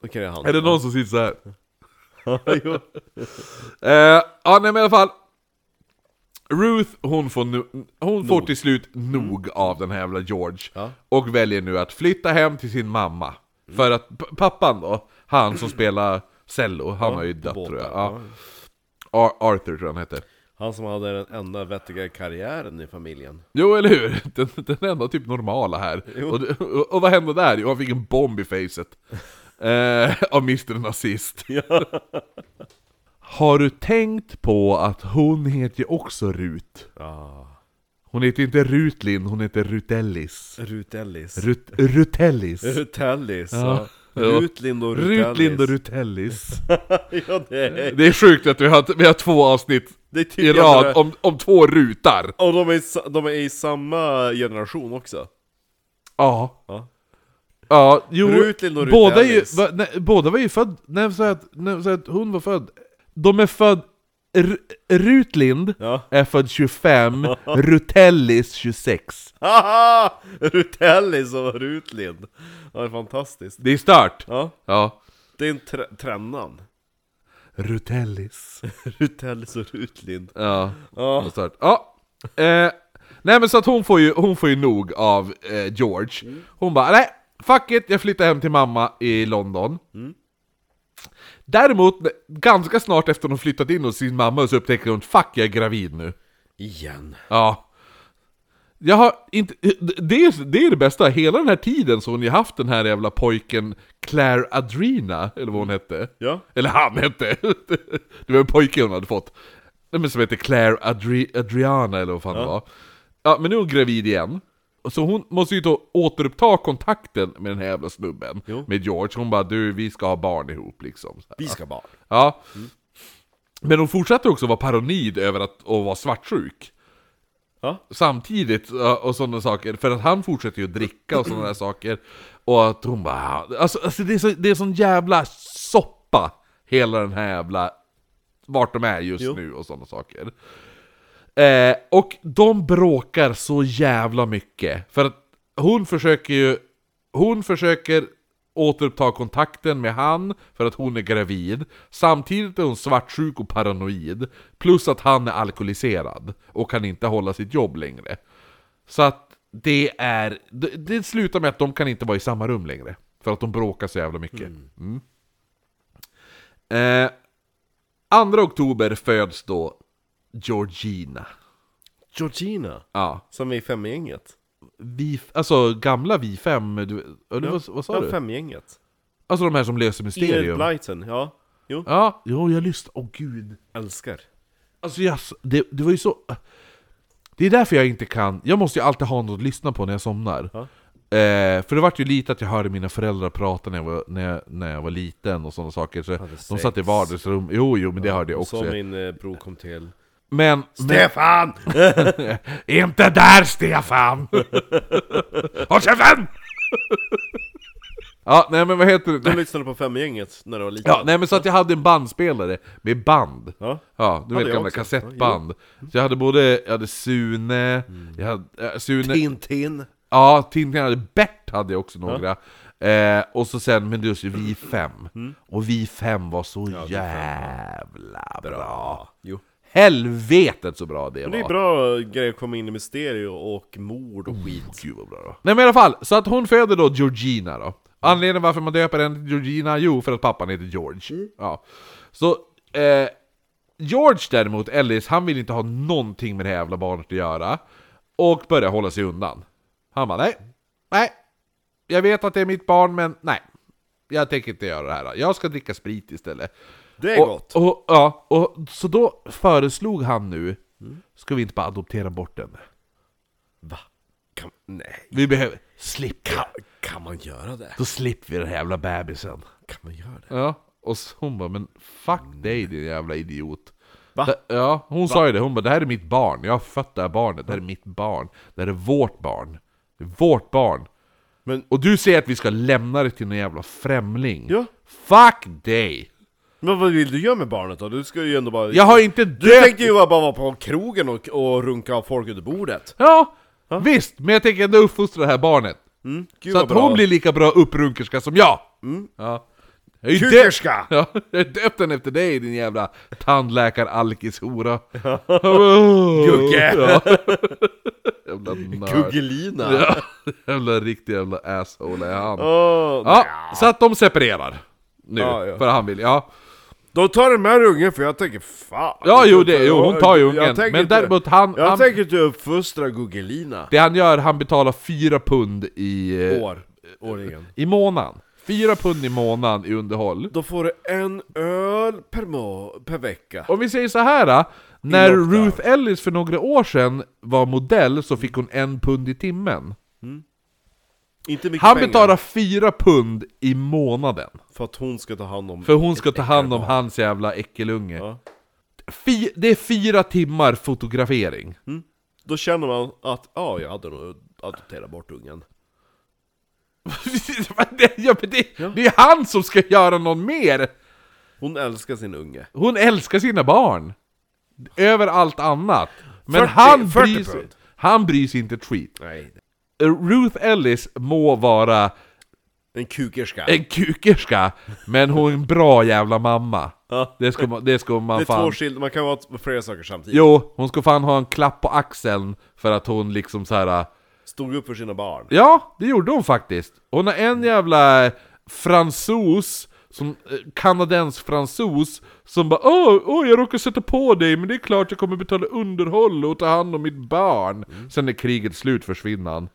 S1: Okej det är han
S3: Är det någon som sitter så här?
S1: Jo.
S3: Eh, ja, nej men i alla fall. Ruth, hon får, nu, hon får till slut nog av den här jävla George.
S1: Ja.
S3: Och väljer nu att flytta hem till sin mamma. För att p- pappan då, han som spelar cello, han har ju dött
S1: båten,
S3: tror jag. Ja. Ar- Arthur tror jag han hette.
S1: Han som hade den enda vettiga karriären i familjen
S3: Jo, eller hur? Den, den enda typ normala här. Och, det- och, och vad hände där? Jo, han fick en bomb i facet. Eh, av Mr Nazist. Har du tänkt på att hon heter ju också Rut? Hon heter inte Rutlin, hon heter Rutellis.
S1: Rutellis
S3: Rut, Rutellis.
S1: Rutellis
S3: Ja.
S1: ja. Rutlind och Rutellis
S3: Rutlind och Rutellis.
S1: ja, det, är,
S3: Det är sjukt att vi har, vi har två avsnitt
S1: det är typ
S3: i rad om, om två rutar.
S1: Och de är, i sa- de är i samma generation också
S3: Ja.
S1: Ja.
S3: Ja, jo,
S1: Rutlind och
S3: båda, är ju,
S1: Rutellis.
S3: va, nej, båda var ju född, när så att, när så att hon var född, de är född, R, Rutlind
S1: Ja.
S3: är född 25, Rutellis 26.
S1: Haha! Rutellis och Rutlind Ja det är fantastiskt
S3: Det är start!
S1: Ja
S3: Ja.
S1: Det är en tre- trännan.
S3: Rutellis.
S1: Rutellis och Rutlind.
S3: Ja,
S1: Ja.
S3: det är start. Ja. Eh, nej men så att hon får ju, hon får ju nog av eh, George. Hon bara, nej, fuck it, jag flyttar hem till mamma i London. Däremot, ganska snart efter hon flyttat in hos sin mamma så upptäcker hon Fuck, jag är gravid nu.
S1: Igen.
S3: Ja. Jag har inte... Det är, det är det bästa, hela den här tiden så har hon ju haft den här jävla pojken Claire Adrina, eller vad hon hette.
S1: Ja.
S3: Eller han hette! Det var en pojke hon hade fått. Nej men som heter Claire Adri- Adriana eller vad fan det var. Ja, men nu är hon gravid igen. Och Så hon måste ju då återuppta kontakten med den här jävla snubben.
S1: Jo.
S3: Med George. Hon bara du, vi ska ha barn ihop liksom. Så här.
S1: Vi ska barn.
S3: Ja.
S1: Mm.
S3: Men hon fortsatte också vara paranoid över att och vara svartsjuk.
S1: Ja.
S3: Samtidigt ö, och sådana saker. För att han fortsätter ju att dricka och sådana där saker. Och att hon bara... Alltså, alltså det, är så, det är sån jävla soppa. Hela den här jävla... Vart de är just
S1: Jo.
S3: nu och sådana saker. Eh, och de bråkar så jävla mycket. För att hon försöker ju... Hon försöker återuppta kontakten med han för att hon är gravid. Samtidigt är hon svartsjuk och paranoid. Plus att han är alkoholiserad och kan inte hålla sitt jobb längre. Så att det är... Det, det slutar med att de kan inte vara i samma rum längre. För att de bråkar så jävla mycket. Mm. Eh, 2 oktober föds då Georgina.
S1: Georgina.
S3: Ja.
S1: Som är i femgänget.
S3: Vi, alltså gamla vi fem, du, eller vad, vad sa
S1: ja,
S3: du?
S1: femgänget.
S3: Alltså de här som löser
S1: Ingrid
S3: mysterium.
S1: Blyton, ja. Jo.
S3: Ja, jo jag lyssnar. Åh gud.
S1: Älskar.
S3: Alltså jag, det, det var ju så... äh. Det är därför jag inte kan... Jag måste ju alltid ha något att lyssna på när jag somnar.
S1: Ja.
S3: Eh, för det vart ju lite att jag hörde mina föräldrar prata när jag var, när jag, när jag var liten och sådana saker. Så de
S1: sex.
S3: satt i vardagsrum. Jo, jo, men det hörde jag också.
S1: Som min eh, bror kom till.
S3: Men... eh, men
S1: Stefan!
S3: inte där Stefan! Håll käften! Ja, nej men vad heter det?
S1: Du lyssnade på Femgänget när du var liten?
S3: Ja, nej men så att jag hade en bandspelare med band.
S1: Ja.
S3: Ja, du vet
S1: jag
S3: gamla
S1: också.
S3: kassettband. Så jag hade både, jag hade Sune, jag hade, eh, Sune,
S1: Tintin!
S3: ja Tintin hade Bert hade jag också några. Eh, och så sen, men just Vi fem. Och Mm. Vi fem var så jävla bra.
S1: Jo.
S3: Helvetet så bra det var.
S1: Det är bra grejer att komma in i mysterier och mord och skit.
S3: Oh, Gud vad bra då. Nej men i alla fall, så att hon föder då Georgina då. Anledningen varför man döper henne till Georgina, jo för att pappan heter George.
S1: Mm.
S3: Ja. Så, eh, George däremot, Ellis, han vill inte ha någonting med det här jävla barnet att göra. Och börjar hålla sig undan. Han bara nej, nej. Jag vet att det är mitt barn men nej. Jag tänker inte göra det här. Jag ska dricka sprit istället.
S1: Det är
S3: och,
S1: gott!
S3: Och, ja, och, så då föreslog han nu,
S1: Mm.
S3: ska vi inte bara adoptera bort henne?
S1: Va? Kan, nej,
S3: Vi behöver slippa.
S1: kan man göra det?
S3: Då slipper vi den här jävla bebisen.
S1: Kan man göra det?
S3: Ja. Och så hon bara, men fuck dig din jävla idiot.
S1: Va? Mm.
S3: Det- Ja, hon sa ju det. Hon bara, det här är mitt barn. Jag har fött det här barnet. Det här är mitt barn. Det här är vårt barn. Det är vårt barn.
S1: Men-
S3: Och du säger att vi ska lämna det till någon jävla främling.
S1: Ja.
S3: Fuck dig!
S1: Men vad vill du göra med barnet då? Du ska ju ändå bara...
S3: Jag har inte
S1: Du
S3: döpt...
S1: tänkte ju bara vara på krogen och, och runka av folk under bordet.
S3: Ja, visst. Men jag tänker ändå uppfostra det här barnet.
S1: Mm, gud
S3: så
S1: vad
S3: att
S1: bra. Mm.
S3: hon blir lika bra upprunkerska som jag! Ja. Jag är ju
S1: Kukerska!
S3: döpt- Ja, jag är döpt den efter dig din jävla tandläkar-alkis-hora! Gugge! Ja. jävla nörd.
S1: Guggelina!
S3: Ja, jävla riktig jävla asshole är han.
S1: Åh,
S3: Ja, så att de separerar. Nu,
S1: Ja, ja.
S3: för han vill, ja.
S1: Då tar den med ungen för jag tänker fan.
S3: Ja, jo,
S1: Jag
S3: det-
S1: tänker-
S3: jo, hon tar ju
S1: jag
S3: ungen.
S1: tänker
S3: Men
S1: inte-
S3: däremot han-
S1: Jag
S3: han-
S1: tänker inte uppfostra Guggelina.
S3: Det han gör, han betalar fyra pund i... eh,
S1: År. Årligen.
S3: I månaden. Fyra pund i månaden i underhåll.
S1: Då får du en öl per, må- per vecka.
S3: Om vi säger så här äh, när
S1: lockdown.
S3: Ruth Ellis för några år sedan var modell så fick hon en pund i timmen.
S1: Inte mycket
S3: Han
S1: pengar.
S3: betalar fyra pund i månaden.
S1: För att hon ska ta hand om...
S3: För hon ska ta hand om hans jävla äckelunge.
S1: Ja.
S3: Fy, det är fyra timmar fotografering.
S1: Mm. Då känner man att, ja, jag hade nog adopterat bort ungen.
S3: Men det, ja, men det, det är han som ska göra någon mer!
S1: Hon älskar sin unge.
S3: Hon älskar sina barn. Över allt annat. Men
S1: 40
S3: han,
S1: 40
S3: bryr sig,
S1: pund.
S3: han bryr sig inte ett skit.
S1: Nej.
S3: Ruth Ellis må vara
S1: En kukerska.
S3: En kukerska, men hon är en bra jävla mamma.
S1: Ja.
S3: Det ska man, det ska
S1: Det
S3: man
S1: är två
S3: fan...
S1: skilda, man kan vara t- flera saker samtidigt.
S3: Jo, hon ska fan ha en klapp på axeln för att hon liksom så här.
S1: Stod upp för sina barn.
S3: Ja, det gjorde hon faktiskt. Hon har en jävla eh, fransos, som, eh, kanadensk-fransos, som bara åh, åh, jag råkar sätta på dig, men det är klart jag kommer betala underhåll och ta hand om mitt barn.
S1: Mm.
S3: Sen när kriget slut försvinner han.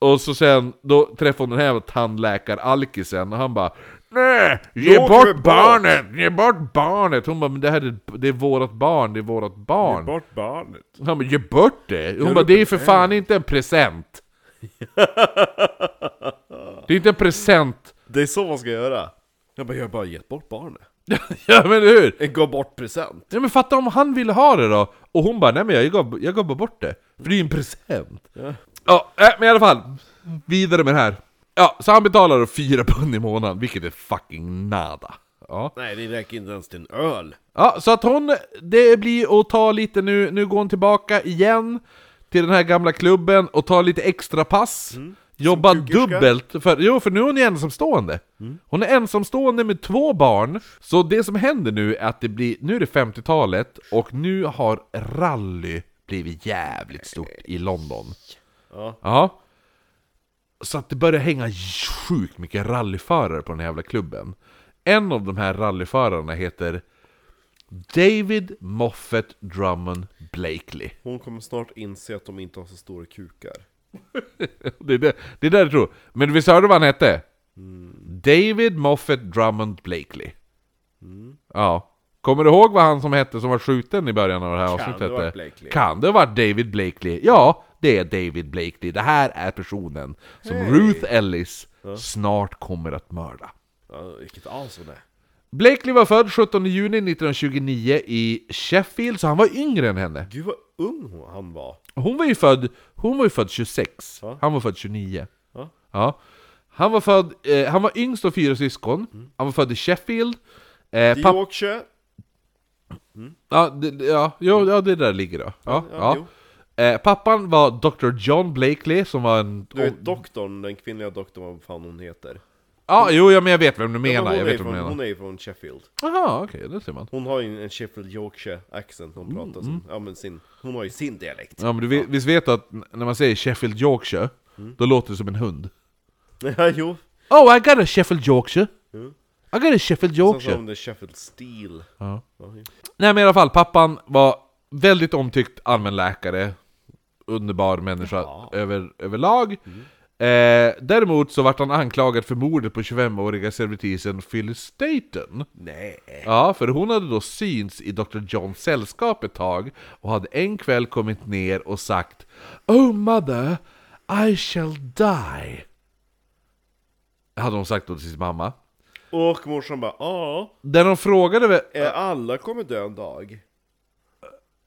S3: Och så sen, då träffar hon den här tandläkar-alkisen och han bara Nej! Ge
S1: Då åker vi
S3: bort
S1: bort."
S3: barnet! Ge bort barnet! Hon bara men det här är, det är vårat barn, det är vårat barn.
S1: Bort barnet.
S3: Han bara, ge bort det! Hon bara, det är för fan inte en present! Det är inte en present!
S1: Det är så man ska göra. Jag bara, jag har bara gett bort barnet.
S3: Ja men hur?
S1: En gå bort present.
S3: Ja men fatta om han ville ha det då! Och hon bara, nej men jag gav, jag gav bara bort det, för det är ju en present! Ja, äh, men i alla fall! Vidare med det här. Ja, så han betalar då fyra pund i månaden, vilket är fucking nada. Ja.
S1: Nej, det räcker inte ens till en öl.
S3: Ja, så att hon, det blir att ta lite nu, nu går hon tillbaka igen till den här gamla klubben och tar lite extra pass. Jobbar dubbelt, för, jo för nu är hon ju ensamstående. Hon är ensamstående med två barn, så det som händer nu är att det blir, nu är det 50-talet och nu har rally blivit jävligt stort i London.
S1: Ja.
S3: ja. Så att det börjar hänga sjukt mycket rallyförare på den här jävla klubben. En av de här rallyförarna heter David Moffat Drummond Blakely.
S1: Hon kommer snart inse att de inte har så stora kukar.
S3: Det är det, det är där jag tror. Men visst hörde du vad han hette?
S1: Mm.
S3: David Moffat Drummond Blakely.
S1: Mm.
S3: Ja. Kommer du ihåg vad han som hette som var skjuten i början av det här avsnittet?
S1: det ha varit
S3: hette?
S1: Blakely?
S3: Kan det ha varit David Blakely? Ja, det är David Blakely. Det här är personen som Ruth Ellis snart kommer att mörda.
S1: Ja, vilket as hon är.
S3: Blakely var född 17 juni 1929 i Sheffield, så han var yngre än henne.
S1: Gud vad ung hon- han var.
S3: Hon var ju född, hon var ju född 26,
S1: Ja.
S3: han var född 29.
S1: Ja.
S3: Ja. Han var född, eh, han var yngst av fyra syskon.
S1: Mm.
S3: Han var född i Sheffield. Eh, papp,
S1: Yorkshire.
S3: ja, det- det- ja, jo, ja, det där ligger då. Ja, ja.
S1: jo.
S3: Eh, pappan var Dr. John Blakely som var en...
S1: Du vet doktorn, den kvinnliga doktorn, vad fan hon heter.
S3: Ja, jo, ja, men jag vet vem du
S1: Ja,
S3: menar.
S1: men
S3: Jag
S1: hon,
S3: vet
S1: är
S3: vem du
S1: från,
S3: menar.
S1: hon är ju från Sheffield.
S3: Aha, okej, det ser man.
S1: Hon har ju en Sheffield Yorkshire accent hon pratar som. Ja, men sin, hon har ju sin dialekt.
S3: Mm, Ja, men du vet, visst vet du att n- när man säger Sheffield Yorkshire,
S1: Mm.
S3: då låter det som en hund?
S1: Ja, jo.
S3: Oh, I got a Sheffield Yorkshire! I got a
S1: Sen
S3: Sheffield
S1: sa
S3: Yorkshire!
S1: hon det Sheffield Steel.
S3: Ja.
S1: Ja, jo.
S3: Nej men i alla fall, pappan var väldigt omtyckt allmänläkare Underbar människa över, överlag eh, Däremot så vart han anklagad för mordet på 25-åriga servitrisen Phyllis Staten
S1: Nej.
S3: Ja, för hon hade då syns i Dr. Johns sällskap ett tag och hade en kväll kommit ner och sagt Oh mother, I shall die Hade hon sagt då till sin mamma
S1: Och morsan bara, ja,
S3: Där de frågade väl...
S1: eh, alla kommer dö en dag.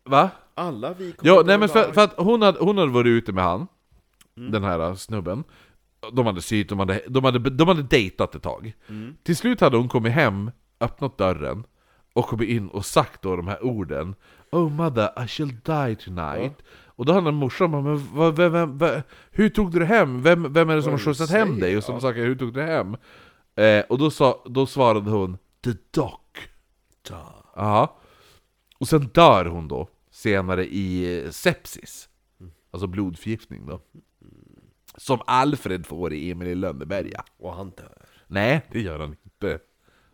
S3: Va?
S1: Alla vi kommer
S3: Ja,
S1: dö
S3: nej
S1: en
S3: men för,
S1: dag.
S3: för att hon hade, hon hade varit ute med han, den här äh, snubben. De hade sytt, de hade, de hade, de hade dejtat ett tag. Till slut hade hon kommit hem, öppnat dörren, och kommit in och sagt då de här orden Oh mother, I shall die tonight. Och då hade morsan bara, men vad, vem, vem, vad- hur tog du det hem? Vem, vem är det som har skjutsat hem dig? Och sådana saker, hur tog du det hem? Eh, och då, sa, då svarade hon, the doc. Ja. Och sen dör hon då, senare i eh, sepsis. Alltså blodförgiftning då. Som Alfred får i Emil i Lönneberga.
S1: Och han dör.
S3: Nej, det gör han inte.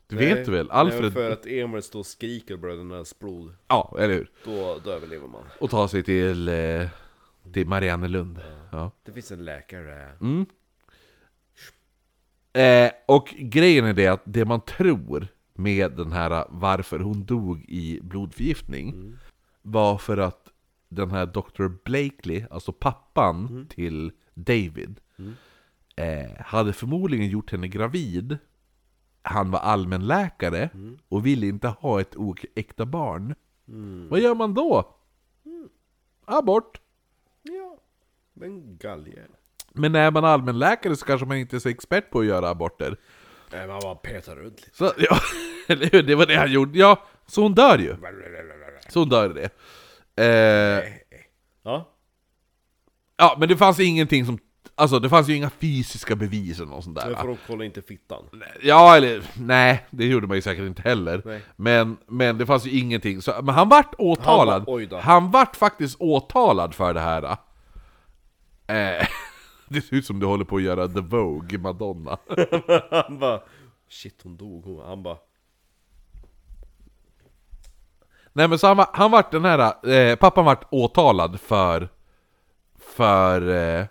S3: Du
S1: Nej,
S3: vet du väl?
S1: Nej,
S3: Alfred...
S1: för att Emil står och skriker och bröderna Sproul,
S3: Ja, eller hur?
S1: då, då överlever man.
S3: Och tar sig till, eh, till Mariannelund. Ja.
S1: Det finns en läkare.
S3: Mm. Eh, och grejen är det att det man tror med den här eh, varför hon dog i blodförgiftning var för att den här Dr. Blakely, alltså pappan till David, eh, hade förmodligen gjort henne gravid. Han var allmänläkare och ville inte ha ett oäkta barn. Vad gör man då? Abort!
S1: Ja, men galge.
S3: Men är man allmänläkare så kanske man inte är så expert på att göra aborter.
S1: Nej, man bara petar runt liksom. lite.
S3: Så, ja, eller hur? Det var det han gjorde. Ja, så hon dör ju. Så hon dör i det. Eh,
S1: Ja,
S3: ja, men det fanns ingenting som... Alltså, det fanns ju inga fysiska bevis eller något sånt
S1: men
S3: där.
S1: för de kollar inte fittan.
S3: Ja, eller... Nej, det gjorde man ju säkert inte heller.
S1: Nej.
S3: Men, men det fanns ju ingenting. Så, men han vart åtalad.
S1: Han var- oj då.
S3: Han vart faktiskt åtalad för det här. Eh, det ser ut som du håller på att göra The Vogue, Madonna.
S1: Han bara, shit hon dog. Hon, han bara,
S3: Nej men så han, var, han vart den här, eh, pappan vart åtalad för, för eh,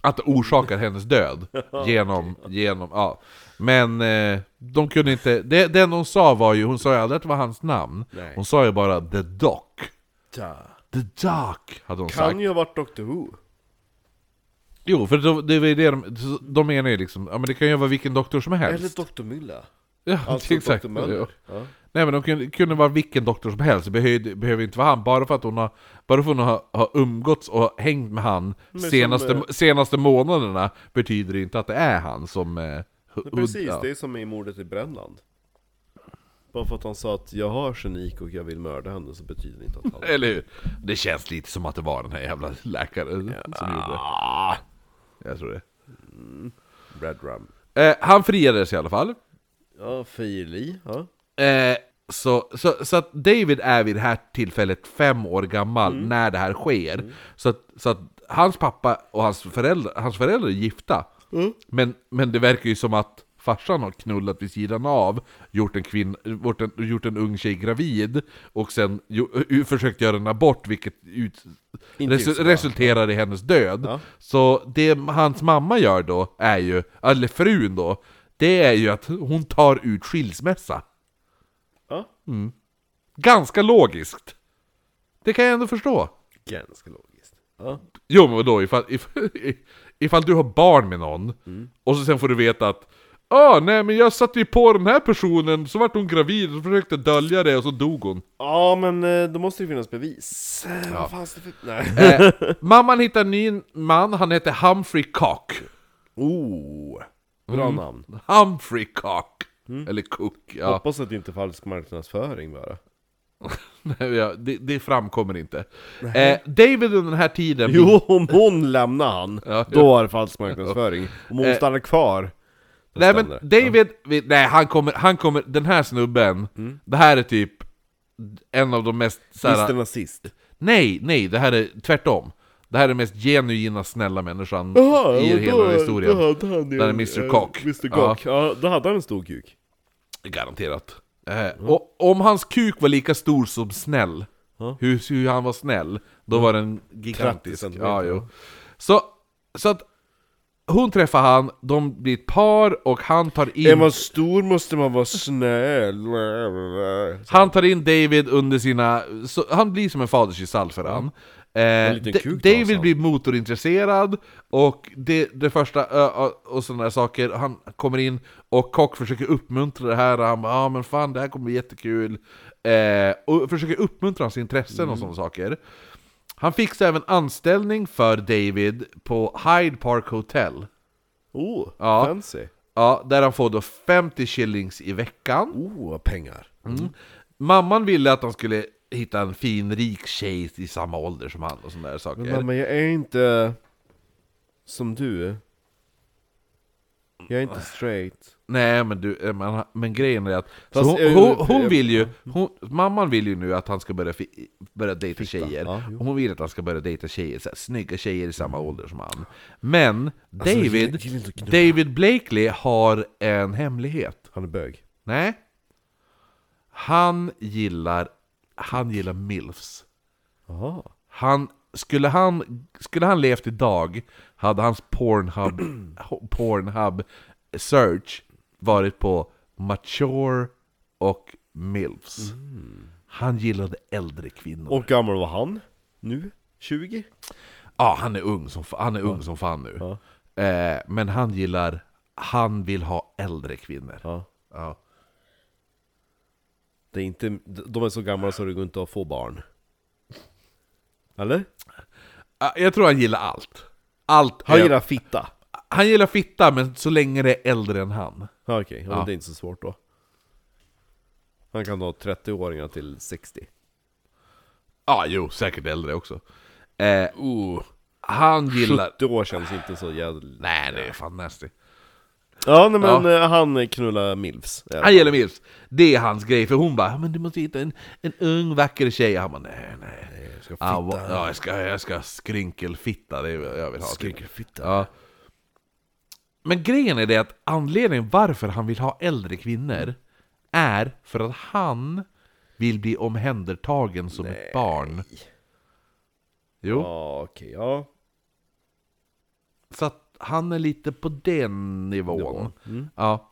S3: att det orsakar hennes död. Genom, genom, ja. Men eh, de kunde inte, det, det enda hon sa var ju, hon sa ju aldrig att det var hans namn.
S1: Nej.
S3: Hon sa ju bara 'The Doc'
S1: da.
S3: The Doc, hade hon
S1: Kan
S3: sagt.
S1: ju ha varit Doctor Who.
S3: Jo, för då, det var ju det de, de menar ju liksom, ja men det kan ju vara vilken doktor som helst.
S1: Eller Dr. Müller.
S3: ja,
S1: Alltså
S3: exakt.
S1: Dr. Möller.
S3: Ja.
S1: Ja.
S3: Nej men de kunde, kunde vara vilken doktor som helst, det behövde, behöver inte vara han. Bara för att hon har, bara för att hon har, har umgåtts och hängt med han senaste,
S1: som, eh,
S3: senaste månaderna betyder det inte att det är han som... Eh, hu-
S1: Precis,
S3: hud- ja.
S1: det är som i mordet i Brännland. Bara för att han sa att jag har genik och jag vill mörda henne så betyder det inte att han...
S3: Eller hur? Det känns lite som att det var den här jävla läkaren som gjorde det. Jag tror det.
S1: Red Rum.
S3: Eh, han friades i alla fall.
S1: Ja, Fili. Ja.
S3: Eh, så, så, så att David är vid det här tillfället fem år gammal
S1: Mm.
S3: när det här sker. Så, att, så att hans pappa och hans föräldrar, hans föräldrar är gifta.
S1: Mm.
S3: Men, men det verkar ju som att farsan har knullat vid sidan av, gjort en, kvinn, gjort en, gjort en ung tjej gravid och sen jo, ö- försökt göra en abort vilket ut,
S1: Inte
S3: resu,
S1: just det.
S3: resulterar i hennes död.
S1: Ja.
S3: Så det hans mamma gör då, är ju, eller frun då, det är ju att hon tar ut skilsmässa.
S1: ja.
S3: Ganska logiskt. Det kan jag ändå förstå.
S1: Ganska logiskt. Ja.
S3: Jo men vadå, ifall, ifall, ifall du har barn med någon och så sen får du veta att ah, nej men jag satte ju på den här personen, så vart hon gravid och försökte dölja det och så dog hon.
S1: Ja men eh, då måste det finnas bevis. Eh, Ja. Vad fanns det för... Nej.
S3: Eh, mamman hittar en ny man, han heter Humphrey Cock.
S1: Oh! Bra namn.
S3: Humphrey Cock. Eller Cook, ja.
S4: Hoppas att det inte är falsk marknadsföring bara.
S3: Nej, ja, det, det framkommer inte. Eh, David under den här tiden...
S1: Jo, om hon lämnar han,
S3: Ja, ja.
S1: då är det falsk marknadsföring. Om hon stannar kvar, då
S3: nej men
S1: stämmer det.
S3: David, vi, nej han kommer, han kommer, den här snubben,
S4: Mm.
S3: det här är typ en av de mest
S1: Visst är
S3: såhär,
S1: nazist?
S3: Nej, nej, det här är tvärtom. Det här är den mest genuina snälla människan
S4: Jaha,
S3: i
S4: och
S3: hela
S4: då-
S3: historien.
S4: Då hade han ju...
S3: Där är Mr.
S4: eh,
S3: Cock.
S4: Mr.
S3: Ja.
S4: Cock. Ja. då hade han en stor kuk.
S3: Garanterat. Eh, och om hans kuk var lika stor som snäll, hur, hur han var snäll, då var den
S4: 30
S3: gigantisk.
S4: Mm. centimeter.
S3: Ja, jo. Så, så att hon träffar han, de blir ett par och han tar
S4: Är
S3: in,
S4: man stor måste man vara snäll. Oh,
S3: han tar in David under sina... Så, han blir som en fadersgestalt för han. Eh,
S4: liten
S3: Da-
S4: kuk då,
S3: David
S4: alltså.
S3: blir motorintresserad och det, det första ö, ö, och sådana där saker, han kommer in och Kock försöker uppmuntra det här, han bara ah, men fan det här kommer bli jättekul eh, Och försöker uppmuntra hans intressen
S4: Mm.
S3: och sådana saker Han fixar även anställning för David på Hyde Park Hotel
S4: Oh,
S3: Ja.
S4: fancy.
S3: Ja, där han får då 50 shillings i veckan
S4: Oh, pengar.
S3: Mamman ville att han skulle hitta en fin rik tjej i samma ålder som han och sådana där saker
S4: Men mamma, jag är inte som du. Jag är inte straight.
S3: Nej men du, eh, men, men grejen är att så
S4: Fast
S3: hon,
S4: jag-
S3: hon, hon vill ju, hon, mamman vill ju nu att han ska börja, fi, börja dejta tjejer
S4: ja, jo.
S3: och Hon vill att han ska börja dejta tjejer, så här, snygga tjejer i samma ålder som han Men
S4: Alltså,
S3: David,
S4: gillar inte att knulla.
S3: David Blakely har en hemlighet
S4: Han är bög.
S3: Nej Han gillar, han gillar milfs
S4: Jaha.
S3: han, skulle, han, skulle han levt idag hade hans Pornhub, Pornhub search varit på mature och milfs. Han gillade äldre kvinnor.
S4: Mm. Och gammal var han? Nu? 20?
S3: Ja, han är ung som, fa- han är ung som fan nu. Eh, men han gillar, han vill ha äldre kvinnor.
S4: Ja.
S3: Ja.
S4: Det är inte, de är så gamla så det går inte att få barn. Eller?
S3: Ah, Jag tror han gillar allt. Allt.
S4: Han gillar fitta.
S3: han gillar fitta, men så länge det är äldre än han.
S4: Ja, Okej, ja, men
S3: Ja.
S4: det är inte så svårt då. Han kan ha 30-åringar till 60.
S3: Ja, jo, säkert äldre också. Eh, Han gillar...
S4: 70 år känns inte så jävla...
S3: Nej, det är fan nasty.
S4: Ja, nej, men eh, han knullar milfs. Ja.
S3: Han gillar milfs. Det är hans grej, för hon bara "Ja, men du måste hitta en, en ung vacker tjej. Han bara nej, nej. Jag ska, ja, jag ska, jag ska skrinkelfitta, det är vad jag vill ha. typ.
S4: Skrinkelfitta.
S3: Ja. Men grejen är det att anledningen varför han vill ha äldre kvinnor är för att han vill bli omhändertagen som ett barn. Jo.
S4: Ja, okej, ja.
S3: Så att han är lite på den nivån. Ja.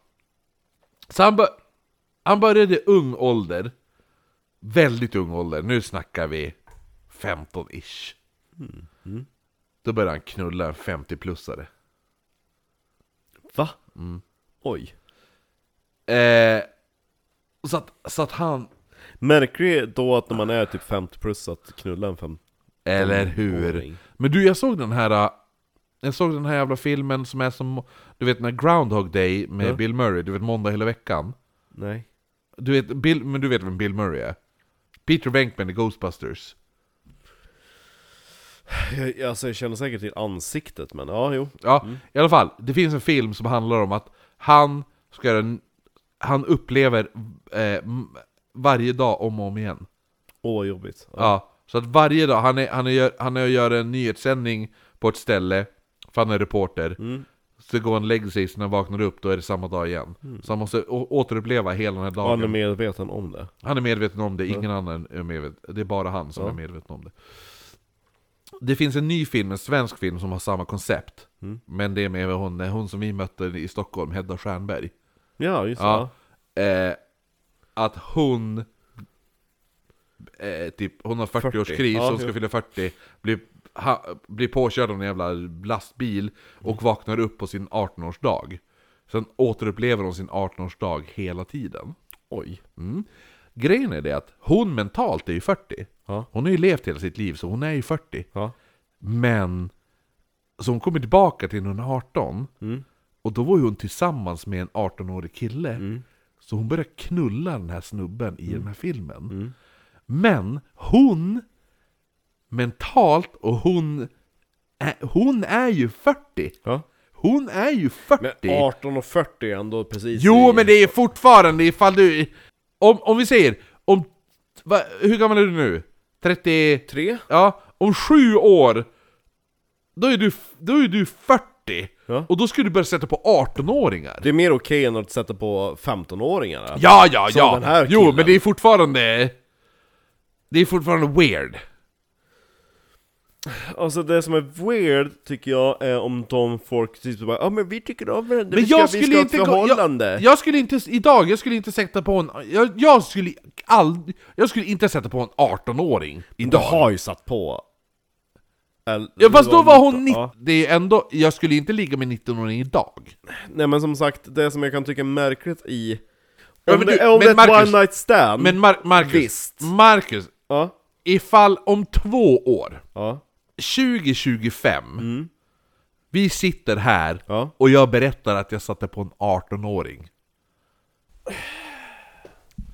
S3: Så han, bör, han började i ung ålder. Väldigt ung ålder. Nu snackar vi 15-ish. Då började han knulla en 50-plussare.
S4: Va? Mm. Oj.
S3: Eh, så, att, så att han...
S4: Märker då att när man är typ 50 plus att knulla en 50
S3: Eller hur?
S4: Tonåring.
S3: Men du, jag såg den här... äh, Jag såg den här jävla filmen som är som... Du vet den här Groundhog Day med Bill Murray, du vet måndag hela veckan.
S4: Nej.
S3: Du vet, Bill, men du vet vem Bill Murray är? Peter Venkman i Ghostbusters.
S4: Jag, jag- alltså jag känner säkert till ansiktet men ja, jo.
S3: Ja, i alla fall. Det finns en film som handlar om att han ska göra en, Han upplever eh, m- varje dag om och om igen.
S4: Åh vad jobbigt.
S3: Ja. så att varje dag, han är, han, är, han är och gör en nyhetssändning på ett ställe, för han är reporter. Så går han och lägger sig, så när han vaknar upp då är det samma dag igen. Så han måste å- återuppleva hela den här dagen.
S4: Han är medveten om det.
S3: Han är medveten om det, ingen annan är medveten. Det är bara han som är medveten om det. Det finns en ny film, en svensk film, som har samma koncept.
S4: Mm.
S3: Men det är med hon, hon som vi mötte i Stockholm, Hedda Stjernberg.
S4: Ja, just det.
S3: Ja.
S4: Ja.
S3: Eh, att hon... Eh, typ, hon har 40-årskris,
S4: 40. Ja,
S3: hon ska
S4: jo.
S3: fylla 40. Blir, ha, blir påkörd av en jävla lastbil och vaknar upp på sin 18-årsdag. Sen återupplever hon sin 18-årsdag hela tiden.
S4: Oj.
S3: Mm. Grejen är det att hon mentalt är ju 40.
S4: Ja.
S3: Hon har ju levt hela sitt liv, så hon är ju 40.
S4: Ja.
S3: Men Så hon kommer tillbaka till när hon är 18. Och då var ju hon tillsammans med en 18-årig kille. Så hon börjar knulla den här snubben i den här filmen. Men hon, mentalt, och hon, är, hon är ju 40!
S1: Ja.
S3: Hon är ju 40!
S1: Men 18 och 40 är ändå precis
S3: Jo,
S1: i-
S3: men det är fortfarande ifall du... Om, om vi säger, om... Va, hur gammal är du nu? 30...
S1: Tre?
S3: Ja, om sju år, då är du, då är du 40!
S1: Ja.
S3: Och då skulle du börja sätta på 18-åringar!
S1: Det är mer okej än att sätta på 15-åringar ja.
S3: Ja, ja,
S1: Som
S3: ja!
S1: den här
S3: jo,
S1: killen.
S3: men det är fortfarande... Det är fortfarande weird.
S1: Alltså det som är weird tycker jag är om de folk typ bara Ja men vi tycker om varandra,
S3: Men
S1: vi ska,
S3: jag
S1: vi
S3: skulle
S1: ska ha
S3: inte
S1: ett
S3: gå- jag-
S1: förhållande
S3: Jag skulle inte, idag, jag skulle inte sätta på en... Jag, jag skulle aldrig... Jag skulle inte sätta på en 18-åring
S1: Du
S3: idag.
S1: har ju satt på Eller-
S3: Ja fast då var hon 19,
S1: Ja.
S3: det är ändå, jag skulle inte ligga med 19-åring idag.
S1: Nej men som sagt, det som jag kan tycka är märkligt i
S3: Ja,
S1: Om
S3: men
S1: det,
S3: du-
S1: om
S3: men
S1: det är ett
S3: Marcus-
S1: one night stand
S3: Men Mar- Marcus,
S1: Visst.
S3: Marcus,
S1: Ja,
S3: ifall om två år,
S1: ja,
S3: 2025, vi sitter här
S1: Mm. Ja.
S3: och jag berättar att jag satte på en 18-åring.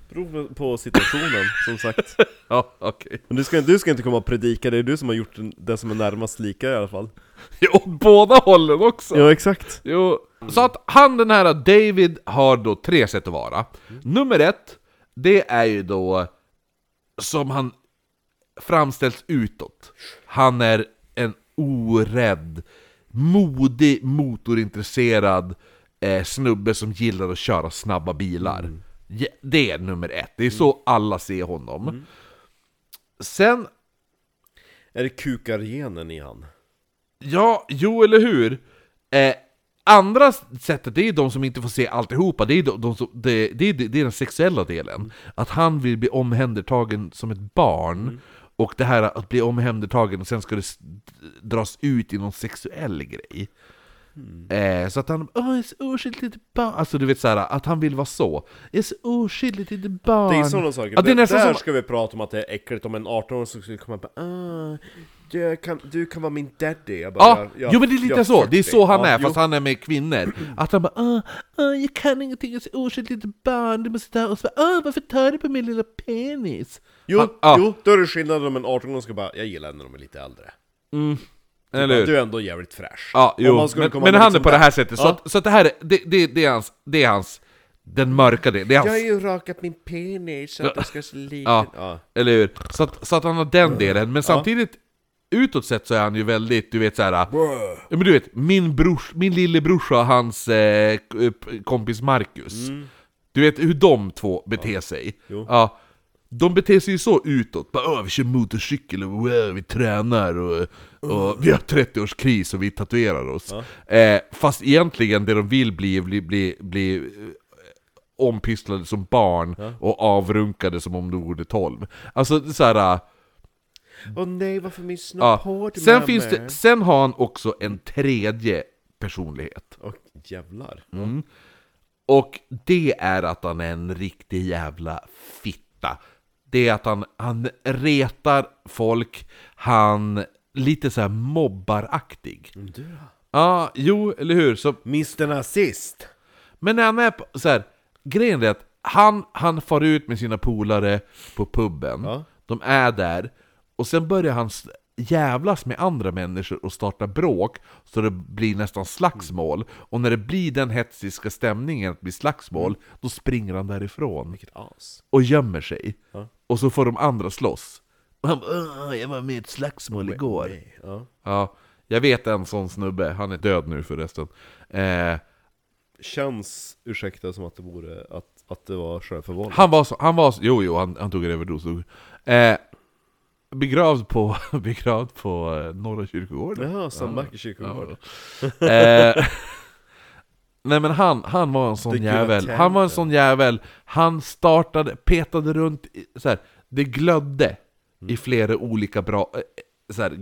S1: beror på situationen som sagt
S3: Ja, okej.
S1: Men du ska, du ska inte komma och predika, det är du som har gjort den- det som är närmast lika i alla fall
S3: Ja, Åt båda hållen också!
S1: Ja exakt
S3: Jo. Så att han den här David har då tre sätt att vara. Nummer ett, det är ju då som han framställs utåt. Han är en orädd, modig, motorintresserad eh, snubbe som gillar att köra snabba bilar. Ja, Det är nummer ett, det är så alla ser honom. Sen
S1: Är det kukargenen i han?
S3: Ja, jo eller hur? Eh, andra sättet, det är de som inte får se alltihopa, det är, de, de som, det, det, det, det är den sexuella delen.
S1: Mm.
S3: Att han vill bli omhändertagen som ett barn,
S1: Mm.
S3: och det här att bli omhändertagen och sen ska det s- dras ut i någon sexuell grej.
S1: Mm.
S3: Eh, så att han Åh, jag är så oskyldigt litet barn. Alltså du vet såhär, att han vill vara så. Jag är så oskyldigt litet barn.
S1: Det är sådana saker,
S3: Ja, det är nästan
S1: där
S3: som...
S1: ska vi prata om att det är äckligt om en 18-åring som skulle komma och bara ah, du, kan, du kan vara min daddy jag bara,
S3: Ja,
S1: jag, jag,
S3: jo men det är lite
S1: jag
S3: så, det är
S1: 40.
S3: så han
S1: Ja,
S3: är,
S1: jo.
S3: fast han är med kvinnor. Att han bara åh, åh, jag kan ingenting, jag är så oskyldigt litet barn, du måste ta och så bara, åh, varför tar du på min lilla penis?
S1: Jo,
S3: Han- ja.
S1: jo, då är det skillnad om en 18-åring ska bara, jag gillar när de är lite äldre
S3: Eller hur?
S1: Du är ändå jävligt fräsch
S3: Ja,
S1: Om
S3: jo,
S1: han skulle
S3: men,
S1: komma
S3: men
S1: med
S3: han är
S1: liksom
S3: på det
S1: där,
S3: här sättet, så,
S1: Ja.
S3: att, så att det här är, det, det, det är hans, det är hans, den mörka delen, det är hans
S4: Jag har ju rakat min penis så att den ska se liten
S3: Ja,
S1: Ja.
S3: eller hur? Så att, så att han har den delen, men samtidigt Utåt sett så är han ju väldigt, du vet såhär... Ja men du vet, min, brors, min lillebrorsa och hans eh, k- eh, kompis Marcus Du vet hur de två beter sig? Ja, de beter sig ju så utåt, bara "Åh, vi kör motorcykel och wow, vi tränar och, och vi har 30-årskris och vi tatuerar oss eh, Fast egentligen det de vill bli, bli, bli, bli eh, ompysslade som barn och avrunkade som om de vore 12. Alltså det är så här, äh,
S4: Åh nej, varför min snopp
S3: ja.
S4: hård
S3: sen,
S4: mamma?
S3: finns det, sen har han också en tredje personlighet.
S1: Och jävlar
S3: Mm. Och det är att han är en riktig jävla fitta. Det är att han, han retar folk, han lite så här mobbaraktig.
S4: Mm,
S1: Du då?
S3: Ja, jo, eller hur? Så
S1: Mr Nazist!
S3: Men när han är på, så här, grejen är att han, han far ut med sina polare på puben, de är där, och sen börjar han s- jävlas med andra människor och starta bråk, så det blir nästan slagsmål, och när det blir den hetsiska stämningen att bli slagsmål, då springer han därifrån
S1: Vilket as
S3: och gömmer sig, och så får de andra slåss. Och han bara, "Åh, jag var med i ett slagsmål igår.
S1: ja.
S3: Ja, jag vet en sån snubbe, han är död nu förresten. Eh,
S1: Känns, ursäkta, som att det vore att, att det var självförvållande
S3: Han var så, han var så, jo jo, han, han tog en överdos. dog. Eh, begravd på, begravd på eh, Norra kyrkogården.
S1: Jaha, Sandbacke kyrkogård
S3: Eh, nej men han, han var en sån
S1: Det gula
S3: jävel, han var en sån jävel, han startade, petade runt, i- så här, det glödde i flera olika bra, eh, så här,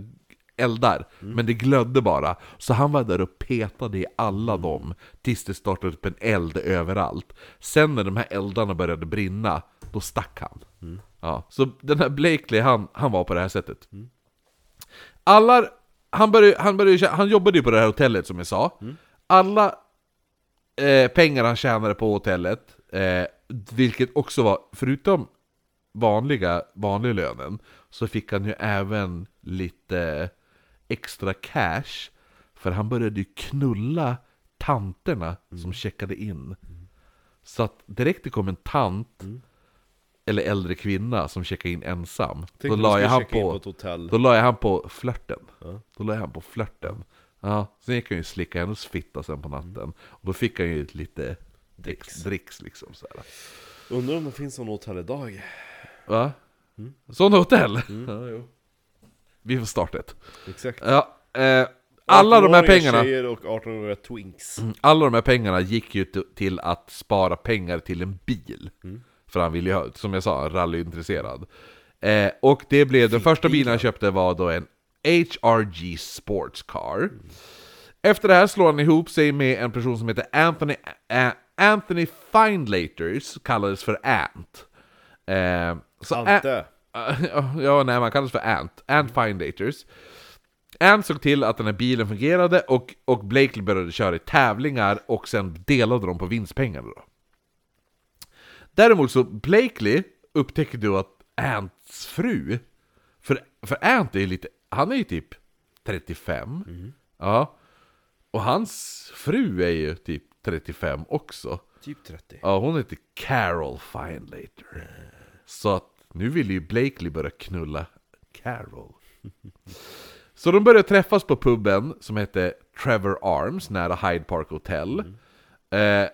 S3: eldar, men det glödde bara. Så han var där och petade i alla dem, tills det startade upp en eld överallt. Sen när de här eldarna började brinna, då stack han. Ja, så den här Blakely, han, han var på det här sättet. Alla, han, började, han, började, tjä- han jobbade ju på det här hotellet som jag sa.
S4: Mm.
S3: Alla eh, pengar han tjänade på hotellet, eh, vilket också var, förutom vanliga, vanliga lönen, så fick han ju även lite extra cash. För han började ju knulla tanterna
S4: Mm.
S3: som checkade in. Så att direkt det kom en tant,
S4: Mm.
S3: eller äldre kvinna som checkade in ensam,
S4: Tänk
S3: då
S4: om
S3: la
S4: du ska
S3: jag han
S4: checka in
S3: på...
S4: på ett hotell.
S3: Då la jag han på flörten. Då la jag han på flörten. Ja, sen gick han ju slicka hennes fitta sen på natten. Och då fick han ju lite dricks, dricks liksom så här.
S4: Undrar om det finns någon hotell idag?
S3: Va? Sådana hotell? Ja, jo. Vi får starta ett.
S4: Exakt.
S3: Ja, eh, alla de
S4: 18-åriga
S3: här pengarna Mm,
S4: tjejer och 18-åriga twinks.
S3: alla de här pengarna gick ju t- till att spara pengar till en bil. För han ville ju ha, som jag sa, rallyintresserad. Eh, och det blev, den första bilen han köpte var då en HRG Sports Car. Efter det här slår han ihop sig med en person som heter Anthony, Ä- Anthony Findlaters, kallades för Ant. Eh, så Ä-
S4: Ante.
S3: ja, nej, man kallas för Ant. Ant Findators. Ant såg till att den här bilen fungerade och, och Blakely började köra i tävlingar och sen delade de på vinstpengarna då. Däremot så Blakely upptäckte du att Ants fru, för, för Ant är ju lite, han är ju typ 35, ja, och hans fru är ju typ 35 också.
S4: Typ 30.
S3: Ja, hon heter Carol Findlater. Så att nu vill ju Blakely börja knulla Carol. Så de började träffas på puben som hette Trevor Arms nära Hyde Park Hotel. Eh,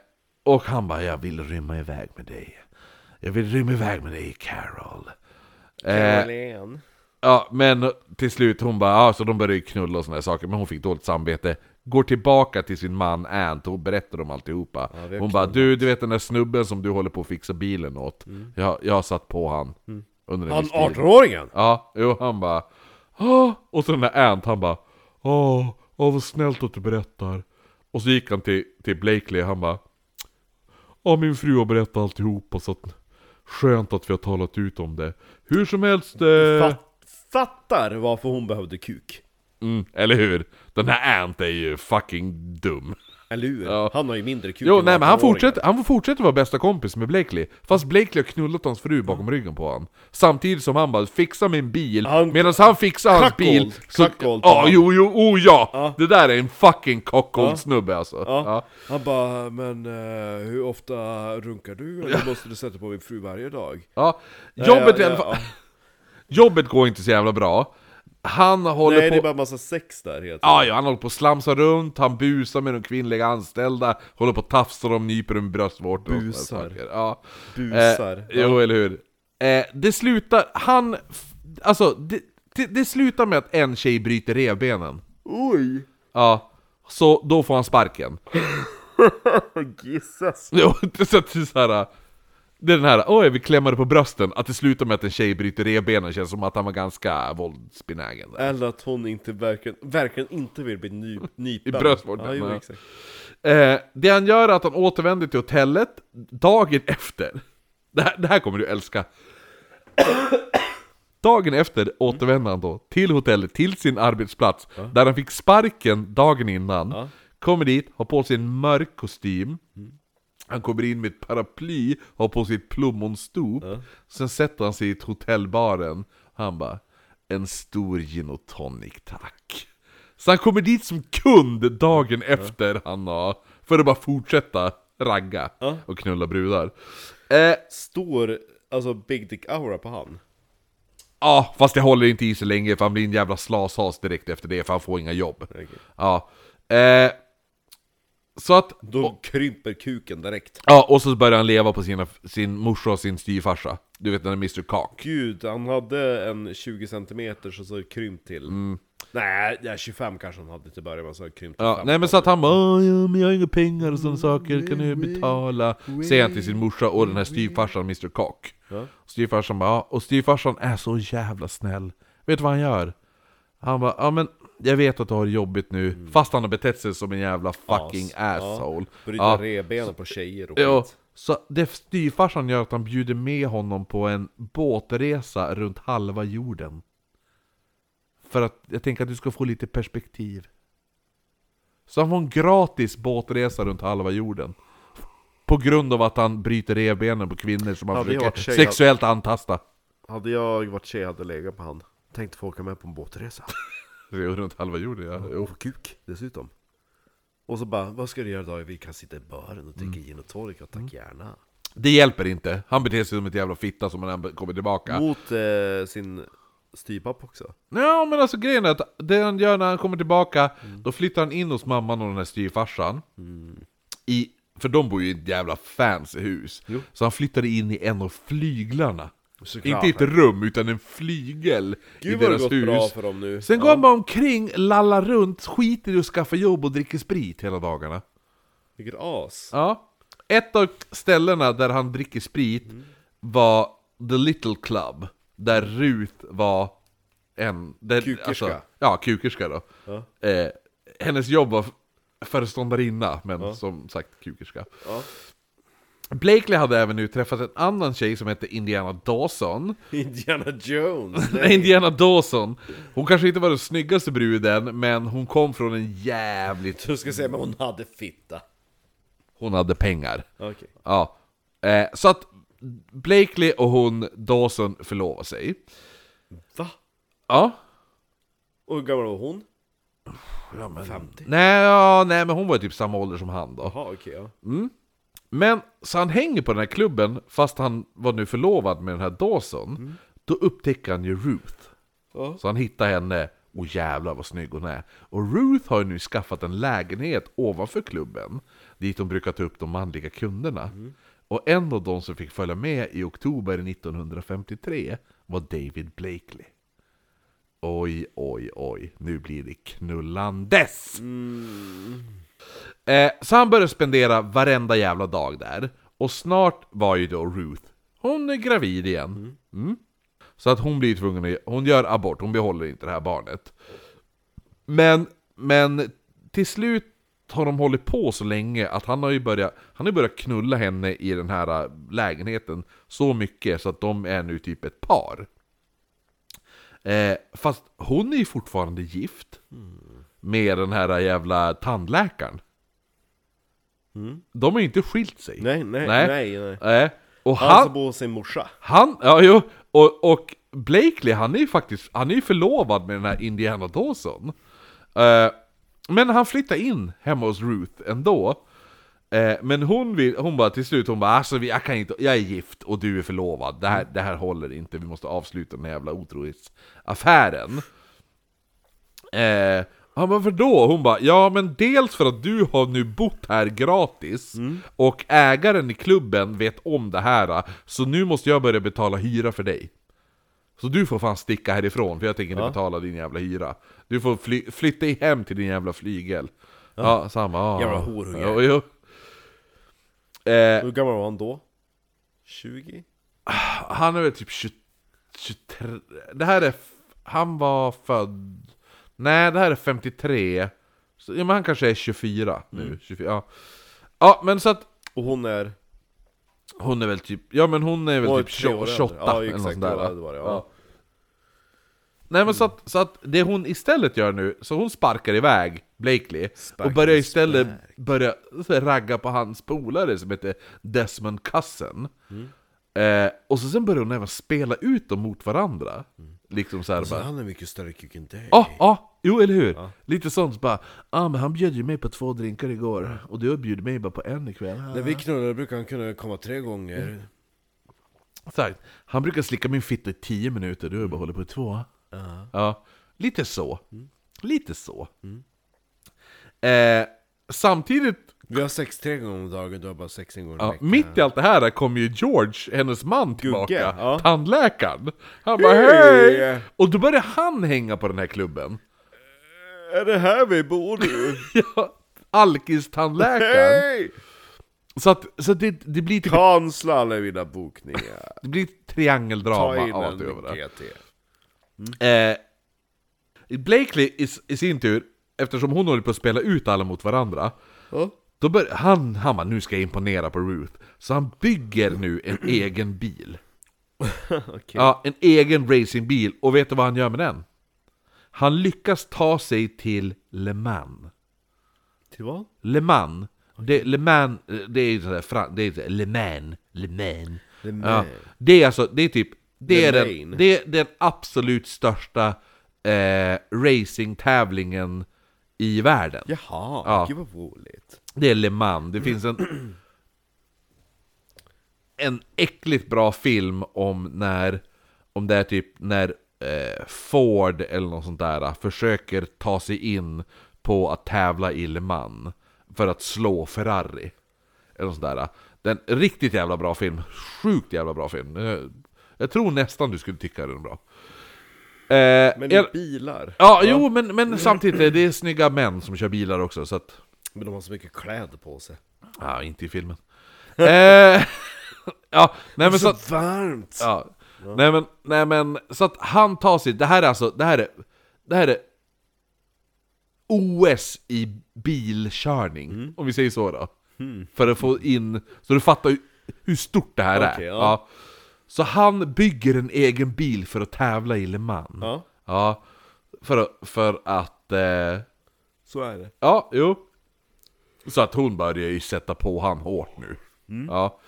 S3: och han bara, jag vill rymma iväg med dig. Jag vill rymma iväg med dig Carol. Eh,
S4: Carolyn.
S3: Ja, men till slut hon bara, ja, så de började ju knulla och såna här saker, men hon fick dåligt samvete. Går tillbaka till sin man Ant och berättar om alltihopa.
S4: vi har
S3: hon bara, du, du vet den där snubben som du håller på att fixa bilen åt. Jag, jag har satt på han. Under en
S4: Han
S3: viss tid.
S4: 18-åringen!
S3: Ja, jo, han bara Åh! Och så den där Ant, han bara Åh, åh vad snällt att du berättar Och så gick han till, till Blakely, han bara Ja, min fru har berättat alltihopa så att Skönt att vi har talat ut om det Hur som helst eh,
S4: Fatt, fattar varför hon behövde kuk.
S3: mm, Eller hur? Den här Ant är ju fucking dum
S4: Eller hur?
S3: Ja.
S4: Han har ju mindre kuk
S3: Jo,
S4: än
S3: nej men han
S4: 18-åringar.
S3: fortsätter, han fortsätter vara bästa kompis med Blakely Fast Blakely har knullat hans fru bakom ryggen på honom Samtidigt som han bara 'Fixa min bil'
S4: Mm. Han-
S3: Medan han fixar hans
S4: Cuckold.
S3: bil så...
S4: Cuckold på
S3: Ja,
S4: han.
S3: jo, jo, oh ja!
S4: Ja.
S3: Det där är en fucking cockold snubbe alltså
S4: Ja.
S3: Ja.
S4: Han bara, men eh, hur ofta runkar du? Eller måste du sätta på min fru varje dag?
S3: Ja. Jobbet, i
S4: ja,
S3: alla fall-
S4: ja.
S3: Jobbet går inte så jävla bra Han håller
S4: Nej,
S3: på...
S4: det är bara massa sex där helt
S3: Ja, ja, han håller på och slamsar runt, han busar med de kvinnliga anställda, håller på och tafsar dem, nyper dem i bröstvårtor och
S4: Busar.
S3: sådana saker. Ja.
S4: Busar.
S3: Eh, jo, eller hur. Eh, det slutar, han, f- alltså, det, det, det slutar med att en tjej bryter revbenen.
S4: Oj!
S3: Ja. Så då får han sparken.
S4: Jesus!
S3: Jo, så att det är så här. Det är den här, oj vi klämmer på brösten, att det slutar med att en tjej bryter revbenen känns som att han var ganska våldsbenägen.
S4: Eller att hon inte verkligen, verkligen inte vill bli ny, nypen.
S3: I bröstvården,
S4: Ja, jo,
S3: ja.
S4: exakt.
S3: Eh, det han gör är att han återvänder till hotellet dagen efter. Det här, det här kommer du älska. Dagen efter återvänder han då till hotellet, till sin arbetsplats, där han fick sparken dagen innan. Kommer dit, har på sig en mörk kostym. Han kommer in med ett paraply, har på sig ett plommonstop. Sen sätter han sig i ett hotellbaren. Han bara, en stor gin och tonic tack. Så han kommer dit som kund dagen efter han har, för att bara fortsätta ragga och knulla brudar. Eh,
S4: Står, alltså Big Dick Aura på han?
S3: Ja, fast det håller inte i så länge för han blir en jävla slashas direkt efter det för han får inga jobb. Ja. Eh, så att...
S4: Då krymper kuken direkt.
S3: Ja, och så börjar han leva på sina, sin morsa och sin styvfarsa. Du vet den där Mr Kak.
S4: Gud, han hade en 20 cm så så krympt till.
S3: Mm.
S4: Nej, ja, 25 kanske han hade till början, men så har det krympt till
S3: Ja,
S4: 15.
S3: nej men så att han bara "Åh, ja, men jag har inga pengar och sådana saker, kan du betala? Säger han till sin morsa och den här styvfarsan Mr Kak. Styvfarsan bara, "Ja." och styvfarsan är så jävla snäll. Vet du vad han gör? Han bara, ja men jag vet att du har det jobbigt nu, fast han har betett sig som en jävla fucking asshole.
S4: Bryta
S3: Ja.
S4: revbenen på tjejer och
S3: Ja,
S4: skit.
S3: så det styvfarsan gör att han bjuder med honom på en båtresa runt halva jorden. För att jag tänker att du ska få lite perspektiv. Så han får en gratis båtresa runt halva jorden. På grund av att han bryter revbenen på kvinnor som han
S4: Hade jag
S3: försöker
S4: varit tjej,
S3: sexuellt antasta.
S4: Hade jag varit tjej hade jag legat på han. Tänkte få åka med på en båtresa.
S3: Jo, Runt halva jorden ja. Jo.
S4: Och få kuk dessutom. Och så bara, vad ska du göra idag? Vi kan sitta i baren och
S3: Mm.
S4: dricka gin och tonic, och tack gärna.
S3: Det hjälper inte. Han beter sig som ett jävla fitta som när han kommer tillbaka.
S4: Mot eh, sin styvpapp också.
S3: Ja men alltså grejen är att det han gör när han kommer tillbaka, då flyttar han in hos mamman och den här styvfarsan.
S4: Mm.
S3: I, för de bor ju i ett jävla fancy hus. Så han flyttade in i en av flyglarna. Inte i ett rum, utan en flygel i
S4: Gud vad det
S3: deras
S4: gått
S3: hus.
S4: bra för dem nu.
S3: Sen går han bara omkring, lallar runt, skiter i att skaffa jobb och dricker sprit hela dagarna.
S4: Vilket as.
S3: Ja. Ett av ställena där han dricker sprit var The Little Club, där Ruth var en... Där, alltså,
S4: Kukerska.
S3: ja, kukerska då. Eh, hennes jobb var föreståndarinna, men som sagt kukerska. Blakely hade även nu träffat en annan tjej som hette Indiana Dawson.
S4: Indiana Jones.
S3: Nej, Indiana Dawson. Hon kanske inte var den snyggaste bruden, men hon kom från en jävligt...
S4: Du ska säga, men hon hade fitta.
S3: Hon hade pengar.
S4: Okej.
S3: Ja. Eh, så att Blakely och hon Dawson förlovar sig.
S4: Va?
S3: Ja.
S4: Och hur gammal var hon?
S3: ja men...
S4: 50?
S3: Nej, ja, nej, men hon var ju typ samma ålder som han då.
S4: Jaha, okej ja.
S3: Men så han hänger på den här klubben, fast han var nu förlovad med den här Dawson. Då upptäcker han ju Ruth.
S4: Ja.
S3: Så han hittar henne, och jävlar vad snygg hon är. Och Ruth har ju nu skaffat en lägenhet ovanför klubben, dit de brukar ta upp de manliga kunderna. Och en av de som fick följa med i oktober 1953 var David Blakely. Oj, oj, oj, nu blir det knullandes! Eh, så han började spendera varenda jävla dag där. Och snart var ju då Ruth, hon är gravid igen. Mm. Så att hon blir tvungen att, hon gör abort, hon behåller inte det här barnet. Men, men till slut har de hållit på så länge att han har ju börjat, han har ju börjat knulla henne i den här äh, lägenheten så mycket så att de är nu typ ett par. Eh, fast hon är ju fortfarande gift med den här jävla tandläkaren. De har ju inte skilt sig.
S4: Nej, nej, nej, nej.
S3: Nej. Och
S4: Han
S3: han,
S4: som bor hos sin morsa.
S3: han, ja jo, och, och Blakely han är ju faktiskt, han är ju förlovad med den här Indiana Dawson. Eh, men han flyttar in hemma hos Ruth ändå. Eh, men hon, vill, hon bara till slut, hon bara alltså vi- jag kan inte, jag är gift och du är förlovad, det här, det här håller inte, vi måste avsluta den här jävla otrohetsaffären. Eh, han bara, varför då? Hon bara, ja men dels för att du har nu bott här gratis
S4: Mm.
S3: och ägaren i klubben vet om det här, så nu måste jag börja betala hyra för dig. Så du får fan sticka härifrån, för jag tänker inte betala din jävla hyra. Du får fly- flytta hem till din jävla flygel. Ja, så han bara, ah.
S4: Jävla horunge.
S3: Ja, jo. Eh,
S4: Hur gammal var han då? 20?
S3: han är väl typ 20, 23... Det här är... f- Han var född... Nej, det här är 53. Så, ja, men han kanske är 24 nu. 24, ja. ja, men så att...
S4: Och hon är...
S3: Hon är väl typ... Ja, men hon är väl
S4: Hon är
S3: typ
S4: tre år
S3: 28
S4: äldre. Ja,
S3: eller
S4: exakt,
S3: något sånt där.
S4: det
S3: va?
S4: var det, det var det, ja.
S3: Nej, men så att, så att det hon istället gör nu, så hon sparkar iväg Blakely och
S4: Sparkar
S3: börjar istället börja ragga på hans polare som heter Desmond Cousin.
S4: Mm.
S3: Eh, och så sen börjar hon även spela ut dem mot varandra.
S4: Mm.
S3: Liksom så här, bara,
S4: Alltså, han är mycket större kuk än dig.
S3: Ja, ja, jo eller hur? Lite sånt bara, ah, men han bjöd ju mig på två drinkar igår och du bjöd mig bara på en ikväll.
S4: När vi knullade brukar han kunna komma tre gånger.
S3: Exakt. Han brukar slicka min fitta i tio minuter, du har ju
S4: Mm.
S3: bara hållit på i två. Ja, lite så. Lite så.
S4: Mm.
S3: Eh, samtidigt
S4: Vi har sex tre gånger om dagen, du har bara sex en gång i
S3: Ja,
S4: veckan.
S3: mitt i allt det här kom ju George, hennes man, tillbaka.
S4: ja.
S3: Tandläkaren. Han bara
S4: Hej!
S3: hej! Och då började han hänga på den här klubben.
S4: Är det här vi bor nu?
S3: Ja, Alkis-tandläkaren.
S4: Hej!
S3: Så, att, så att det, det blir typ,
S4: Kansla alla mina bokningar.
S3: det blir ett
S4: Ta
S3: triangeldrama
S4: in
S3: av allt
S4: en
S3: över det.
S4: PT.
S3: Eh, Blakely i, s- i sin tur, eftersom hon håller på att spela ut alla mot varandra, då bör, han, han bara, nu ska jag imponera på Ruth. Så han bygger nu en egen bil. Ja, en egen racingbil. Och vet du vad han gör med den? Han lyckas ta sig till Le Mans.
S1: Till vad?
S3: Le Mans. Det, Le Mans, eh, det är ju sådär, fran- det är sådär, Le Mans, Le Mans.
S1: Le
S3: Ja, det är alltså, det är typ, det
S1: Le
S3: är, den,
S1: Mans.
S3: det är den absolut största eh, racingtävlingen i världen.
S1: Jaha,
S3: Ja.
S1: gud vad roligt.
S3: Det är Le Mans, det finns en... En äckligt bra film om när... Om det är typ när eh, Ford eller något sånt där eh, försöker ta sig in på att tävla i Le Mans för att slå Ferrari. Eller något sånt där. Den riktigt jävla bra film. Sjukt jävla bra film. Eh, Jag tror nästan du skulle tycka den är bra. Eh,
S1: Men
S3: jag-
S1: bilar,
S3: ja, jo, men, men samtidigt, det är snygga män som kör bilar också, så att...
S1: men de har så mycket kläder på sig.
S3: Ja, inte i filmen. eh, ja, nej men så, att-
S1: Så varmt!
S3: ja, nej men, nej men, så att han tar sig, det här är alltså, det här är, det här är OS i bilkörning,
S1: Mm.
S3: om vi säger så då.
S1: Hmm.
S3: För att få in, så du fattar ju hur stort det här är.
S1: Okej, ja.
S3: Ja. Så han bygger en egen bil för att tävla i Le Mans.
S1: Ja,
S3: Ja, för, att- för att... Eh,
S1: så är det.
S3: Ja, jo. Så att hon börjar ju sätta på han hårt nu. Ja.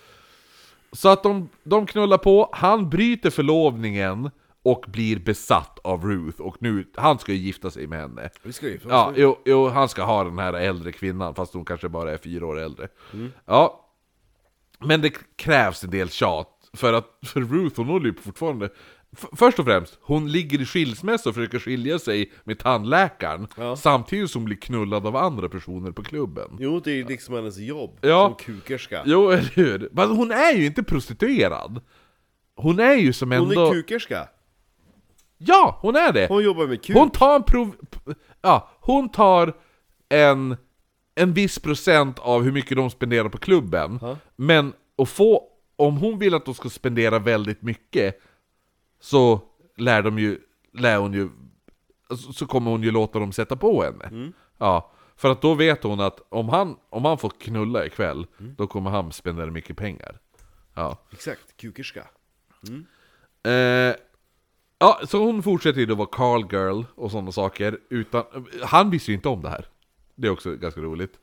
S3: Så att de, de knullar på, han bryter förlovningen och blir besatt av Ruth. Och nu, han ska ju gifta sig med henne.
S1: Vi ska ju
S3: Ja, jo, jo, han ska ha den här äldre kvinnan, fast hon kanske bara är fyra år äldre.
S1: Mm.
S3: Ja. Men det krävs en del tjat, för att för Ruth, hon håller ju på fortfarande... F- först och främst, hon ligger i skilsmässa och försöker skilja sig med tandläkaren, samtidigt som hon blir knullad av andra personer på klubben.
S1: Jo, det är ju liksom hennes jobb
S3: Ja.
S1: som kukerska.
S3: Jo, eller hur? Men hon är ju inte prostituerad! Hon är ju som
S1: Hon
S3: ändå...
S1: är kukerska.
S3: Ja, hon är det!
S1: Hon jobbar med kuk.
S3: Hon tar en prov... p- Ja, hon tar en, en viss procent av hur mycket de spenderar på klubben. Men att få... Om hon vill att de ska spendera väldigt mycket så lär de ju... Lär hon ju... alltså, Så kommer hon ju låta dem sätta på henne. Ja. För att då vet hon att om han, om han får knulla ikväll, då kommer han spendera mycket pengar. Ja.
S1: Exakt, kukerska.
S3: Eh, ja, så hon fortsätter ju då vara Carl Girl och sådana saker. Utan, han visste ju inte om det här. Det är också ganska roligt.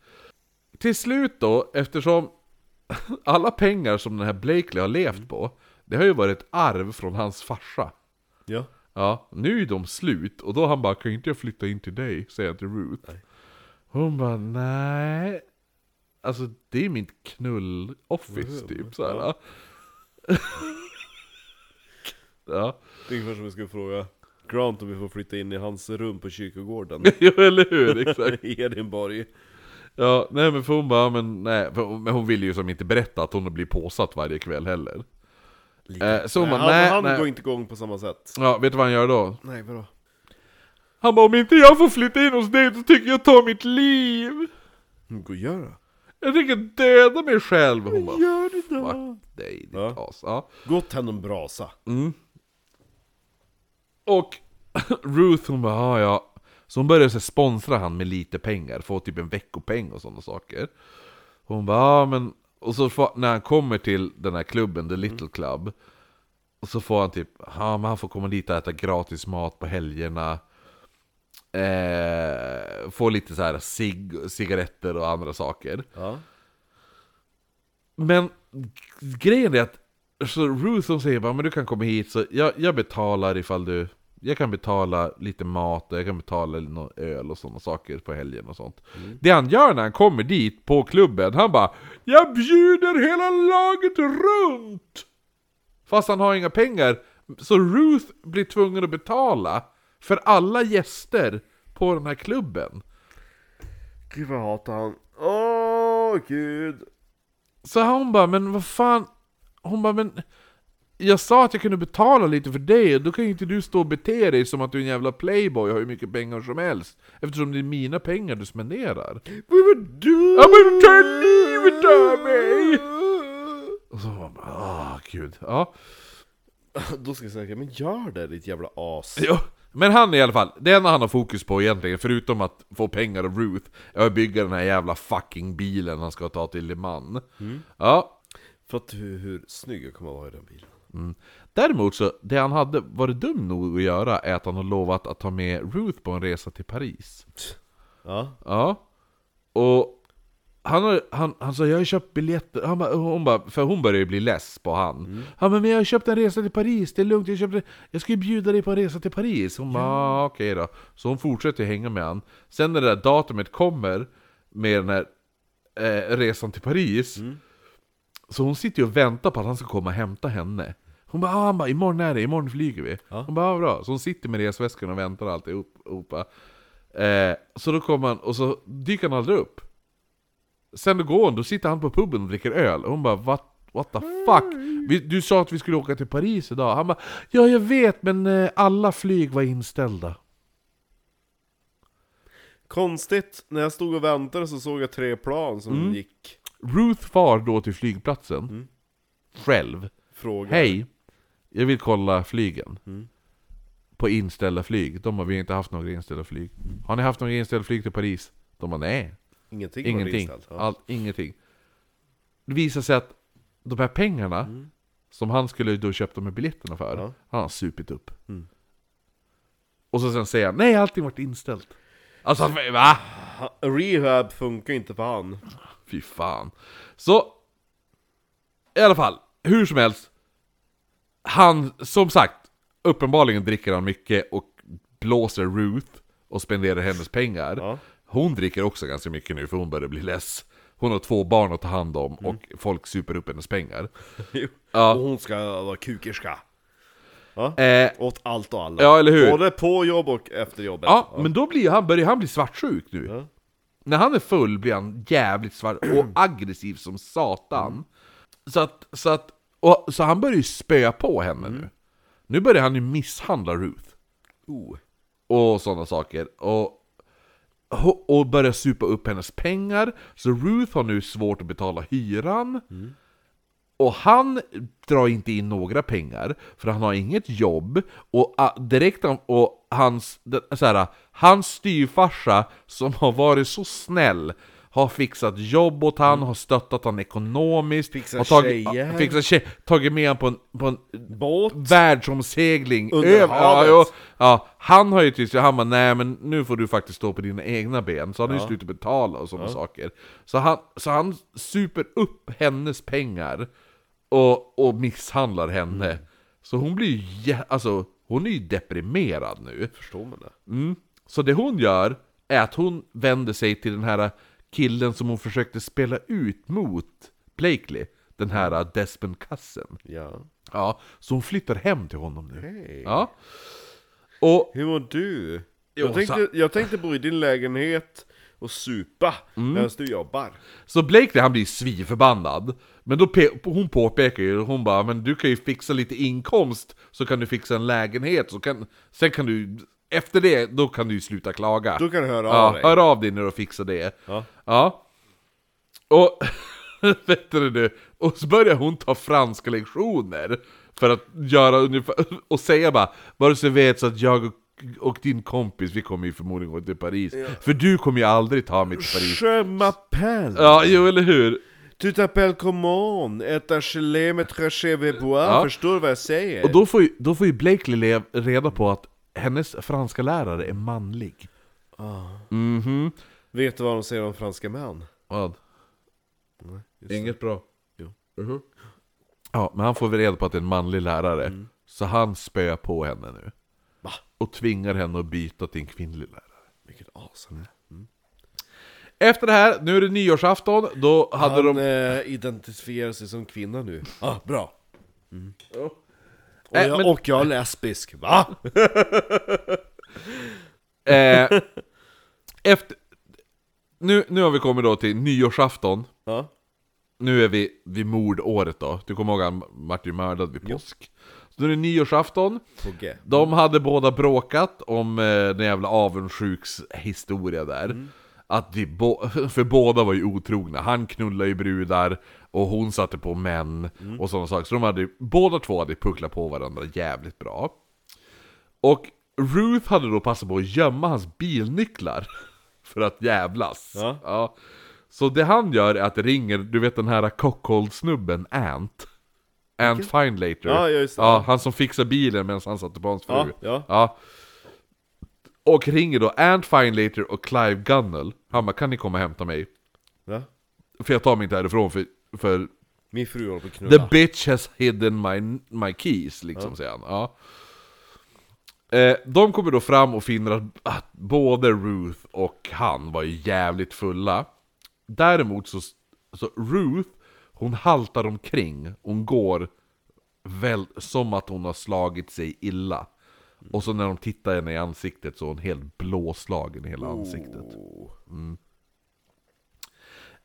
S3: Till slut då, eftersom alla pengar som den här Blakely har levt på, det har ju varit ett arv från hans farsa.
S1: Ja.
S3: Ja, nu är de slut och då han bara 'Kan inte jag flytta in till dig?' säger han till Ruth. Hon bara 'Nej' Alltså det är mitt knull-office typ såhär. Ja. ja.
S1: Det är ungefär som vi skulle fråga Grant om vi får flytta in i hans rum på kyrkogården.
S3: Jo eller hur, exakt.
S1: I Edinborg.
S3: Ja, nej men för hon bara, men nej, för, hon- men hon vill ju som inte berätta att hon blir påsatt varje kväll heller. Eh, så hon
S1: Nej,
S3: bara,
S1: han
S3: nej,
S1: han går
S3: nej.
S1: inte igång på samma sätt.
S3: Ja, vet du vad han gör då?
S1: Nej, vadå?
S3: Han bara, om inte jag får flytta in hos dig så tycker jag ta mitt liv!
S1: Mm, Gå och gör det.
S3: Jag tänker döda mig själv! Hon bara,
S1: Gör det då.
S3: fuck dig ditt
S1: Ja.
S3: as. Ja.
S1: Gå och tänd en brasa.
S3: Och Ruth hon bara, "Ja, ja. Så hon började så här sponsra han med lite pengar, få typ en veckopeng och sådana saker. Hon bara, "Ja, men... Och så får, när han kommer till den här klubben, The Little Club, och så får han typ, ja men han får komma dit och äta gratis mat på helgerna. Eh, får lite så här cig, cigaretter och andra saker.
S1: Ja.
S3: Men g- grejen är att så Ruth hon säger bara men du kan komma hit så jag, jag betalar ifall du Jag kan betala lite mat och jag kan betala någon öl och sådana saker på helgen och sånt Det han gör när han kommer dit på klubben han bara Jag bjuder hela laget runt! Fast han har inga pengar Så Ruth blir tvungen att betala För alla gäster på den här klubben
S1: Gud vad jag hatar han. Åh gud.
S3: Så hon bara, men vad fan? Hon bara, men jag sa att jag kunde betala lite för dig och då kan ju inte du stå och bete dig som att du är en jävla playboy och har hur mycket pengar som helst. Eftersom det är mina pengar du spenderar.
S1: Vad du?
S3: Ja men ta livet av mig! Och så hon bara, ah gud. Ja.
S1: Då ska jag säga, men gör det ditt jävla as.
S3: Jo, men han i alla fall, det enda han har fokus på egentligen, förutom att få pengar av Ruth, är att bygga den här jävla fucking bilen han ska ta till Le Mans. Ja,
S1: För att hur, hur snygg jag kommer att vara i den bilen.
S3: Däremot så, det han hade varit dum nog att göra är att han har lovat att ta med Ruth på en resa till Paris.
S4: Ja.
S3: Ja. Och han, har, han, han sa jag har köpt biljetter, han bara, hon bara, för hon börjar ju bli less på han. Han bara, men jag har köpt en resa till Paris, det är lugnt, jag köpte, jag ska ju bjuda dig på en resa till Paris. Hon bara, "Ah, okej då. Så hon fortsätter hänga med han. Sen när det där datumet kommer, med den här eh, resan till Paris, så hon sitter ju och väntar på att han ska komma och hämta henne. Hon bara, ah, han bara, imorgon är det, imorgon flyger vi. Hon bara, ah, bra. Så hon sitter med resväskan och väntar alltid upp, upp. Eh, så då kommer han, och så dyker han aldrig upp. Sen då går hon, då sitter han på puben och dricker öl. Och hon bara, what, what the fuck? Vi, du sa att vi skulle åka till Paris idag. Han bara, ja jag vet men eh, alla flyg var inställda.
S4: Konstigt, när jag stod och väntade så såg jag tre plan som
S3: Mm.
S4: gick.
S3: Ruth far då till flygplatsen, själv.
S4: Fråga.
S3: Hej, jag vill kolla flygen. På inställda flyg. De har vi har inte haft några inställda flyg. Har ni haft några inställda flyg till Paris? De bara nej,
S4: Ingenting, var
S3: ingenting.
S4: inställt. Ja.
S3: Allt, ingenting. Det visar sig att de här pengarna som han skulle då köpt de här biljetterna för,
S4: Mm. Ja. Mm.
S3: han har supit upp. Och så sen säger han nej, allting varit inställt. Alltså, va?
S4: Ha- Rehab funkar inte för han.
S3: Fy fan. Så, i alla fall, hur som helst. Han, som sagt, uppenbarligen dricker han mycket och blåser Ruth och spenderar hennes pengar.
S4: Ja.
S3: Hon dricker också ganska mycket nu för hon börjar bli less. Hon har två barn att ta hand om och folk super upp hennes pengar.
S4: Jo.
S3: Ja.
S4: Och hon ska vara kukerska.
S3: Eh,
S4: Åt allt och alla.
S3: Ja, eller hur?
S4: Både på jobb och efter jobbet.
S3: ja, men då blir han, börjar han bli svartsjuk nu.
S4: Ja.
S3: När han är full blir han jävligt svart och aggressiv som satan.
S4: Mm.
S3: Så att, så att, och, så han börjar ju spöa på henne
S4: Mm.
S3: nu. Nu börjar han ju misshandla Ruth.
S4: Oh.
S3: Och sådana saker. Och, och- och börjar supa upp hennes pengar. Så Ruth har nu svårt att betala hyran. Och han drar inte in några pengar, för han har inget jobb. Och ah, direkt han, och hans, den- så här, hans styvfarsa, som har varit så snäll, har fixat jobb åt han, har stöttat han ekonomiskt,
S4: Fixat
S3: har tagit,
S4: tjejer.
S3: ah, fixat tjejer, tagit med han på en, på en
S4: Båt.
S3: världsomsegling
S4: Under
S3: över, ja,
S4: havet.
S3: ja, ja, Han har ju tyckt, han bara nej men nu får du faktiskt stå på dina egna ben Så han har ju slutat betala och sådana saker så han, så han super upp hennes pengar och, och misshandlar henne Så hon blir ju, jä- alltså hon är ju deprimerad nu
S4: Förstår man det?
S3: Mm. Så det hon gör är att hon vänder sig till den här killen som hon försökte spela ut mot Blakely Den här Desmond Cussen
S4: Ja.
S3: Ja, så hon flyttar hem till honom nu.
S4: Hej.
S3: Ja. Och,
S4: Hur mår du?
S3: Jo,
S4: Jag tänkte, jag tänkte bo i din lägenhet och supa
S3: Mm.
S4: medan du jobbar.
S3: så Blakely han blir svinförbannad. Men då pe- hon påpekar ju, hon bara men du kan ju fixa lite inkomst så kan du fixa en lägenhet, så kan, sen kan du, efter det, då kan du ju sluta klaga.
S4: Då kan du höra
S3: ja,
S4: av dig.
S3: hör av dig när du fixar det.
S4: Ja.
S3: Ja. Och, vet du det, och så börjar hon ta franska lektioner för att göra ungefär, och säga bara, bara så du vet så att jag och, och din kompis, vi kommer ju förmodligen gå till Paris, för du kommer ju aldrig ta mig till Paris.
S4: Je m'appelle!
S3: Ja, jo eller hur?
S4: Tu t'appelles comment? Ett gelé med traché vid bois?
S3: Ja.
S4: Förstår du vad jag säger?
S3: Och då får ju, då får ju Blakely lev- reda på att hennes franska lärare är manlig.
S4: Vet du vad de säger om franska män?
S3: Vad?
S4: Just
S3: Inget bra.
S4: Jo.
S3: Mhm. Ja, men han får väl reda på att det är en manlig lärare. Så han spöar på henne nu.
S4: Va?
S3: Och tvingar henne att byta till en kvinnlig lärare.
S4: Vilket as han är.
S3: Efter det här, nu är det nyårsafton, då hade
S4: Han
S3: de...
S4: eh, identifierar sig som kvinna nu. Ah, bra. Och,
S3: Mm. Äh,
S4: jag,
S3: men-
S4: och jag är lesbisk, va?
S3: Eh, efter, nu, nu har vi kommit då till nyårsafton.
S4: Ja.
S3: Nu är vi vid mordåret då. Du kommer ihåg att han vart ju mördad vid påsk. Så nu är det nyårsafton.
S4: På G.
S3: De hade båda bråkat om eh, den jävla avundsjuks historia där.
S4: Mm.
S3: Att de bo- för båda var ju otrogna. Han knullade ju brudar och hon satte på män
S4: Mm.
S3: och sådana saker. Så de hade, båda två hade pucklat på varandra jävligt bra. Och Ruth hade då passat på att gömma hans bilnycklar för att jävlas.
S4: Ja.
S3: Så det han gör är att det ringer, du vet den här Cockhold-snubben, Ant. Ant Find Later.
S4: Ja, just det.
S3: Ja, han som fixar bilen medan han satte på hans fru.
S4: Ja, ja.
S3: Ja. Och ringer då Ant Fine Later och Clive Gunnell. Han bara, kan ni komma och hämta mig?
S4: Va?
S3: För jag tar mig inte härifrån för, för
S4: Min fru håller på att knulla.
S3: the bitch has hidden my, my keys, liksom säger han. Ja. Eh, de kommer då fram och finner att, att både Ruth och han var ju jävligt fulla. Däremot så, så Ruth, hon haltar omkring, hon går väl, som att hon har slagit sig illa. Och så när de tittar henne i ansiktet så är hon helt blåslagen i hela ansiktet. Mm.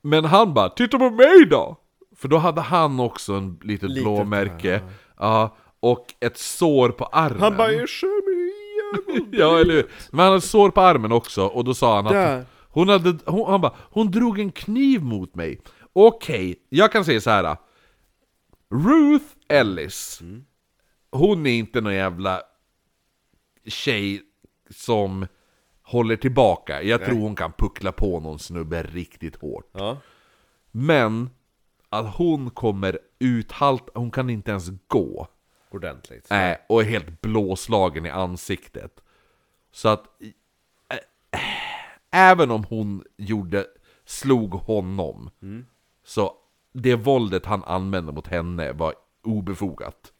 S3: Men han bara 'Titta på mig då!' För då hade han också en litet blåmärke, ja, och ett sår på armen.
S4: Han bara 'Jag kör mig igen!'
S3: ja, eller hur? Men han hade sår på armen också, och då sa han att
S4: Där.
S3: hon hade, hon, han bara 'Hon drog en kniv mot mig' Okej, jag kan säga så här. Ruth Ellis, hon är inte någon jävla tjej som håller tillbaka. Jag tror hon kan puckla på någon snubbe riktigt hårt.
S4: Ja.
S3: Men att hon kommer uthalt, hon kan inte ens gå.
S1: Typ
S4: Ordentligt.
S3: Nej, och är helt blåslagen i ansiktet. Så att... eh, eh, Även om hon gjorde, slog honom, så det våldet han använde mot henne var obefogat.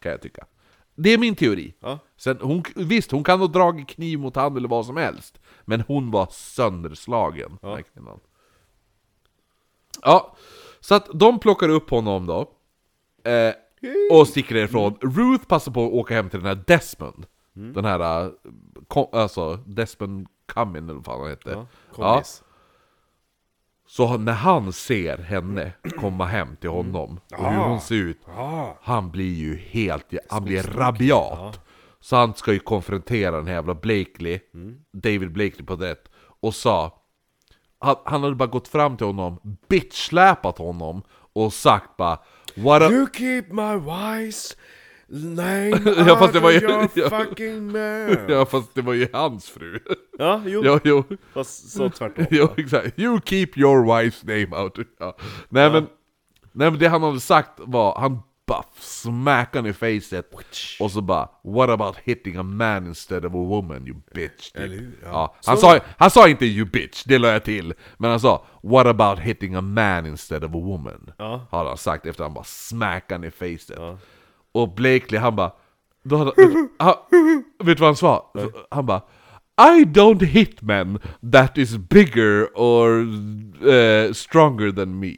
S3: Kan jag tycka. Det är min teori.
S4: Ja.
S3: Sen, hon, visst, hon kan ha dragit kniv mot han eller vad som helst, men hon var sönderslagen. den här kvinnan. Ja, så att de plockar upp honom då. Eh, och sticker därifrån. Ruth passar på att åka hem till den här Desmond.
S4: Mm.
S3: Den här, eh, kom, alltså Desmond Cumming eller vad fan han hette.
S4: Kompis.
S3: Så han- när han ser henne komma hem till honom och hur hon ser ut, han blir ju helt, han blir rabiat. Så han ska ju konfrontera den här jävla Blakely, David Blakely på det och sa, han, han hade bara gått fram till honom, bitchsläpat honom och sagt bara What a...
S4: You keep my wife's name
S3: Ja, fast det var ju-
S4: out of your
S3: ja.
S4: fucking mouth.
S3: Ja fast det var ju hans fru.
S4: Ja, jo.
S3: ja, jo.
S4: Fast så tvärtom.
S3: Jo, exakt. You keep your wife's name out. Ja. Nej, men, nej men det han hade sagt var, han bara smackade han i facet och så bara What about hitting a man instead of a woman you bitch? Typ. Ja. han, sa, han sa inte you bitch, det la jag till. Men han sa What about hitting a man instead of a woman?
S4: Ja.
S3: Har han sagt efter han bara smackade han i facet. Och Blakely han bara då hade, han, Vet du vad han sa? Han bara I don't hit men that is bigger or eh, stronger than me.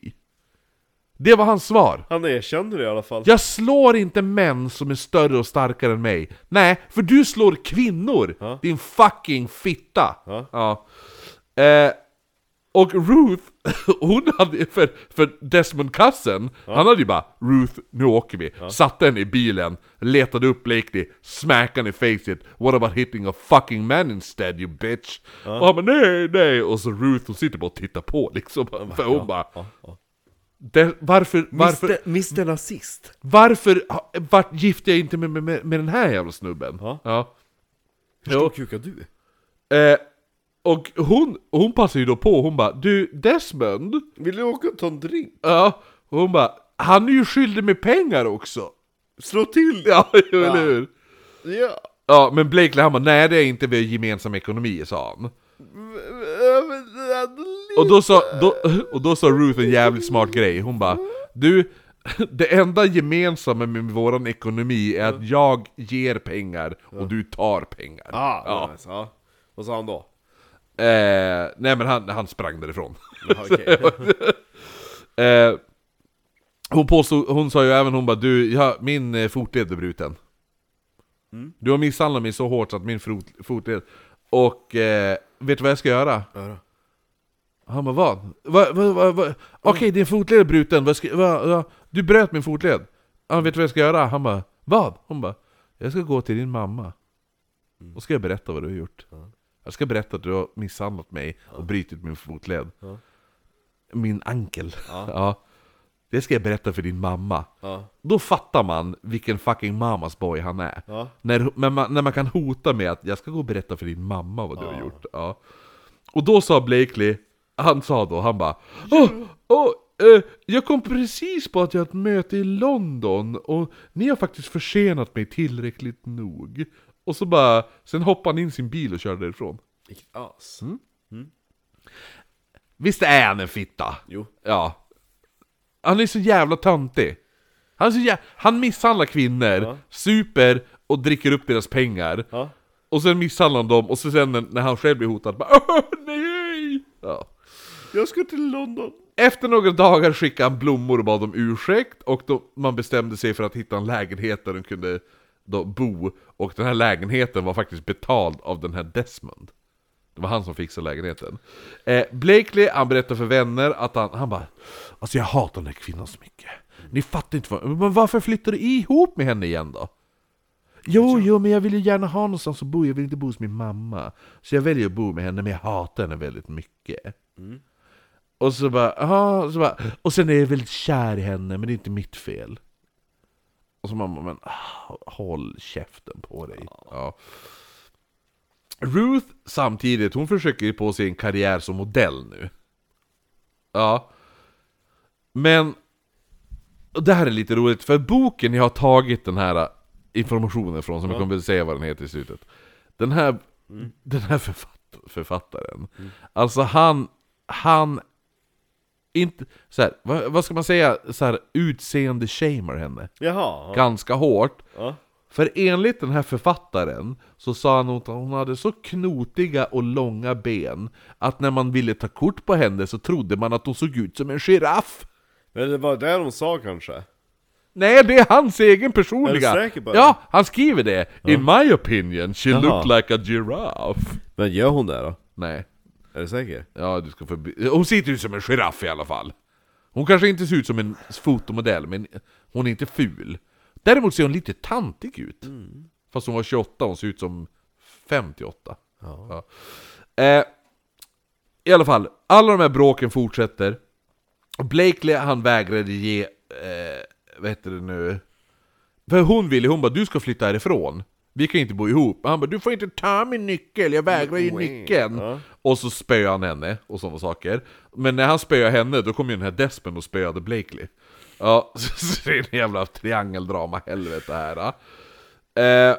S3: Det var hans svar.
S4: Han erkände det i alla fall.
S3: Jag slår inte män som är större och starkare än mig. Nej, för du slår kvinnor! Din fucking fitta!
S4: Ja.
S3: Eh, och Ruth, hon hade för, för Desmond Cussen, han hade ju bara 'Ruth, nu åker vi' Satte henne i bilen, letade upp Blakely, smackade henne i facet 'What about hitting a fucking man instead you bitch?' Och han bara 'Nej, nej' Och så Ruth, hon sitter bara och tittar på liksom, för hon bara "Det- varför, varför,
S4: Mr Nazist.
S3: varför ha- vart gifte jag inte mig med, med, med den här jävla snubben?
S4: Ja.
S3: Jo.
S4: Hur kukar du?
S3: Eh, och hon, hon passar ju då på, hon bara Du Desmond,
S4: Vill du åka och ta en drink?
S3: ja, och hon bara Han är ju skyldig mig pengar också!
S4: Slå till!
S3: Ja, eller hur?
S4: Ja.
S3: Ja, men Blakely han bara Nej det är inte vår gemensam ekonomi, sa han
S4: Ja, men det hade li-
S3: Och då sa, då, och då sa Ruth en jävligt smart grej, hon bara Du, det enda gemensamma med våran ekonomi är att jag ger pengar och du tar pengar
S4: Ah,
S3: Ja.
S4: ja. Nice, ja. Vad sa han då?
S3: Eh, nej men han, han sprang därifrån.
S4: Ja, okej.
S3: Eh, hon, påstod, hon sa ju även hon bara du, ja, min eh, fotled är bruten. Du har misshandlat mig så hårt så att min frot, fotled... Och eh, vet du vad jag ska göra? Han bara vad? Va, va, va, va? Okej din fotled är bruten, vad ska, va, va? du bröt min fotled. Han vet du vad jag ska göra? Han bara vad? Hon bara jag ska gå till din mamma. Och ska jag berätta vad du har gjort. Jag ska berätta att du har misshandlat mig och brutit min fotled. Min ankel. Ja. Det ska jag berätta för din mamma.
S4: Ja.
S3: Då fattar man vilken fucking mamas boy han är.
S4: Ja.
S3: När, när, man, när man kan hota med att jag ska gå och berätta för din mamma vad du har gjort. Ja. Och då sa Blakely, han sa då, han bara oh, oh, Eh, jag kom precis på att jag har ett möte i London och ni har faktiskt försenat mig tillräckligt nog. Och så bara, sen hoppade han in i sin bil och körde därifrån.
S1: Vilket as.
S3: Visst är han en fitta?
S1: Jo.
S3: Ja. Han är så jävla töntig. Han, är så jä... han misshandlar kvinnor, super och dricker upp deras pengar.
S1: Ja.
S3: Och sen misshandlar han dem, och så sen när- när han själv blir hotad, bara Åh, nej! Ja.
S1: Jag ska till London.
S3: Efter några dagar skickade han blommor och bad om ursäkt och då man bestämde sig för att hitta en lägenhet där de kunde då bo och den här lägenheten var faktiskt betald av den här Desmond. Det var han som fixade lägenheten. Eh, Blakely, han berättar för vänner att han, han bara Alltså jag hatar den här kvinnan så mycket. Ni fattar inte vad, men varför flyttar du ihop med henne igen då? Jo, jo, men jag vill ju gärna ha någonstans att bo, jag vill inte bo hos min mamma. Så jag väljer att bo med henne, men jag hatar henne väldigt mycket. Och så bara, aha, och så bara, och sen är jag väldigt kär i henne, men det är inte mitt fel. Och så mamma, men ah, håll käften på dig. Ja. Ruth samtidigt, hon försöker ju på sig en karriär som modell nu. Ja. Men, och det här är lite roligt, för boken jag har tagit den här äh, informationen från, som jag kommer att säga vad den heter i slutet. Den här, den här författ, författaren, alltså han, han inte, så här, vad, vad ska man säga, så här, utseende shamer henne
S1: Jaha.
S3: ganska hårt.
S1: Ja.
S3: För enligt den här författaren så sa han att hon hade så knotiga och långa ben att när man ville ta kort på henne så trodde man att hon såg ut som en giraff.
S1: Men det var det de sa kanske?
S3: Nej, det är hans egen personliga!
S1: Är du säker på det?
S3: ja, han skriver det! In my opinion, she looked like a giraffe.
S1: Men gör hon det då?
S3: Nej,
S1: Är du säker?
S3: ja du ska förbi... Hon ser inte ut som en giraff i alla fall. Hon kanske inte ser ut som en fotomodell, men hon är inte ful. Däremot ser hon lite tantig ut. Fast hon var 28, hon ser ut som 58. Ja. Eh, I alla fall, alla de här bråken fortsätter. Blakely, han vägrade ge... Eh, vad heter det nu? För hon ville, hon bara 'Du ska flytta härifrån' Vi kan inte bo ihop. Han bara 'Du får inte ta min nyckel, jag vägrar ju nyckeln' Och så spöade han henne och sådana saker. Men när han spöade henne, då kom ju den här Despen och spöade Blakely. Ja, så det är en jävla triangeldrama-helvete här. Eh,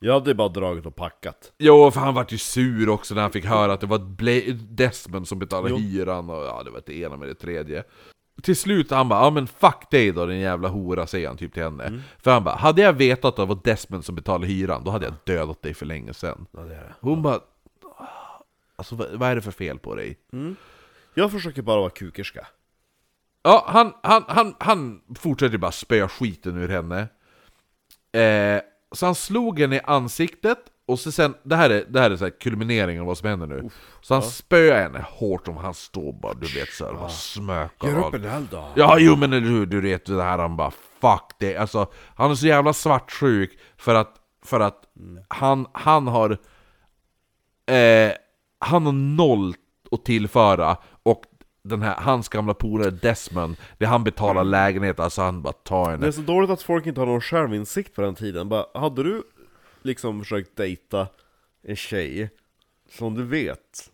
S1: Jag hade ju bara dragit och packat.
S3: Jo, för han vart ju sur också när han fick höra att det var Bla- Desmond som betalade hyran och ja, det var det ena med det tredje. Till slut han bara, ja men fuck dig då din jävla hora, säger han typ till henne. För han bara, hade jag vetat att det var Desmond som betalade hyran, då hade jag dödat dig för länge sedan. Hon bara, alltså vad, vad är det för fel på dig?
S1: Jag försöker bara vara kukerska.
S3: Ja, han, han, han, han fortsätter bara spöa skiten ur henne. Eh, så han slog henne i ansiktet, och så sen, det här är, det här är så här kulmineringen av vad som händer nu. så han spöar henne hårt om han står bara, du vet såhär, bara smökar av.
S1: eld då.
S3: Ja, jo men eller hur, du vet det här, han bara fuck det. Alltså, han är så jävla svartsjuk för att, för att han, han har... Eh, han har noll att tillföra och den här, hans gamla polare Desmond, det han betalar lägenhet, alltså han bara tar
S1: Det är
S3: henne.
S1: så dåligt att folk inte har någon självinsikt på den tiden. Bara, hade du liksom försökt dejta en tjej som du vet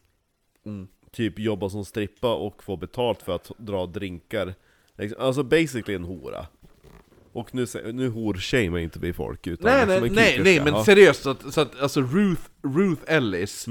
S1: typ jobba som strippa och få betalt för att dra drinkar. Liksom, Alltså basically en hora. Och nu, sä- nu hor-shamear inte vi folk utan
S3: Nej,
S1: liksom
S3: nej,
S1: en
S3: nej,
S1: kukerska.
S3: nej, men
S1: Ja.
S3: seriöst, så att, så att, alltså Ruth, Ruth Ellis,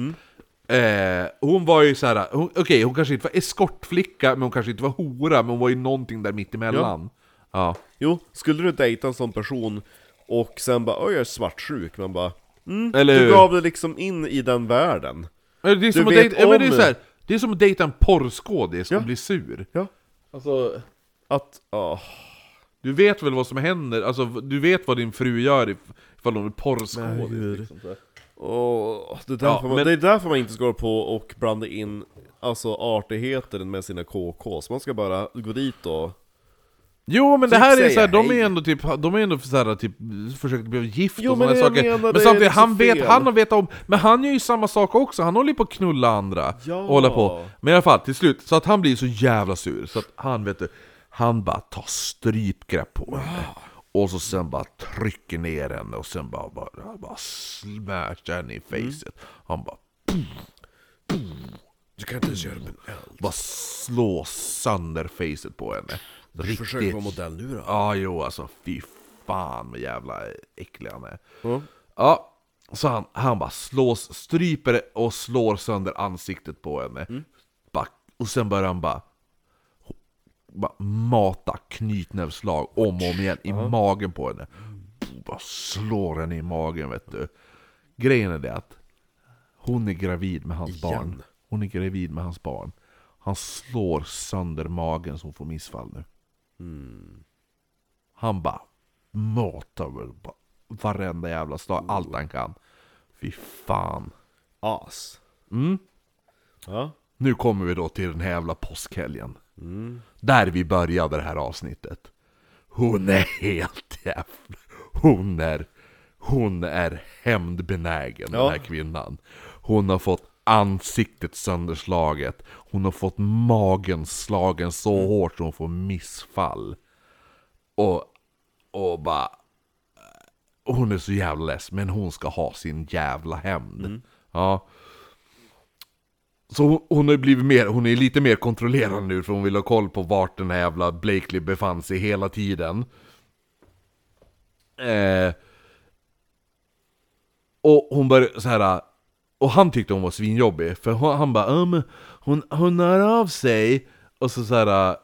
S3: eh, hon var ju så här. hon- okej hon kanske inte var eskortflicka, men hon kanske inte var hora, men hon var ju någonting där mittemellan. Ja.
S1: Jo, skulle du dejta en sån person och sen bara "Oj, jag är svartsjuk, man bara mm,
S3: Eller hur?
S1: Du gav dig liksom in i den världen.
S3: Ja, Det är som, att
S1: vet
S3: dejta, ja, men det är
S1: om-
S3: så här, det är som att dejta en porrskådis och bli sur.
S1: Ja.
S3: Alltså,
S1: Att, ja,
S3: du vet väl vad som händer? Alltså, du vet vad din fru gör if- ifall hon är porrskådis? Liksom, så här.
S1: åh, det, är därför
S3: Ja,
S1: man,
S3: men-
S1: det är därför man inte ska gå på och blanda in alltså, artigheter med sina KKs. Man ska bara gå dit och...
S3: Jo men det här är
S1: säga
S3: så här, de är
S1: hej.
S3: ändå typ, de är ändå så här, typ, försökt bli gift
S1: Jo,
S3: och
S1: men
S3: sådana
S1: det jag
S3: saker.
S1: menar, det
S3: men
S1: är
S3: samtidigt,
S1: liksom
S3: han vet,
S1: fel.
S3: han har vetat om, men han gör ju samma sak också, han håller ju på att knulla andra.
S1: Ja.
S3: Och hålla på. Men i alla fall, till slut, så att han blir så jävla sur, så att han vet du, han bara tar strypgrepp på henne.
S1: Ah.
S3: Och så sen bara trycker ner henne och sen bara, bara,
S1: Mm.
S3: bara smashar henne i facet. Han bara
S1: Du kan inte ens göra med en eld.
S3: Bara slå sönder facet på henne.
S1: Försök
S3: Riktigt.
S1: vara modell nu då.
S3: Ja, jo alltså fy fan vad jävla äcklig han är.
S1: Ja.
S3: Ja, så han, han bara slås, stryper och slår sönder ansiktet på henne.
S1: Mm.
S3: Bara, och sen börjar han bara, bara mata knytnävsslag om och om igen i magen på henne. Bara slår henne i magen vet du. Grejen är det att hon är gravid med hans barn. Hon är gravid med hans barn. Han slår sönder magen så hon får missfall nu. Han bara matar väl bara varenda jävla slag, allt han kan. Fy fan.
S1: As.
S3: Mm.
S1: Ja.
S3: Nu kommer vi då till den här jävla påskhelgen. Där vi började det här avsnittet. Hon är helt jävla... Hon är... Hon är hämndbenägen den här kvinnan. Hon har fått ansiktet sönderslaget. Hon har fått magen slagen så hårt så hon får missfall. Och... Och bara... Hon är så jävla less, men hon ska ha sin jävla hämnd. Ja. Så hon, hon har ju blivit mer, hon är lite mer kontrollerad nu för hon vill ha koll på vart den här jävla Blakely befann sig hela tiden. Eh, och hon började så här. Och han tyckte hon var svinjobbig för hon, han bara um, hon, hon hör av sig och så, så här.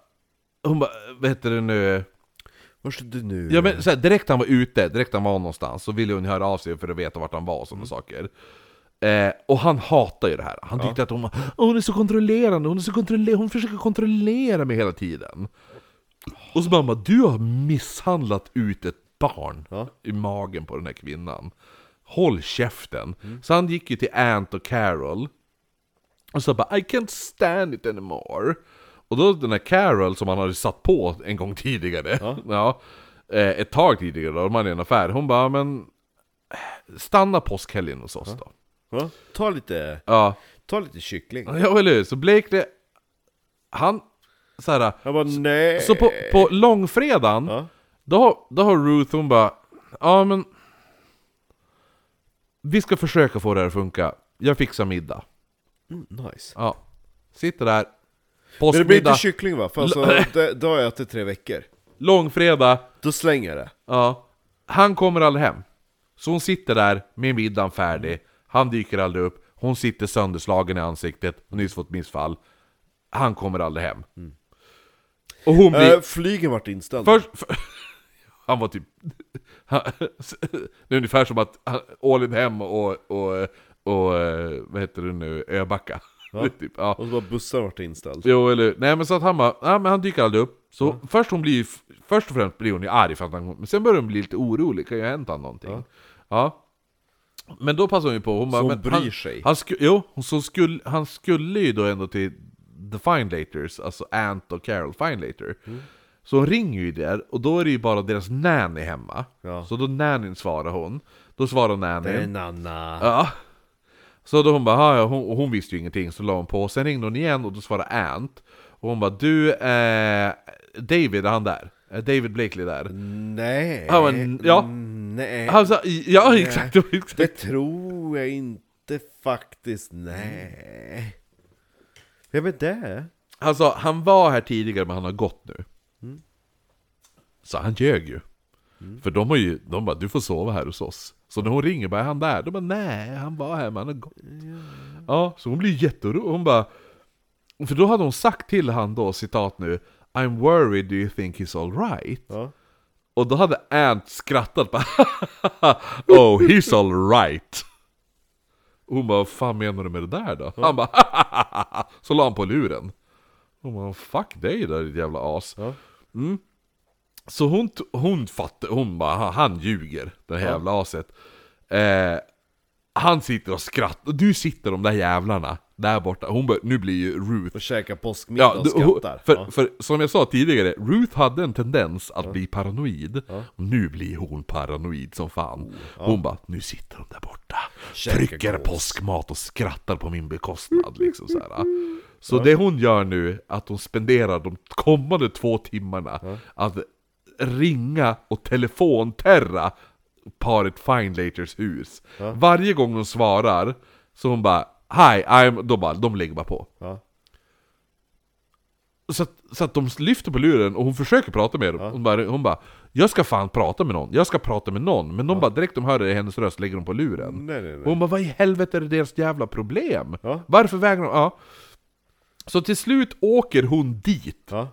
S3: Hon bara, vad heter det nu?
S1: Vart är du nu?
S3: Ja men så här, direkt han var ute, direkt han var någonstans, så ville hon höra av sig för att veta vart han var och sådana saker. Eh, och han hatar ju det här. Han tyckte att hon var, "Åh, hon är så kontrollerande, hon, är så kontrolle- hon försöker kontrollera mig hela tiden. Och så bara, "Men du har misshandlat ut ett barn i magen på den här kvinnan. Håll käften. Så han gick ju till Ant och Carol. Och så bara I can't stand it anymore. Och då den här Carol som han hade satt på en gång tidigare. Ja. eh, ett tag tidigare då, de hade en affär. Hon bara men stanna påskhelgen hos oss då.
S1: Ja. Ta lite,
S3: Ja,
S1: ta lite kyckling.
S3: ja eller hur? Så Blakely, han så här,
S1: Jag bara nej.
S3: så på, på långfredagen,
S1: Ja.
S3: då, har- då har Ruth hon bara Ja men Vi ska försöka få det här att funka Jag fixar middag
S1: Mm, Nice.
S3: Ja Sitter där
S1: Men det blir
S3: Påskmiddag,
S1: inte kyckling va? För alltså, det, då har jag ätit tre veckor.
S3: långfredag
S1: Då slänger jag det.
S3: Ja Han kommer aldrig hem Så hon sitter där med middagen färdig Han dyker aldrig upp Hon sitter sönderslagen i ansiktet Hon har nyss fått missfall Han kommer aldrig hem Och hon blir
S1: Eh, flygen vart inställd.
S3: Först... För, han var typ... Han, det är ungefär som att han- Ålidhem och, och, och, och... eh, Vad heter det nu? Öbacka. Det är typ, ja.
S1: Och så bara bussen vart inställd.
S3: Jo, eller Nej, men så att han bara... Ja, men han dyker aldrig upp. Så
S1: Mm.
S3: först hon blir ju f- Först och främst blir hon ju arg för att han Men sen börjar hon bli lite orolig. Kan ju ha hänt han någonting? Ja. Men då passar hon ju på. Hon bara...
S1: hon
S3: men
S1: bryr
S3: han,
S1: sig.
S3: Han sku, jo, hon, så skulle, han skulle ju då ändå till The Finelaters, alltså Ant och Carol Finelater.
S1: Mm.
S3: Så hon ringer ju där, och då är det ju bara deras nanny hemma.
S1: Ja.
S3: Så då nannyn svarar hon. Då svarar nannyn.
S1: Nanna.
S3: Ja. Så då hon bara, "Ah, ja, hon, och hon visste ju ingenting, så la hon på. Sen ringde hon igen och då svarade Ant. Och hon bara, du, eh, David, är han där? Är David Blakely där?
S1: Nej.
S3: Ja, men, ja.
S1: Nej.
S3: Han sa, ja exakt, det var exakt.
S1: Det tror jag inte faktiskt. Nej. Vem är det?
S3: Han sa, han var här tidigare men han har gått nu. Så han ljög ju. För de har ju, de bara, du får sova här hos oss. Så när hon ringer bara, är han där? De bara, nej han var här men han har gått. Ja, så hon blir jätteorolig. Hon bara, för då hade hon sagt till han då, citat nu, I'm worried, do you think he's alright?
S1: Ja.
S3: Och då hade Ant skrattat bara, oh he's alright. Hon bara, vad fan menar du med det där då? Han bara, så la han på luren. Hon bara, fuck dig där ditt jävla as. Mm. Så hon, t- hon fattade, hon bara, "Han- han ljuger, det här jävla aset. Eh, han sitter och skrattar, och du sitter de där jävlarna där borta. Hon bara, nu blir ju Ruth
S1: Och käkar påskmiddag
S3: Ja,
S1: och
S3: du, hon-
S1: skrattar.
S3: för,
S1: Ja.
S3: för som jag sa tidigare, Ruth hade en tendens att bli paranoid. Och nu blir hon paranoid som fan. Hon bara, nu sitter de där borta.
S1: Oh, Käkar
S3: trycker
S1: gås."
S3: påskmat och skrattar på min bekostnad. Liksom, så här. så det hon gör nu, att hon spenderar de kommande två timmarna att ringa och telefonterra paret Finelaters hus. Varje gång hon svarar, så hon bara Hi, I'm... De bara, de lägger bara på.
S4: Ja.
S3: Så att, så att de lyfter på luren och hon försöker prata med dem. Hon, bara, hon bara, jag ska fan prata med någon, jag ska prata med någon. Men de bara, direkt de hör det i hennes röst lägger de på luren.
S1: Mm.
S4: Nej, nej,
S3: Och
S4: nej.
S3: hon bara, vad i helvete är det deras jävla problem?
S4: Ja.
S3: Varför vägrar de? Ja. Så till slut åker hon dit,
S4: Ja.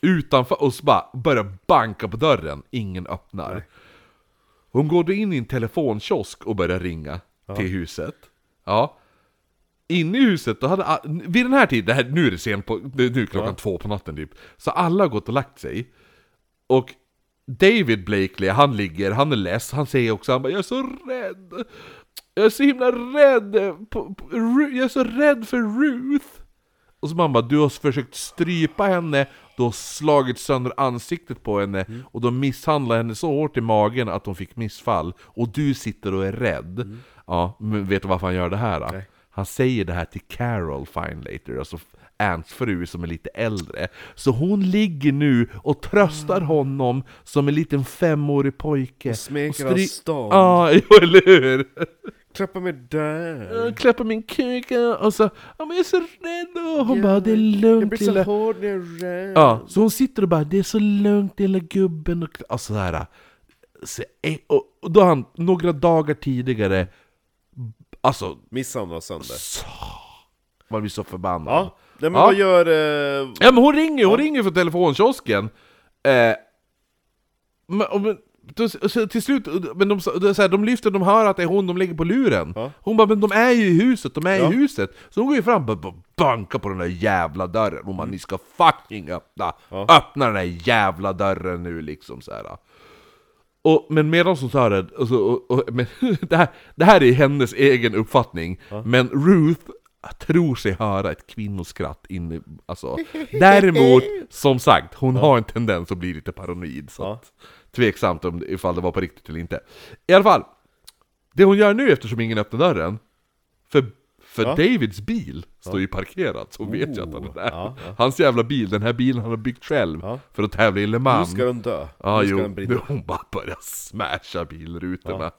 S3: utanför och så bara börjar banka på dörren. Ingen öppnar. Hon går då in i en telefonkiosk och börjar ringa till huset. Ja. Inne i huset, då hade, a- vid den här tiden, det här, nu är det sent på, nu är klockan två på natten typ. Så alla har gått och lagt sig. Och David Blakely, han ligger, han är less, han säger också han bara, jag är så rädd. Jag är så himla rädd. På, på, Ru- jag är så rädd för Ruth. Och så man bara, du har försökt strypa henne, du har slagit sönder ansiktet på henne
S4: Mm.
S3: och du har misshandlat henne så hårt i magen att hon fick missfall. Och du sitter och är rädd.
S4: Mm.
S3: Ja, men vet du varför han gör det här? Då? Han säger det här till Carol Fine Later, alltså Ants fru som är lite äldre. Så hon ligger nu och tröstar
S4: Mm.
S3: honom som en liten femårig pojke. Och
S4: smeker
S3: stry-
S4: hans stånd.
S3: Ja, jo, eller hur?
S4: Klappa mig där.
S3: Jag klappar min kuka och så ja, men jag är så rädd och hon bara det är lugnt
S4: Jag blir så
S3: lilla
S4: hård när jag är rädd.
S3: Ja, så hon sitter och bara det är så lugnt lilla gubben och alltså så här. Så, eh, och, och då har han några dagar tidigare Alltså,
S4: Misshandla sönder.
S3: man blir så förbannad
S4: Ja. Nej men
S3: Ja.
S4: vad gör... Eh,
S3: Ja men hon ringer, hon ringer från telefonkiosken. Eh, men, och, men, då, så, till slut, men de, så, så här, de lyfter, de hör att det är hon, de lägger på luren.
S4: Ja.
S3: Hon bara 'Men de är ju i huset, de är
S4: Ja.
S3: i huset' Så hon går ju fram och bara bankar på den där jävla dörren. Hon
S4: Mm.
S3: bara 'Ni ska fucking öppna! Öppna den där jävla dörren nu' liksom så här. Och, men medan hon sa det, alltså, och, och, men, det, här, det här är hennes egen uppfattning, men Ruth tror sig höra ett kvinnoskratt inne alltså. Däremot, som sagt, hon har en tendens att bli lite paranoid. Så
S4: Ja.
S3: att, tveksamt om, ifall det var på riktigt eller inte. I alla fall, det hon gör nu eftersom ingen öppnar dörren, för, för
S4: Ja. Oh,
S3: Davids bil står ju parkerad, så hon vet ju att han är där.
S4: ja,
S3: Hans jävla bil, den här bilen han har byggt själv
S4: Ja.
S3: för att tävla i Le Mans.
S4: nu ska den dö.
S3: Ja,
S4: nu ska
S3: jo,
S4: den brinna.
S3: men hon bara börjar smasha bilrutorna.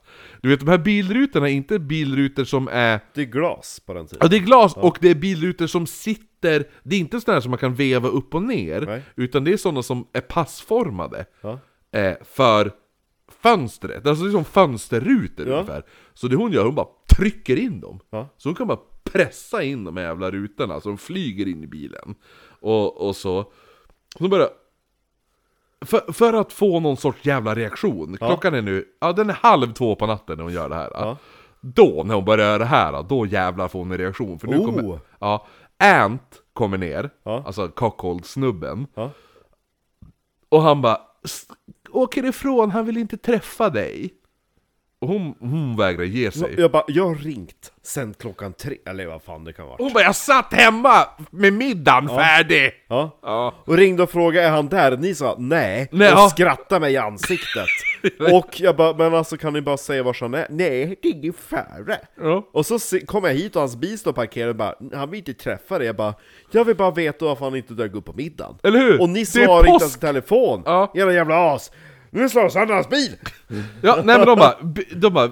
S3: Du vet, de här bilrutorna är inte bilrutor som är...
S4: Det är glas på den
S3: Ja,
S4: tiden.
S3: det är glas och det är bilrutor som sitter... Det är inte sådana som man kan veva upp och ner,
S4: Nej.
S3: utan det är sådana som är passformade
S4: Ja.
S3: eh, för fönstret. Alltså det är som fönsterrutor
S4: Ja.
S3: ungefär. Så det hon gör, hon bara trycker in dem.
S4: Ja.
S3: Så hon kan bara pressa in de här jävla rutorna, så de flyger in i bilen. Och, och så... Så börjar för, för att få någon sorts jävla reaktion. Klockan är nu, ja den är halv två på natten när hon gör det här. Då, när hon börjar göra det här, då jävlar får hon en reaktion. För nu
S4: Oh.
S3: kommer, ja, Ant kommer ner,
S4: Ja.
S3: alltså cockhold-snubben.
S4: Ja.
S3: Och han bara, "S- åker ifrån, han vill inte träffa dig. Och hon, hon vägrar ge sig.
S4: Jag bara, jag har ringt sen klockan tre, eller vad fan det kan vara.
S3: Hon bara, jag satt hemma med middagen färdig!
S4: Ja.
S3: Ja.
S4: Och ringde och frågade, är han där? Ni sa nej,
S3: Nej,
S4: och
S3: ja.
S4: skrattade mig i ansiktet. och jag bara, men alltså kan ni bara säga var han är? Nej, det är ingen fara.
S3: Ja.
S4: Och så se- kom jag hit och hans bil står parkerad och bara, han vill inte träffa dig. Jag bara, jag vill bara veta varför han inte dök upp på middagen.
S3: Eller hur?
S4: Och ni
S3: Det är
S4: svarar inte
S3: påsk.
S4: ens i telefon!
S3: Ja.
S4: Jävla jävla as! Nu slår jag sönder hans bil!
S3: Ja, nej men de bara, de bara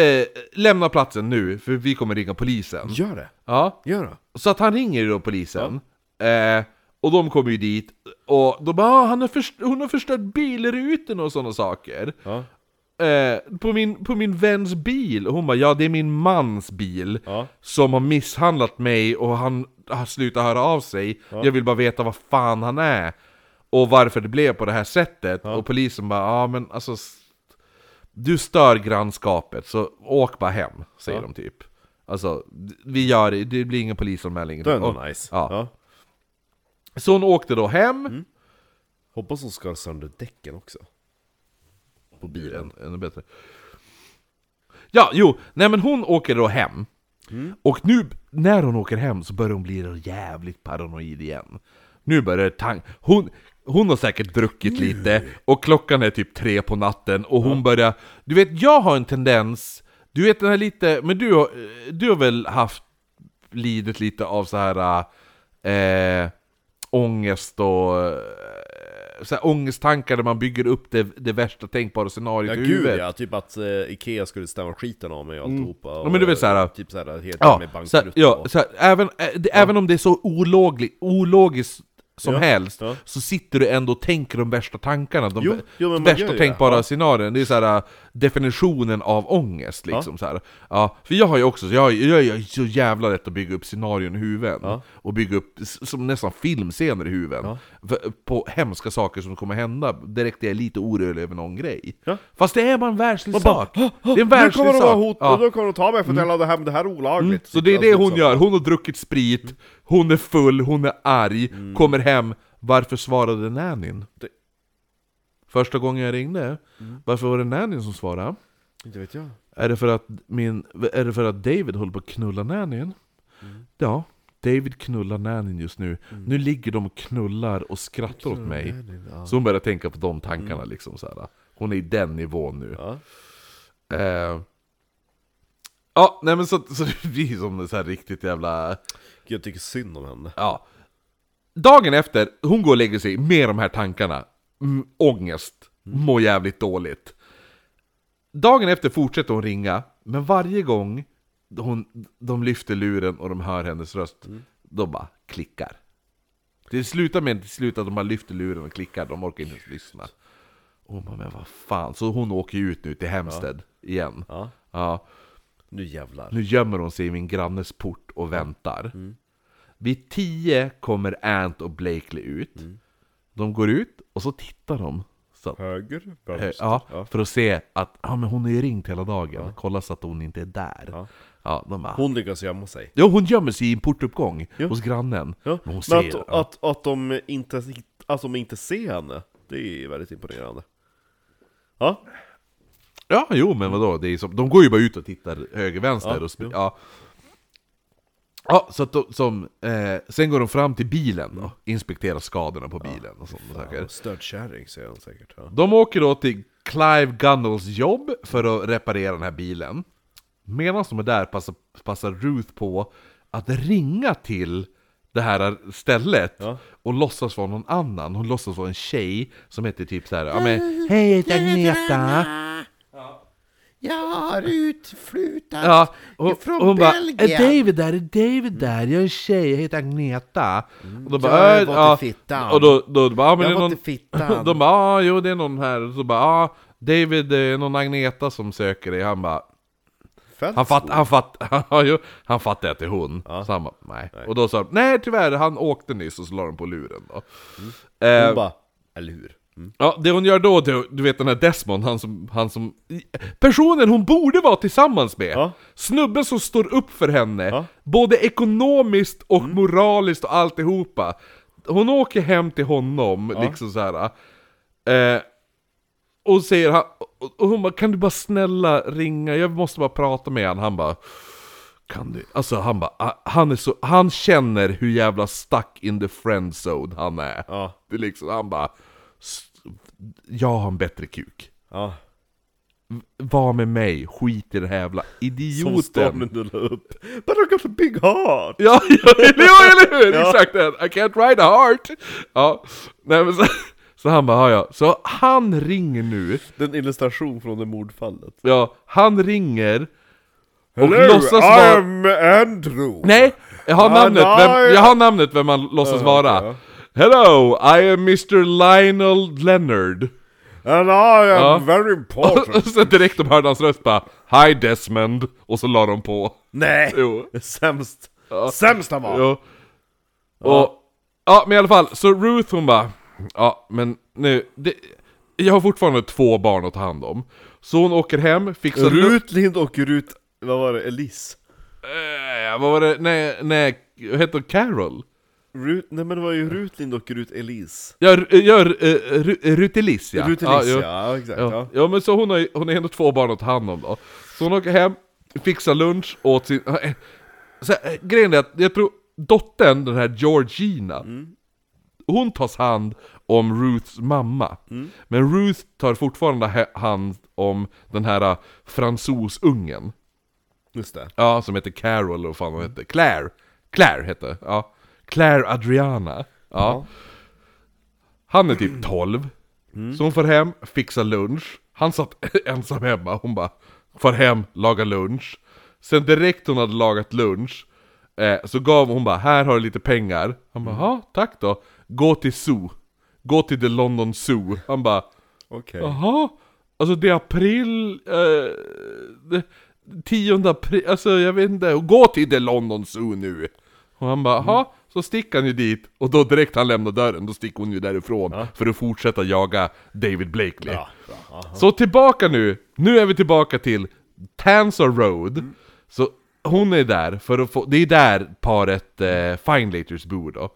S3: eh, lämna platsen nu för vi kommer ringa polisen.
S4: Gör det!
S3: Ja.
S4: Gör det!
S3: Så att han ringer ju då polisen, eh, och de kommer ju dit, och de bara "Ah, han har först- hon har förstört bilrutorna och sådana saker.
S4: Ja.
S3: Eh, på, min, på min väns bil, och hon bara ja det är min mans bil
S4: Ja.
S3: som har misshandlat mig och han har slutat höra av sig, jag vill bara veta vad fan han är. Och varför det blev på det här sättet, och polisen bara ja men alltså s- du stör grannskapet, så åk bara hem, säger de typ. Alltså, d- vi gör det, det blir ingen polisanmälan.
S4: Det är ändå
S3: Och-
S4: nice. Mm.
S3: Ja. Så hon åkte då hem,
S4: Hoppas hon skar sönder däcken också. På bilen.
S3: än- ännu bättre. Ja, jo, nej men hon åker då hem.
S4: Mm.
S3: Och nu, när hon åker hem så börjar hon bli jävligt paranoid igen. Nu börjar tank... Hon, hon har säkert
S4: Mm.
S3: druckit lite, och klockan är typ tre på natten, och hon börjar... Du vet, jag har en tendens... Du vet den här lite... Men du, har- du har väl haft... Lidit lite av så här... Eh, ångest och... eh, så här ångesttankar där man bygger upp det, det värsta tänkbara
S4: Ja
S3: scenariot i
S4: gud
S3: huvudet. Mm.
S4: ja, typ att eh, Ikea skulle stämma skiten av mig och alltihopa och,
S3: Ja, men du vet så här, äh,
S4: eh, Typ såhär, helt
S3: Ja,
S4: med
S3: så här,
S4: bankrutt
S3: ja,
S4: och-
S3: så här, även, äh, det, även om det är så ologli, ologiskt som
S4: Ja,
S3: helst,
S4: ja.
S3: så sitter du ändå och tänker de värsta tankarna, de
S4: Jo,
S3: vä-
S4: jo, men man gör
S3: värsta
S4: ju
S3: tänkbara scenarierna. Det är så här, äh, definitionen av ångest. Liksom, så här. Ja, för jag har ju också, så jag, jag, jag är så jävla lätt att bygga upp scenarion i huvudet, och bygga upp s- som nästan filmscener i huvudet, för- på hemska saker som kommer hända direkt när jag är lite orolig över någon grej.
S4: Ja.
S3: Fast det är bara en världslig sak! Det är en
S4: Nu kommer
S3: världslig
S4: de vara
S3: sak!
S4: hot,
S3: Ja. Mm.
S4: och då kommer de ta mig för att jag laddar hem det här olagligt
S3: Så det är
S4: Alltså,
S3: det hon
S4: liksom. Mm.
S3: gör, hon har druckit sprit, hon är full, hon är arg, kommer hem. Varför svarade nannyn?
S4: Det- Mm.
S3: Första gången jag ringde, varför var det nannyn som svarade?
S4: Inte vet jag
S3: Är det för att, min, är det för att David håller på att knulla nannyn?
S4: Mm.
S3: Ja, David knullar nannyn just nu. Nu ligger de och knullar och skrattar åt mig.
S4: Mm.
S3: Så hon börjar tänka på de tankarna liksom så här. Hon är i den nivån nu.
S4: Ja.
S3: Eh, ja, nej men så, så det blir som så här riktigt jävla...
S4: Gud, jag tycker synd om henne
S3: Ja. Dagen efter, hon går och lägger sig med de här tankarna. Mm, ångest. Mår jävligt dåligt. Dagen efter fortsätter hon ringa, men varje gång hon, de lyfter luren och de hör hennes röst, de bara klickar. Det slutar med till slut att de bara lyfter luren och klickar, de orkar inte ens lyssna. Och hon bara, men vad fan. Så hon åker ju ut nu till Hemsted igen.
S4: Ja.
S3: Ja.
S4: Nu jävlar
S3: Nu gömmer hon sig i min grannes port och
S4: Mm.
S3: väntar. Vid tio kommer Ant och Blakely ut.
S4: Mm.
S3: De går ut och så tittar de. Så att,
S4: Höger,
S3: eh,
S4: vänster
S3: ja, För att se att ja, men hon är ju ringt hela dagen. Kolla så att hon inte är där. Ja. de bara,
S4: Hon lyckas gömma sig
S3: Jo, hon gömmer sig i en portuppgång hos grannen.
S4: ja.
S3: Men hon
S4: Men
S3: ser,
S4: att,
S3: ja.
S4: att, att, de inte, att de inte ser henne, det är väldigt imponerande Ja,
S3: Ja, jo men vadå, det är som, de går ju bara ut och tittar höger-vänster
S4: Ja,
S3: och sp- ja. ja, så att de, som, eh, sen går de fram till bilen då, inspekterar skadorna på bilen och sånt och saker.
S4: störd kärring säger hon säkert ja.
S3: De åker då till Clive Gunnells jobb för att reparera den här bilen. Medan de är där passar, passar Ruth på att ringa till det här stället och låtsas vara någon annan. Hon låtsas vara en tjej som heter typ så här, ja men Hej, jag heter Agneta!
S2: Jag har utflutat
S3: Ja, och,
S2: från
S3: och hon bara
S2: Belgien.
S3: är David där, är David där, jag är en tjej, jag heter Agneta. Och då
S2: Mm. Jag har
S3: "Äh,
S2: varit i fittan."
S3: Och då, då, bara, ja, men
S2: Jag
S3: det
S2: har
S3: är någon...
S2: varit i fittan.
S3: De bara, ja jo det är någon här, och så bara, ja David, det är någon Agneta som söker dig, han bara
S4: Fältskog.
S3: han fattar, han fattar, ja, jo, han fattar att det är hon. Så han bara, nej. Och då sa de, nej tyvärr, han åkte nyss och så la de på luren då.
S2: Mm.
S3: Eh,
S4: Hon bara, eller hur?
S3: Ja, det hon gör då, det, du vet den här Desmond, han som, han som... Personen hon borde vara tillsammans med!
S4: Ja.
S3: Snubben som står upp för henne,
S4: Ja. Mm.
S3: både ekonomiskt och moraliskt och alltihopa. Hon åker hem till honom, liksom så här. Eh, och säger han, och- och hon bara 'Kan du bara snälla ringa, jag måste bara prata med honom' Han bara kan du? Alltså han bara, ah, han är så, han känner hur jävla stuck in the friend zone han är.
S4: Ja.
S3: Det är liksom, han bara, "S- jag har en bättre kuk.
S4: Ja,
S3: Var med mig, skit i den här jävla
S4: som stormen
S3: idioten.
S4: du la upp. But I got a big heart!
S3: Ja, ja, eller hur? Exakt det! I can't ride a heart! Ja, nej men så, så han bara, "Ja, ja. Så han ringer nu,
S4: Det är en illustration från det mordfallet.
S3: ja, han ringer och
S4: Hello,
S3: låtsas vara...
S4: I'm Andrew!
S3: Nej, jag har
S4: Ah,
S3: namnet, vem,
S4: nej.
S3: jag har namnet vem man låtsas vara. Hello, I am Mr Lionel Leonard.
S4: And I am
S3: Ja.
S4: very
S3: Och
S4: important!
S3: så direkt de hörde hans röst bara Hi Desmond, och så la de på.
S4: Nej!
S3: Jo.
S4: Sämst! Sämst han var!
S3: Jo. Och, ja men i alla fall, så Ruth hon bara Ja men nu, det, jag har fortfarande två barn att ta hand om. Så hon åker hem, fixar
S4: Rut Lind och Rut, vad var det, Elise?
S3: Eh, vad var det? Nej, nej, hette hon Carol?
S4: Rut, nej men det var ju Rut Lind och Rut Elise.
S3: Ja, Ru- ja, Ru- eh, Ru- Rutilis ja.
S4: Rut
S3: ja,
S4: Elise,
S3: jo.
S4: ja, ja exakt.
S3: Ja.
S4: Ja.
S3: ja men så hon har, ju- hon har ändå två barn att ta hand om då. Så hon åker hem, fixar lunch åt sin... eh, Så här, eh, grejen är att jag tror dottern, den här Georgina,
S4: Mm.
S3: hon tas hand om Ruths mamma.
S4: Mm.
S3: Men Ruth tar fortfarande he- hand om den här eh, fransosungen.
S4: Just det.
S3: Ja, som heter Carol, eller vad fan hon hette. Claire! Claire hette, ja. Claire Adriana. Ja. Han är typ 12. Så hon får hem, fixar lunch. Han satt ensam hemma, hon bara Får hem, lagar lunch. Sen direkt hon hade lagat lunch eh, Så gav hon bara, här har du lite pengar. Han bara, ja tack då. Gå till zoo. Gå till the London Zoo. Han bara,
S4: Okej.
S3: Jaha? Alltså det är april... Eh, det, 10 april, alltså jag vet inte. Och gå till The London Zoo nu! Och han bara, jaha? Så sticker han ju dit, och då direkt han lämnar dörren, då sticker hon ju därifrån för att fortsätta jaga David Blakely. Så tillbaka nu, nu är vi tillbaka till Tansa Road.
S4: Mm.
S3: Så hon är där för att få, det är där paret eh, Finelaters bor då.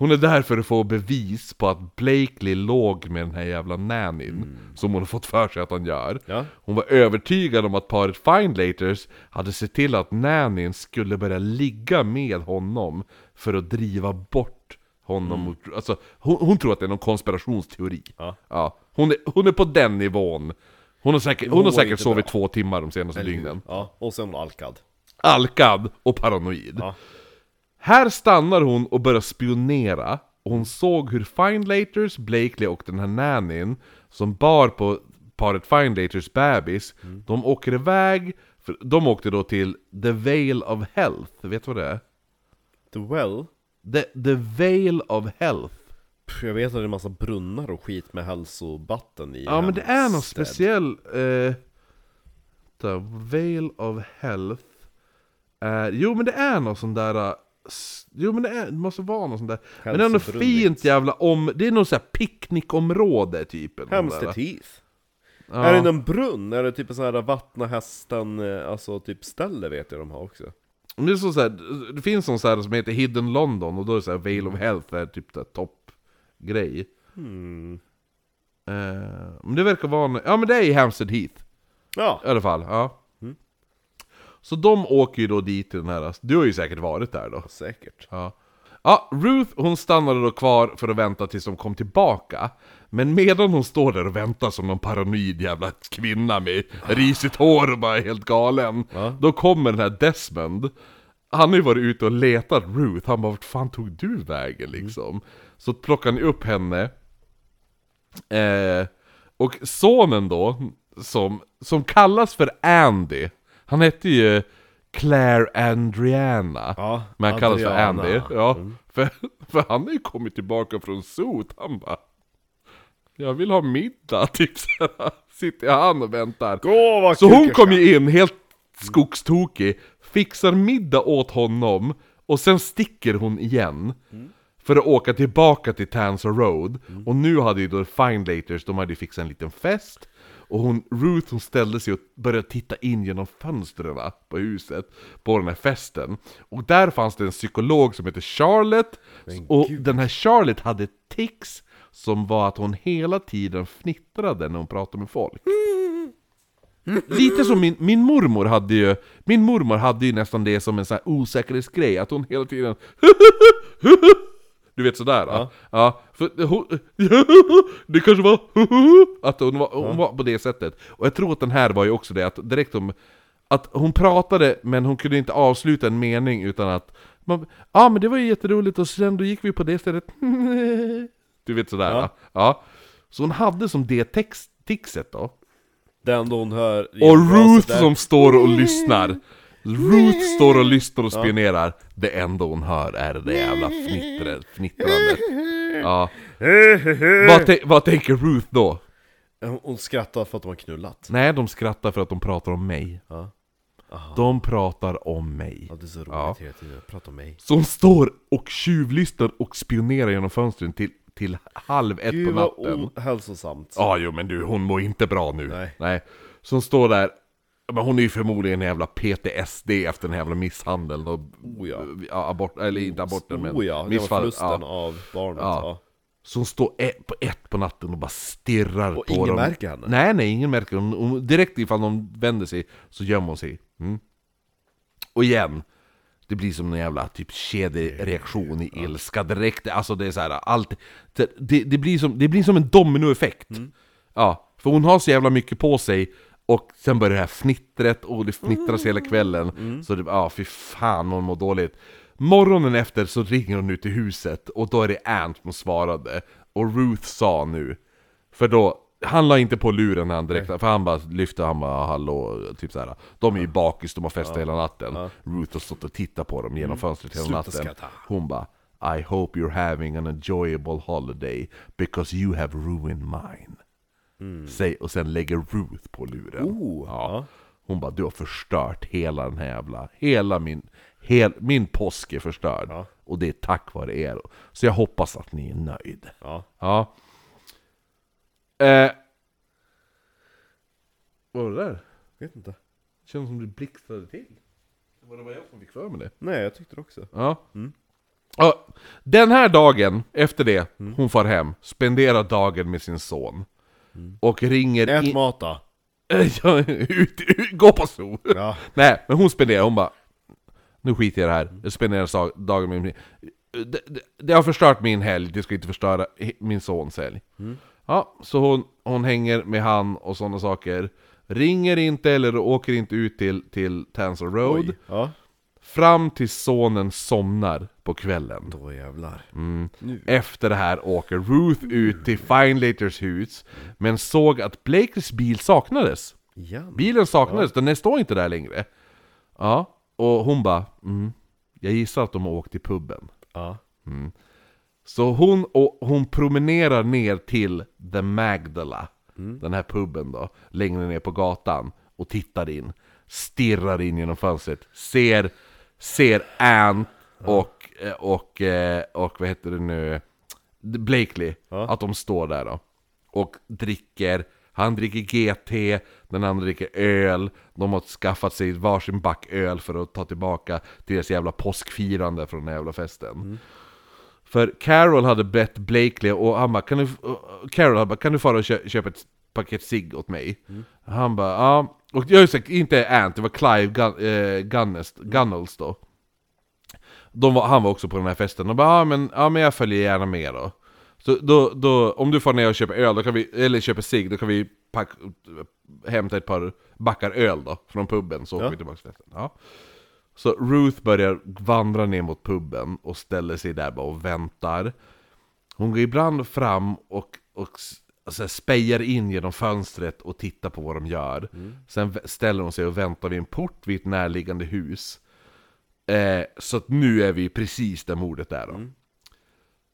S3: Hon är där för att få bevis på att Blakely låg med den här jävla nannyn, som hon har fått för sig att han gör.
S4: Mm. Ja.
S3: Hon var övertygad om att paret Finelaters hade sett till att nannyn skulle börja ligga med honom för att driva bort honom mot, alltså, hon, hon tror att det är någon konspirationsteori.
S4: Mm. Ja.
S3: Hon, är, hon är på den nivån. Hon har säkert, hon
S4: Hon
S3: har
S4: mår
S3: säkert
S4: inte
S3: sovit två timmar de senaste dygnen.
S4: Ja, och sen alkad.
S3: Alkad och paranoid.
S4: Ja.
S3: Här stannar hon och börjar spionera. Och hon såg hur Finelaters, Blakely och den här nannyn som bar på paret Finelaters bebis,
S4: Mm.
S3: de åker iväg, för de åkte då till The Vale of Health, vet du vad det är?
S4: The well?
S3: The, the Vale of Health.
S4: Pff, jag vet att det är en massa brunnar och skit med hälsovatten i
S3: Ja men det är någon
S4: Hampstead.
S3: speciell... Eh, vänta, Veil of Health är... Jo men det är någon sån där... eh, s- Jo men det, är, det måste vara någon sån där... Men det är något
S4: Hälsobrunn,
S3: fint jävla om... Det är någon sån här picknickområde typ. eller något
S4: Hampstead
S3: där.
S4: Heath?
S3: Ja.
S4: Är det en brunn? Är det typ en sån här vattna hästen, eh, alltså typ ställe vet jag de har också?
S3: Men Det, är så så här, det finns någon sån här som heter Hidden London och då är det så här Veil of Health är typ där toppgrej.
S4: Hmm.
S3: Eh, men det verkar vara... en- Ja men det är i Hampstead Heath.
S4: Ja,
S3: I alla fall, ja. Så de åker ju då dit till den här... Du har ju säkert varit där då.
S4: säkert.
S3: Ja. ja, Ruth hon stannade då kvar för att vänta tills de kom tillbaka. Men medan hon står där och väntar som någon paranoid jävla kvinna med risigt hår och bara helt galen. Då kommer den här Desmond. Han har ju varit ute och letat Ruth, han bara vart fan tog du vägen liksom? Så plockar han upp henne. Eh, och sonen då, som, som kallas för Andy, han hette ju Claire Andriana.
S4: Ja,
S3: men han kallas för
S4: Adriana.
S3: Andy. Ja, för, för han har ju kommit tillbaka från sot, han bara Jag vill ha middag, typ såhär. Sitter han och väntar.
S4: Åh vad
S3: Så hon
S4: kukerska.
S3: kom ju in helt skogstokig, fixar middag åt honom och sen sticker hon igen. För att åka tillbaka till Tanser Road. Och nu hade ju då Finelaters, de hade ju fixat en liten fest. Och hon, Ruth hon ställde sig och började titta in genom fönstren på huset, på den här festen. Och där fanns det en psykolog som hette Charlotte, och den här Charlotte hade tics som var att hon hela tiden fnittrade när hon pratade med folk. Lite som min, min mormor hade ju, min mormor hade ju nästan det som en sån här osäkerhetsgrej, att hon hela tiden Du vet sådär ja. ja för hon, det kanske var att hon, var, hon var på det sättet. Och jag tror att den här var ju också det, att direkt om att hon pratade men hon kunde inte avsluta en mening utan att man, Ja men det var ju jätteroligt och sen då gick vi på det stället Du vet sådär ja. ja. Så hon hade som det text, tixet då
S4: Den då hon hör... i
S3: och
S4: braset
S3: Ruth
S4: där.
S3: som står och lyssnar. Ruth står och lyssnar och spionerar. Det enda hon hör är det jävla fnittret, fnittrandet. Ja. Vad, tän- vad tänker Ruth då?
S4: Hon- Hon skrattar för att de har knullat.
S3: Nej, de skrattar för att de pratar om mig.
S4: Ja.
S3: De pratar om mig.
S4: Ja det är så roligt
S3: Ja.
S4: hela tiden, prata om mig.
S3: Så hon står och tjuvlyssnar och spionerar genom fönstren till, till halv ett på
S4: Gud vad
S3: natten.
S4: ohälsosamt.
S3: Ja, ah, jo men du, hon mår inte bra nu.
S4: Nej.
S3: Så hon står där, men hon är ju förmodligen en jävla PTSD efter den här jävla misshandeln och eh,
S4: Oh, ja.
S3: ja, abort, eller inte aborten men
S4: Oh ja, det var
S3: missfall.
S4: förlusten
S3: Ja.
S4: av barnet.
S3: Ja.
S4: Ja.
S3: Så hon står e- på ett på natten och bara stirrar
S4: Och
S3: på
S4: ingen
S3: dem.
S4: märker henne?
S3: Nej, nej, ingen märker henne. Hon, direkt ifall de vänder sig så gömmer hon sig. Mm. Och igen, det blir som en jävla typ kedjereaktion i ilska direkt. Alltså det är så här, allt, det, det, det, blir som, det blir som en dominoeffekt. Ja, för hon har så jävla mycket på sig och sen börjar det här fnittret och det fnittras hela kvällen. Så det, ja, fy fan hon mår dåligt. Morgonen efter så ringer hon ut till huset och då är det Ant som svarade. och Ruth sa nu. För då, han la inte på luren när han direkt, för han bara lyfte, han bara hallå, typ såhär. De är ju bakis, de har festat hela natten. Ruth har stått och tittat på dem genom fönstret hela
S1: Mm. Sluta
S3: natten.
S1: skratta.
S3: Hon bara I hope you're having an enjoyable holiday because you have ruined mine.
S1: Mm.
S3: Säg, och sen lägger Ruth på luren.
S1: Oh.
S4: Oh,
S3: ja. Hon bara, du har förstört hela den här jävla, hela min, hel, min påsk är förstörd. Och det är tack vare er. Så jag hoppas att ni är nöjd.
S4: Ja.
S3: ja. Eh. Vad var det där?
S4: Vet inte.
S3: Känns som du blixtrade till. Var det bara jag som fick för mig det?
S4: Nej, jag tyckte det också.
S3: Ja. Ja, Den här dagen, efter det, hon far hem, spenderar dagen med sin son. Och ringer
S4: Ät
S3: in...
S4: mat då.
S3: Ja, ut, ut, gå på zoo!
S4: Ja.
S3: Nej, men hon spenderar, hon bara Nu skiter jag i det här, jag spenderar sa- dagen med min... Det, det, det har förstört min helg, det ska inte förstöra he- min sons helg. Ja, så hon, hon hänger med han och sådana saker. Ringer inte eller åker inte ut till, till Tanser Road.
S4: Ja.
S3: Fram till sonen somnar på kvällen. Mm.
S1: Då jävlar.
S3: Efter det här åker Ruth ut till Finelaters hus, men såg att Blakers bil saknades.
S4: Igen.
S3: Bilen saknades, den står inte där längre. Ja, och hon bara mm, jag gissar att de har åkt till puben.
S4: Ja.
S3: Så hon, och hon promenerar ner till The Magdala, den här puben då, längre ner på gatan och tittar in. Stirrar in genom fönstret, ser, ser Ann och, eh, och, eh, och vad heter det nu, Blakely, att de står där då. Och dricker, han dricker GT, den andra dricker öl, de har skaffat sig varsin back öl för att ta tillbaka till deras jävla påskfirande från den här jävla festen. För Carol hade bett Blakely och han bara, kan du, Carol hade bara, kan du fara och kö, köpa ett paket cigg åt mig? Han bara, ja. Och jag sagt, inte Ant, det var Clive Gun, eh, Gunnest, Gunnels då. De var, han var också på den här festen, de bara, ja men, ja men jag följer gärna med då. Så då, då, om du får ner och köper öl, då kan vi, eller köper cigg, då kan vi pack, hämta ett par backar öl då, från puben, så åker vi tillbaka till festen. Ja. Så Ruth börjar vandra ner mot puben och ställer sig där bara och väntar. Hon går ibland fram och, och s- så här spejar in genom fönstret och tittar på vad de gör.
S4: Mm.
S3: Sen vä- ställer hon sig och väntar vid en port vid ett närliggande hus. Eh, så att nu är vi precis där mordet är då.
S4: Mm.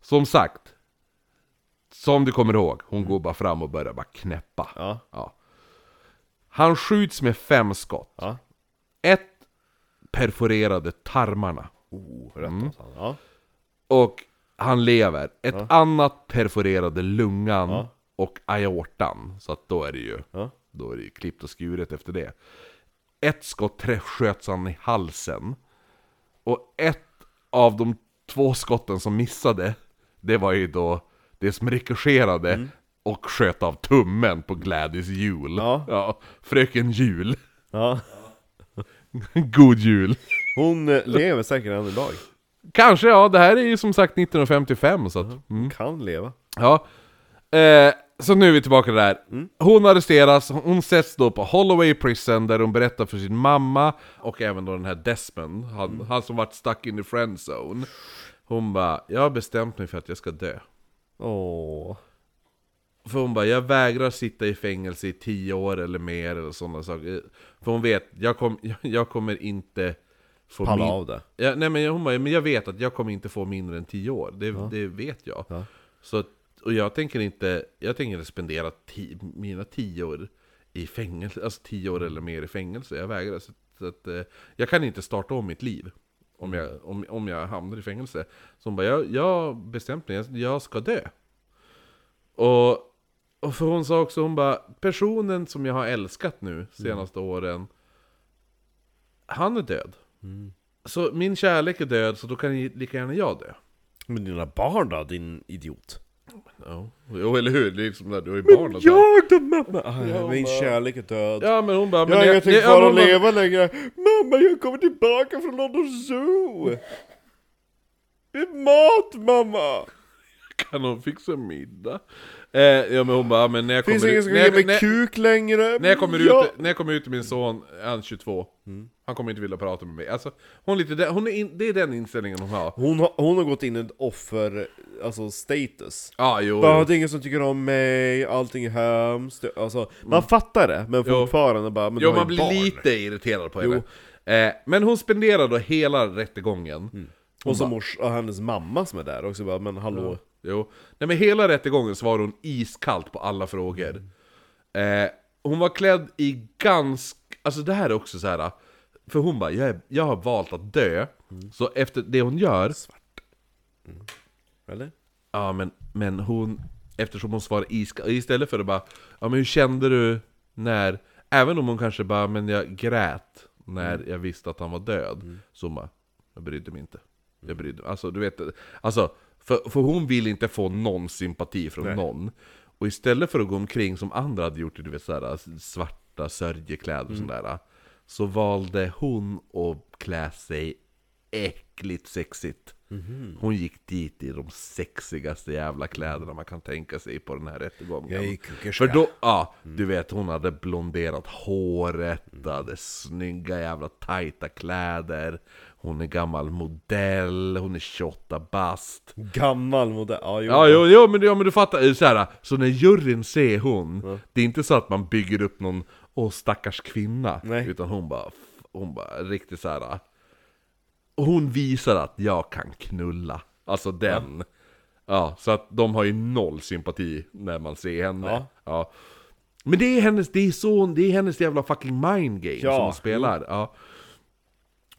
S3: Som sagt, som du kommer ihåg, hon går bara fram och börjar bara knäppa.
S4: Mm. Ja.
S3: Ja. Han skjuts med fem skott.
S4: Ja.
S3: Ett perforerade tarmarna.
S4: Oh, rätt mm. han. Ja.
S3: Och han lever. Ett annat perforerade lungan och aortan. Så att då är det ju
S4: Ja.
S3: då är det ju klippt och skuret efter det. Ett skott träff sköts han i halsen. Och ett av de två skotten som missade, det var ju då det som rikoscherade
S4: Mm.
S3: och sköt av tummen på Gladys jul.
S4: Ja.
S3: fröken Jul.
S4: ja.
S3: God jul.
S4: Hon eh, lever säkert än idag.
S3: Kanske, ja. Det här är ju som sagt 1955 så att... Mm.
S4: Kan leva.
S3: Ja. Eh, så nu är vi tillbaka där.
S4: Mm.
S3: Hon arresteras, hon sätts då på Holloway Prison där hon berättar för sin mamma och även då den här Desmond, han,
S4: Mm.
S3: han som varit stuck in the friend zone. Hon bara, jag har bestämt mig för att jag ska dö.
S4: Åh.
S3: För hon bara, jag vägrar sitta i fängelse i tio år eller mer eller sådana saker. För hon vet, jag, kom, jag kommer inte få
S4: Palla
S3: min-
S4: av det.
S3: Ja, nej men hon bara, men jag vet att jag kommer inte få mindre än 10 år, det, det vet jag. Så, att- och jag tänker inte, jag tänker inte spendera ti, mina 10 år i fängelse, alltså 10 år eller mer i fängelse, jag vägrar. Så, att- så att, eh, jag kan inte starta om mitt liv om jag, om, om jag hamnar i fängelse. Så hon bara, jag, jag har bestämt mig, jag- jag ska dö. Och, och för hon sa också, hon bara, personen som jag har älskat nu senaste åren, han är död. Så min kärlek är död, så då kan ju lika gärna jag dö.
S4: Men dina barn då, din idiot?
S3: Ja, jo, eller hur? Det är liksom där, du har ju barn och så.
S4: då mamma! Ah, min kärlek är död.
S3: Ja, men hon bara...
S4: Jag
S3: men
S4: har ingenting
S3: nej, ja,
S4: kvar
S3: men
S4: att
S3: hon bara,
S4: leva längre. Mamma, jag kommer tillbaka från London Zoo! Det är mat, mamma!
S3: Kan hon fixa middag? Eh, ja, men hon bara, men när jag
S4: Finns
S3: kommer
S4: ingen
S3: ut...
S4: som
S3: När
S4: kan ge mig
S3: jag, när,
S4: kuk längre?
S3: när, jag kommer
S4: Ja.
S3: ut, när jag kommer ut till min son, är han 22. Han kommer inte vilja prata med mig. Alltså, hon är lite, den- hon är in, det är den inställningen hon har.
S4: Hon har, hon har gått in i ett offer... alltså status.
S3: Ja, Ah, jo,
S4: Bara,
S3: jo.
S4: det är ingen som tycker om mig, allting är hemskt. Alltså, man fattar det, men
S3: Mm. Jo.
S4: fortfarande bara, men du
S3: jo
S4: har
S3: man
S4: ju
S3: blir
S4: barn.
S3: lite irriterad på henne. Eh, men hon spenderar då hela rättegången.
S4: Och så mors, och hennes mamma som är där också bara, men hallå.
S3: Jo. Nej men hela rättegången svarade hon iskallt på alla frågor. Eh, hon var klädd i ganska... Alltså det här är också så här. För hon bara, jag, är, jag har valt att dö. Så efter det hon gör...
S4: Eller?
S3: Ja men, men hon... Eftersom hon svarar iskallt, istället för att bara... Ja men hur kände du när... Även om hon kanske bara, men jag grät när jag visste att han var död. Så hon bara, jag brydde mig inte. Jag brydde mig. Alltså du vet, alltså, för, för hon vill inte få någon sympati från någon. Och istället för att gå omkring som andra hade gjort, du vet sådär svarta sörjekläder och sådär. Så valde hon att klä sig äckligt sexigt. Hon gick dit i de sexigaste jävla kläderna man kan tänka sig på den här rättegången.
S4: Jag är kukerska.
S3: För då, ja, du vet hon hade blonderat håret, hade snygga jävla tajta kläder. Hon är gammal modell, hon är 28 bast.
S4: Gammal modell, ja jo.
S3: Ja, jo, jo men, ja, men du fattar, det är så, här, så när juryn ser hon, det är inte så att man bygger upp någon åh stackars kvinna,
S4: Nej.
S3: utan hon bara, f- hon bara riktigt så här. Hon visar att jag kan knulla, alltså den. Ja. så att de har ju noll sympati när man ser henne. Ja.
S4: Ja.
S3: Men det är hennes, det är så, det är hennes jävla fucking mind game
S4: Ja.
S3: som hon spelar. Ja.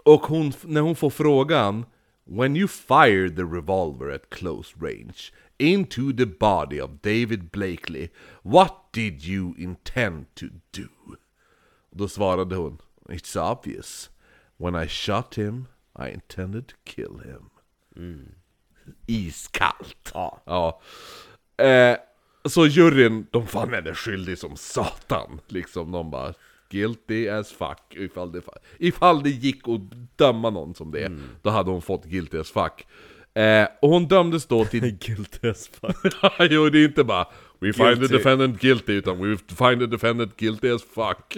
S3: Och hon, när hon får frågan When you fired the revolver at close range into the body of David Blakely What did you intend to do? Då svarade hon It's obvious When I shot him I intended to kill him Iskallt!
S4: Ja.
S3: Eh, så juryn, de fann henne skyldig som satan. Liksom, de bara guilty as fuck. Ifall det, ifall det gick att döma någon som det, då hade hon fått guilty as fuck. Eh, och hon dömdes då till
S4: Guilty as fuck.
S3: jo, det är inte bara We find
S4: Guilty.
S3: the defendant guilty, utan We find the defendant guilty as fuck.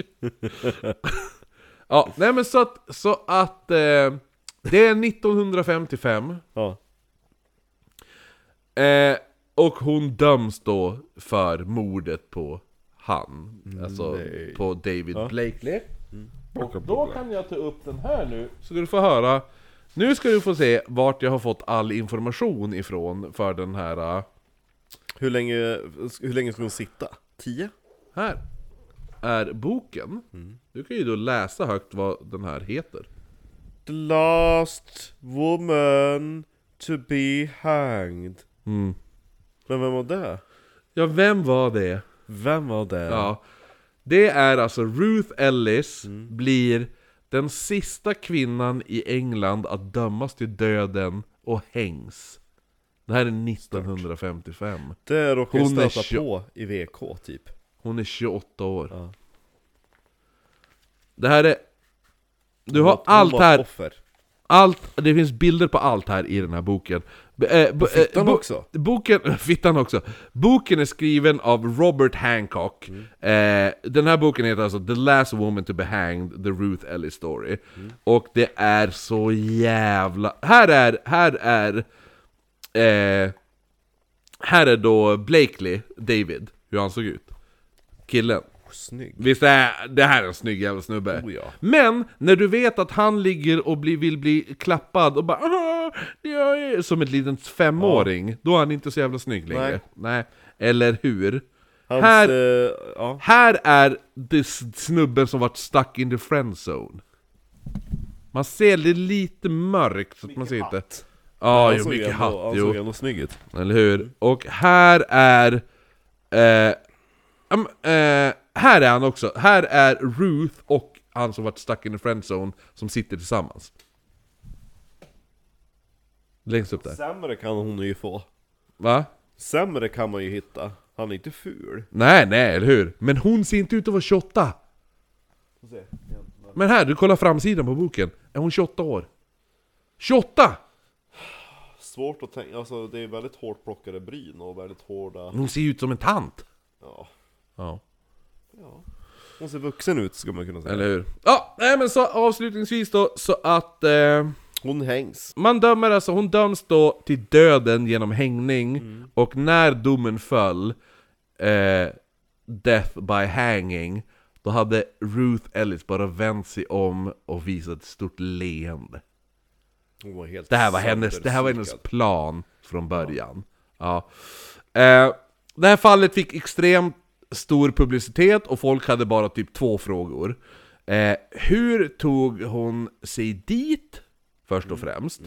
S3: ja, nej men så att, så att eh, det är 1955
S4: Ja.
S3: eh, och hon döms då för mordet på han, alltså på David Blakely. Och då kan jag ta upp den här nu, så ska du få höra. Nu ska du få se vart jag har fått all information ifrån för den här eh,
S4: Hur länge, hur länge ska hon sitta? Tio?
S3: Här är boken. Du kan ju då läsa högt vad den här heter.
S4: The last woman to be hanged.
S3: Mm.
S4: Men vem var det?
S3: Ja, vem var det?
S4: Vem var det?
S3: Ja. Det är alltså Ruth Ellis blir den sista kvinnan i England att dömas till döden och hängs. Det här är 1955.
S4: Det råkade
S3: Hon är
S4: jag stöta
S3: tjo-
S4: på i VK typ.
S3: Hon är 28 år.
S4: Ja.
S3: Det här är... Du
S4: Hon
S3: har
S4: var- hon
S3: allt
S4: var ett
S3: här,
S4: Offer.
S3: allt, det finns bilder på allt här i den här boken. B- eh, b-
S4: fittan
S3: bo-
S4: också.
S3: Boken, fittan också. Boken är skriven av Robert Hancock. Eh, den här boken heter alltså The Last Woman to be Hanged, The Ruth Ellis Story. Och det är så jävla... Här är, här är... Eh, här är då Blakely, David, hur han såg ut. Killen.
S4: Snygg.
S3: Visst är det här är en snygg jävla snubbe?
S4: Oh ja.
S3: Men när du vet att han ligger och blir, vill bli klappad och bara "Ah, jag är... Som ett litet femåring, då är han inte så jävla snygg längre. Nej.
S4: Nej.
S3: Eller hur?
S4: Hans,
S3: här,
S4: eh, ja.
S3: här är det s- snubben som varit stuck in the friend zone. Man ser det lite mörkt, så att man ser inte... Ja,
S4: Han
S3: jo,
S4: såg
S3: mycket
S4: ändå-
S3: hatt,
S4: Han
S3: jo.
S4: såg ändå snygg ut.
S3: Eller hur? Och här är... Eh, um, eh, här är han också. Här är Ruth och han som varit stuck in the friendzone som sitter tillsammans. Längst upp där.
S4: Sämre kan hon ju få.
S3: Va?
S4: Sämre kan man ju hitta. Han är inte ful.
S3: Nej, nej, eller hur? Men hon ser inte ut att vara 28! Men här, du kollar framsidan på boken. Är hon 28 år? 28!
S4: Svårt att tänka, alltså det är väldigt hårt plockade bryn och väldigt hårda...
S3: Hon ser ut som en tant!
S4: Ja.
S3: Ja.
S4: Hon ser vuxen ut skulle man kunna säga.
S3: Eller hur? Ja, nej men så avslutningsvis då, så att... Eh,
S4: Hon hängs.
S3: Man dömer alltså, hon döms då till döden genom hängning, och när domen föll, eh, Death by hanging, då hade Ruth Ellis bara vänt sig om och visat ett stort leende.
S4: Hon var helt
S3: Det här var hennes, det här var hennes plan från början. Ja. Eh, det här fallet fick extremt stor publicitet och folk hade bara typ två frågor. Eh, hur tog hon sig dit, först och främst?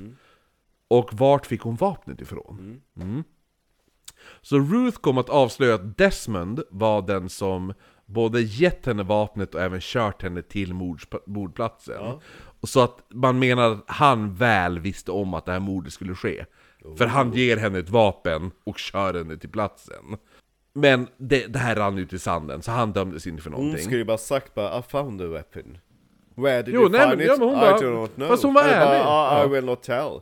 S3: Och vart fick hon vapnet ifrån? Mm. Så Ruth kom att avslöja att Desmond var den som både gett henne vapnet och även kört henne till mordsp- mordplatsen. Och Så att man menar att han väl visste om att det här mordet skulle ske. För han ger henne ett vapen och kör henne till platsen. Men det, det här rann ut i sanden, så han dömdes inte för
S4: Hon
S3: någonting.
S4: skulle ju bara sagt bara "Ah, I found the weapon. Where did
S3: Jo,
S4: you
S3: nej,
S4: find
S3: men-
S4: it?
S3: ja, men hon
S4: I
S3: bara-
S4: do not know.
S3: fast hon var
S4: Eller
S3: ärlig.
S4: Bara, "Ah, I,
S3: Ja. Mm.
S4: I will not tell.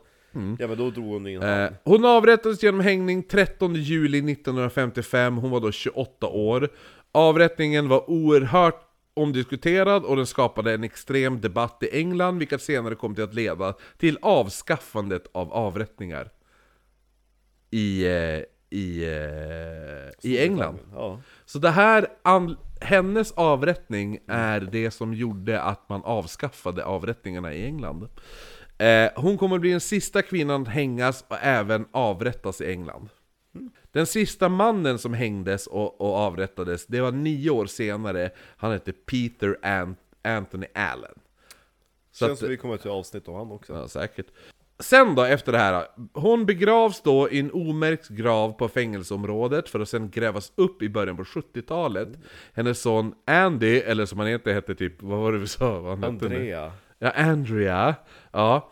S4: Ja men då drog hon in
S3: Eh, Hon avrättades genom hängning 13 juli 1955, hon var då 28 år. Avrättningen var oerhört omdiskuterad och den skapade en extrem debatt i England, vilket senare kom till att leda till avskaffandet av avrättningar. I, eh, i, eh, i England.
S4: Ja.
S3: Så det här, an, hennes avrättning är det som gjorde att man avskaffade avrättningarna i England. Eh, hon kommer bli den sista kvinnan att hängas och även avrättas i England. Den sista mannen som hängdes och, och avrättades, det var nio år senare. Han hette Peter Ant- Anthony Allen. Så
S4: Känns
S3: att- eh,
S4: som vi kommer till avsnitt om han också.
S3: Ja, säkert. Sen då, efter det här. Hon begravs då i en omärkt grav på fängelseområdet för att sen grävas upp i början på 70-talet. Hennes son Andy, eller som han inte hette typ, vad var det vi sa? Vad han hette nu?
S4: Andrea.
S3: Ja, Andrea. Ja.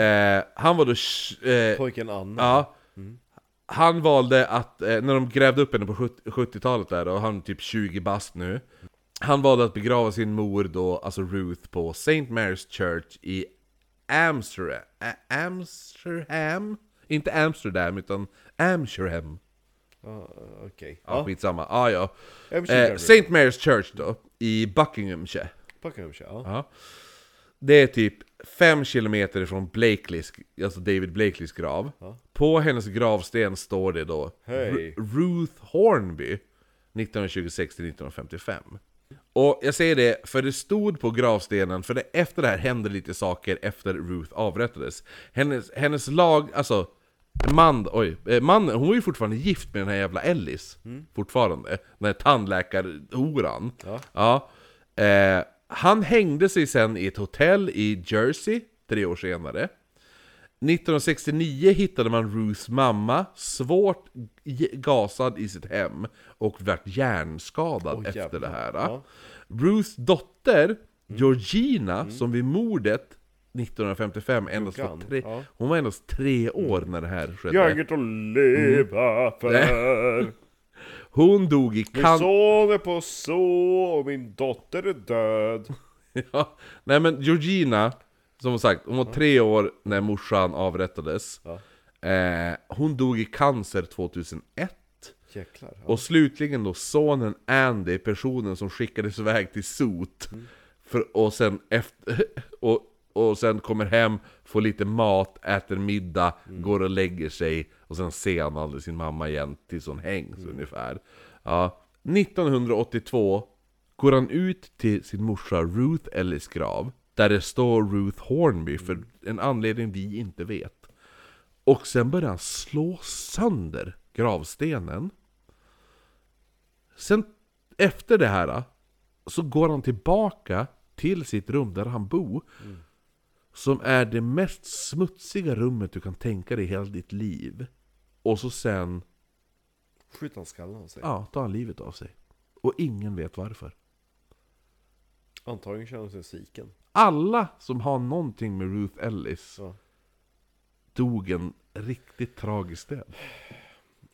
S3: Eh, han var då... tj- Eh,
S4: Pojken Anna.
S3: Ja. Han valde att, eh, när de grävde upp henne på sjut- 70-talet där, och han är typ 20 bast nu. Han valde att begrava sin mor då, alltså Ruth, på St. Mary's Church i Amsterdam. Amsterdam? Inte Amsterdam, utan Amsterdam.
S4: Ja, Ah, Okej.
S3: Ja,
S4: Ja,
S3: skitsamma. Ah, ja.
S4: Amsterdam.
S3: Eh, St. Mary's Church då, i Buckinghamshire.
S4: Packa upp sig, ja.
S3: Ja. Det är typ 5 kilometer ifrån Blakeleys, alltså David Blakeleys grav. På hennes gravsten står det då
S4: Hej.
S3: Ru- Ruth Hornby 1926-1955. Och jag säger det, för det stod på gravstenen, för det, efter det här hände lite saker efter Ruth avrättades. Hennes, hennes lag, alltså man, oj, eh, man, hon var ju fortfarande gift med den här jävla Ellis. Fortfarande. Den här tandläkarhoran. Ja. Eh, han hängde sig sen i ett hotell i Jersey, tre år senare. 1969 hittade man Ruths mamma svårt g- gasad i sitt hem och vart hjärnskadad efter
S4: jävlar.
S3: det här.
S4: Ja. Mm.
S3: Ruths dotter, Georgina, som vid mordet 1955 endast var
S4: han?
S3: tre,
S4: Ja. Mm.
S3: hon var endast tre år när det Mm. här skedde.
S4: Jaget att leva för.
S3: Hon dog i
S4: Min
S3: cancer.
S4: son är på så och min dotter är död.
S3: Ja. Nej men Georgina, som sagt, hon var tre år när morsan avrättades. Eh, hon dog i cancer 2001.
S4: Jäklar. Ja.
S3: Och slutligen då sonen Andy, personen som skickades iväg till sot. För, och, sen efter, och, och sen kommer hem, får lite mat, äter middag, går och lägger sig. Och sen ser han aldrig sin mamma igen tills hon hängs ungefär. Ja. 1982 går han ut till sin morsa Ruth Ellis grav. Där det står Ruth Hornby för en anledning vi inte vet. Och sen börjar han slå sönder gravstenen. Sen efter det här så går han tillbaka till sitt rum där han bor. Som är det mest smutsiga rummet du kan tänka dig i hela ditt liv. Och så sen,
S4: Skjut han skallen av sig.
S3: ja, tar han livet av sig. Och ingen vet varför.
S4: Antagligen känner han sig sviken.
S3: Alla som har någonting med Ruth Ellis
S4: Ja.
S3: dog en riktigt tragisk död.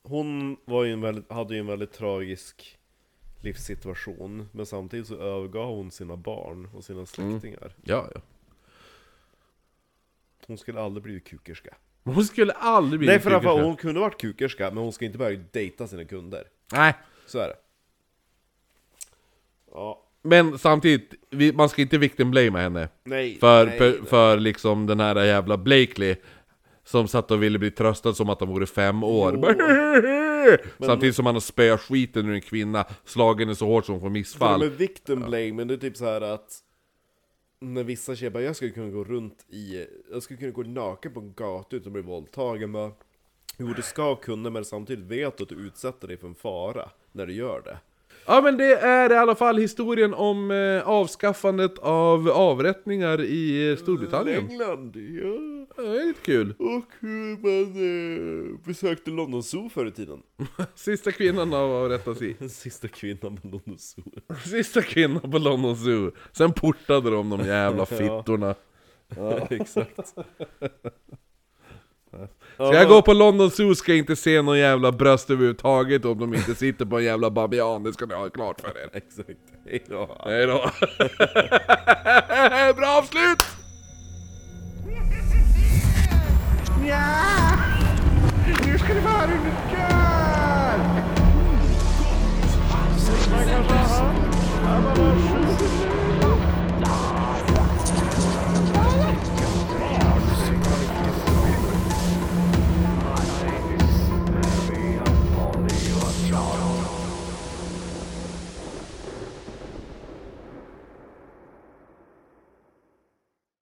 S4: Hon var ju en väldigt, hade ju en väldigt tragisk livssituation. Men samtidigt så övergav hon sina barn och sina
S3: Mm.
S4: släktingar.
S3: Ja, ja.
S4: Hon skulle aldrig bli kukerska.
S3: Hon skulle aldrig bli
S4: Nej
S3: en
S4: för att
S3: kukerska.
S4: hon kunde varit kukerska, men hon ska inte börja dejta sina kunder.
S3: Nej,
S4: Så är det. Ja.
S3: Men samtidigt, vi, man ska inte victim blamea henne.
S1: Nej,
S3: För,
S1: nej,
S3: för, för liksom den här jävla Blakely Som satt och ville bli tröstad som att han vore fem år Samtidigt som han har spöat skiten ur en kvinna Slagen är så hårt som hon får
S1: För
S3: missfall
S1: med victim blame, men det är typ så här att när vissa tjejer bara, jag skulle kunna gå runt i, jag skulle kunna gå naken på en gata utan att bli våldtagen bara, Jo du ska kunna men samtidigt vet du att du utsätter dig för en fara när du gör det.
S3: Ja men det är i alla fall historien om eh, avskaffandet av avrättningar i eh, Storbritannien
S1: England, ja.
S3: Det är lite kul
S1: Och hur man eh, besökte London Zoo förr i tiden.
S3: Sista kvinnan av avrättas i
S1: Den sista kvinnan på London Zoo.
S3: Sista kvinnan på London Zoo Sen portade de de jävla fittorna
S1: Exakt.
S3: Ska jag gå på London Zoo ska jag inte se någon jävla bröst överhuvudtaget om de inte sitter på en jävla babian, det ska ni ha klart för er.
S1: Exakt. Hej då.
S3: Hej då. Bra avslut!
S6: Ja! Nu ska du vara under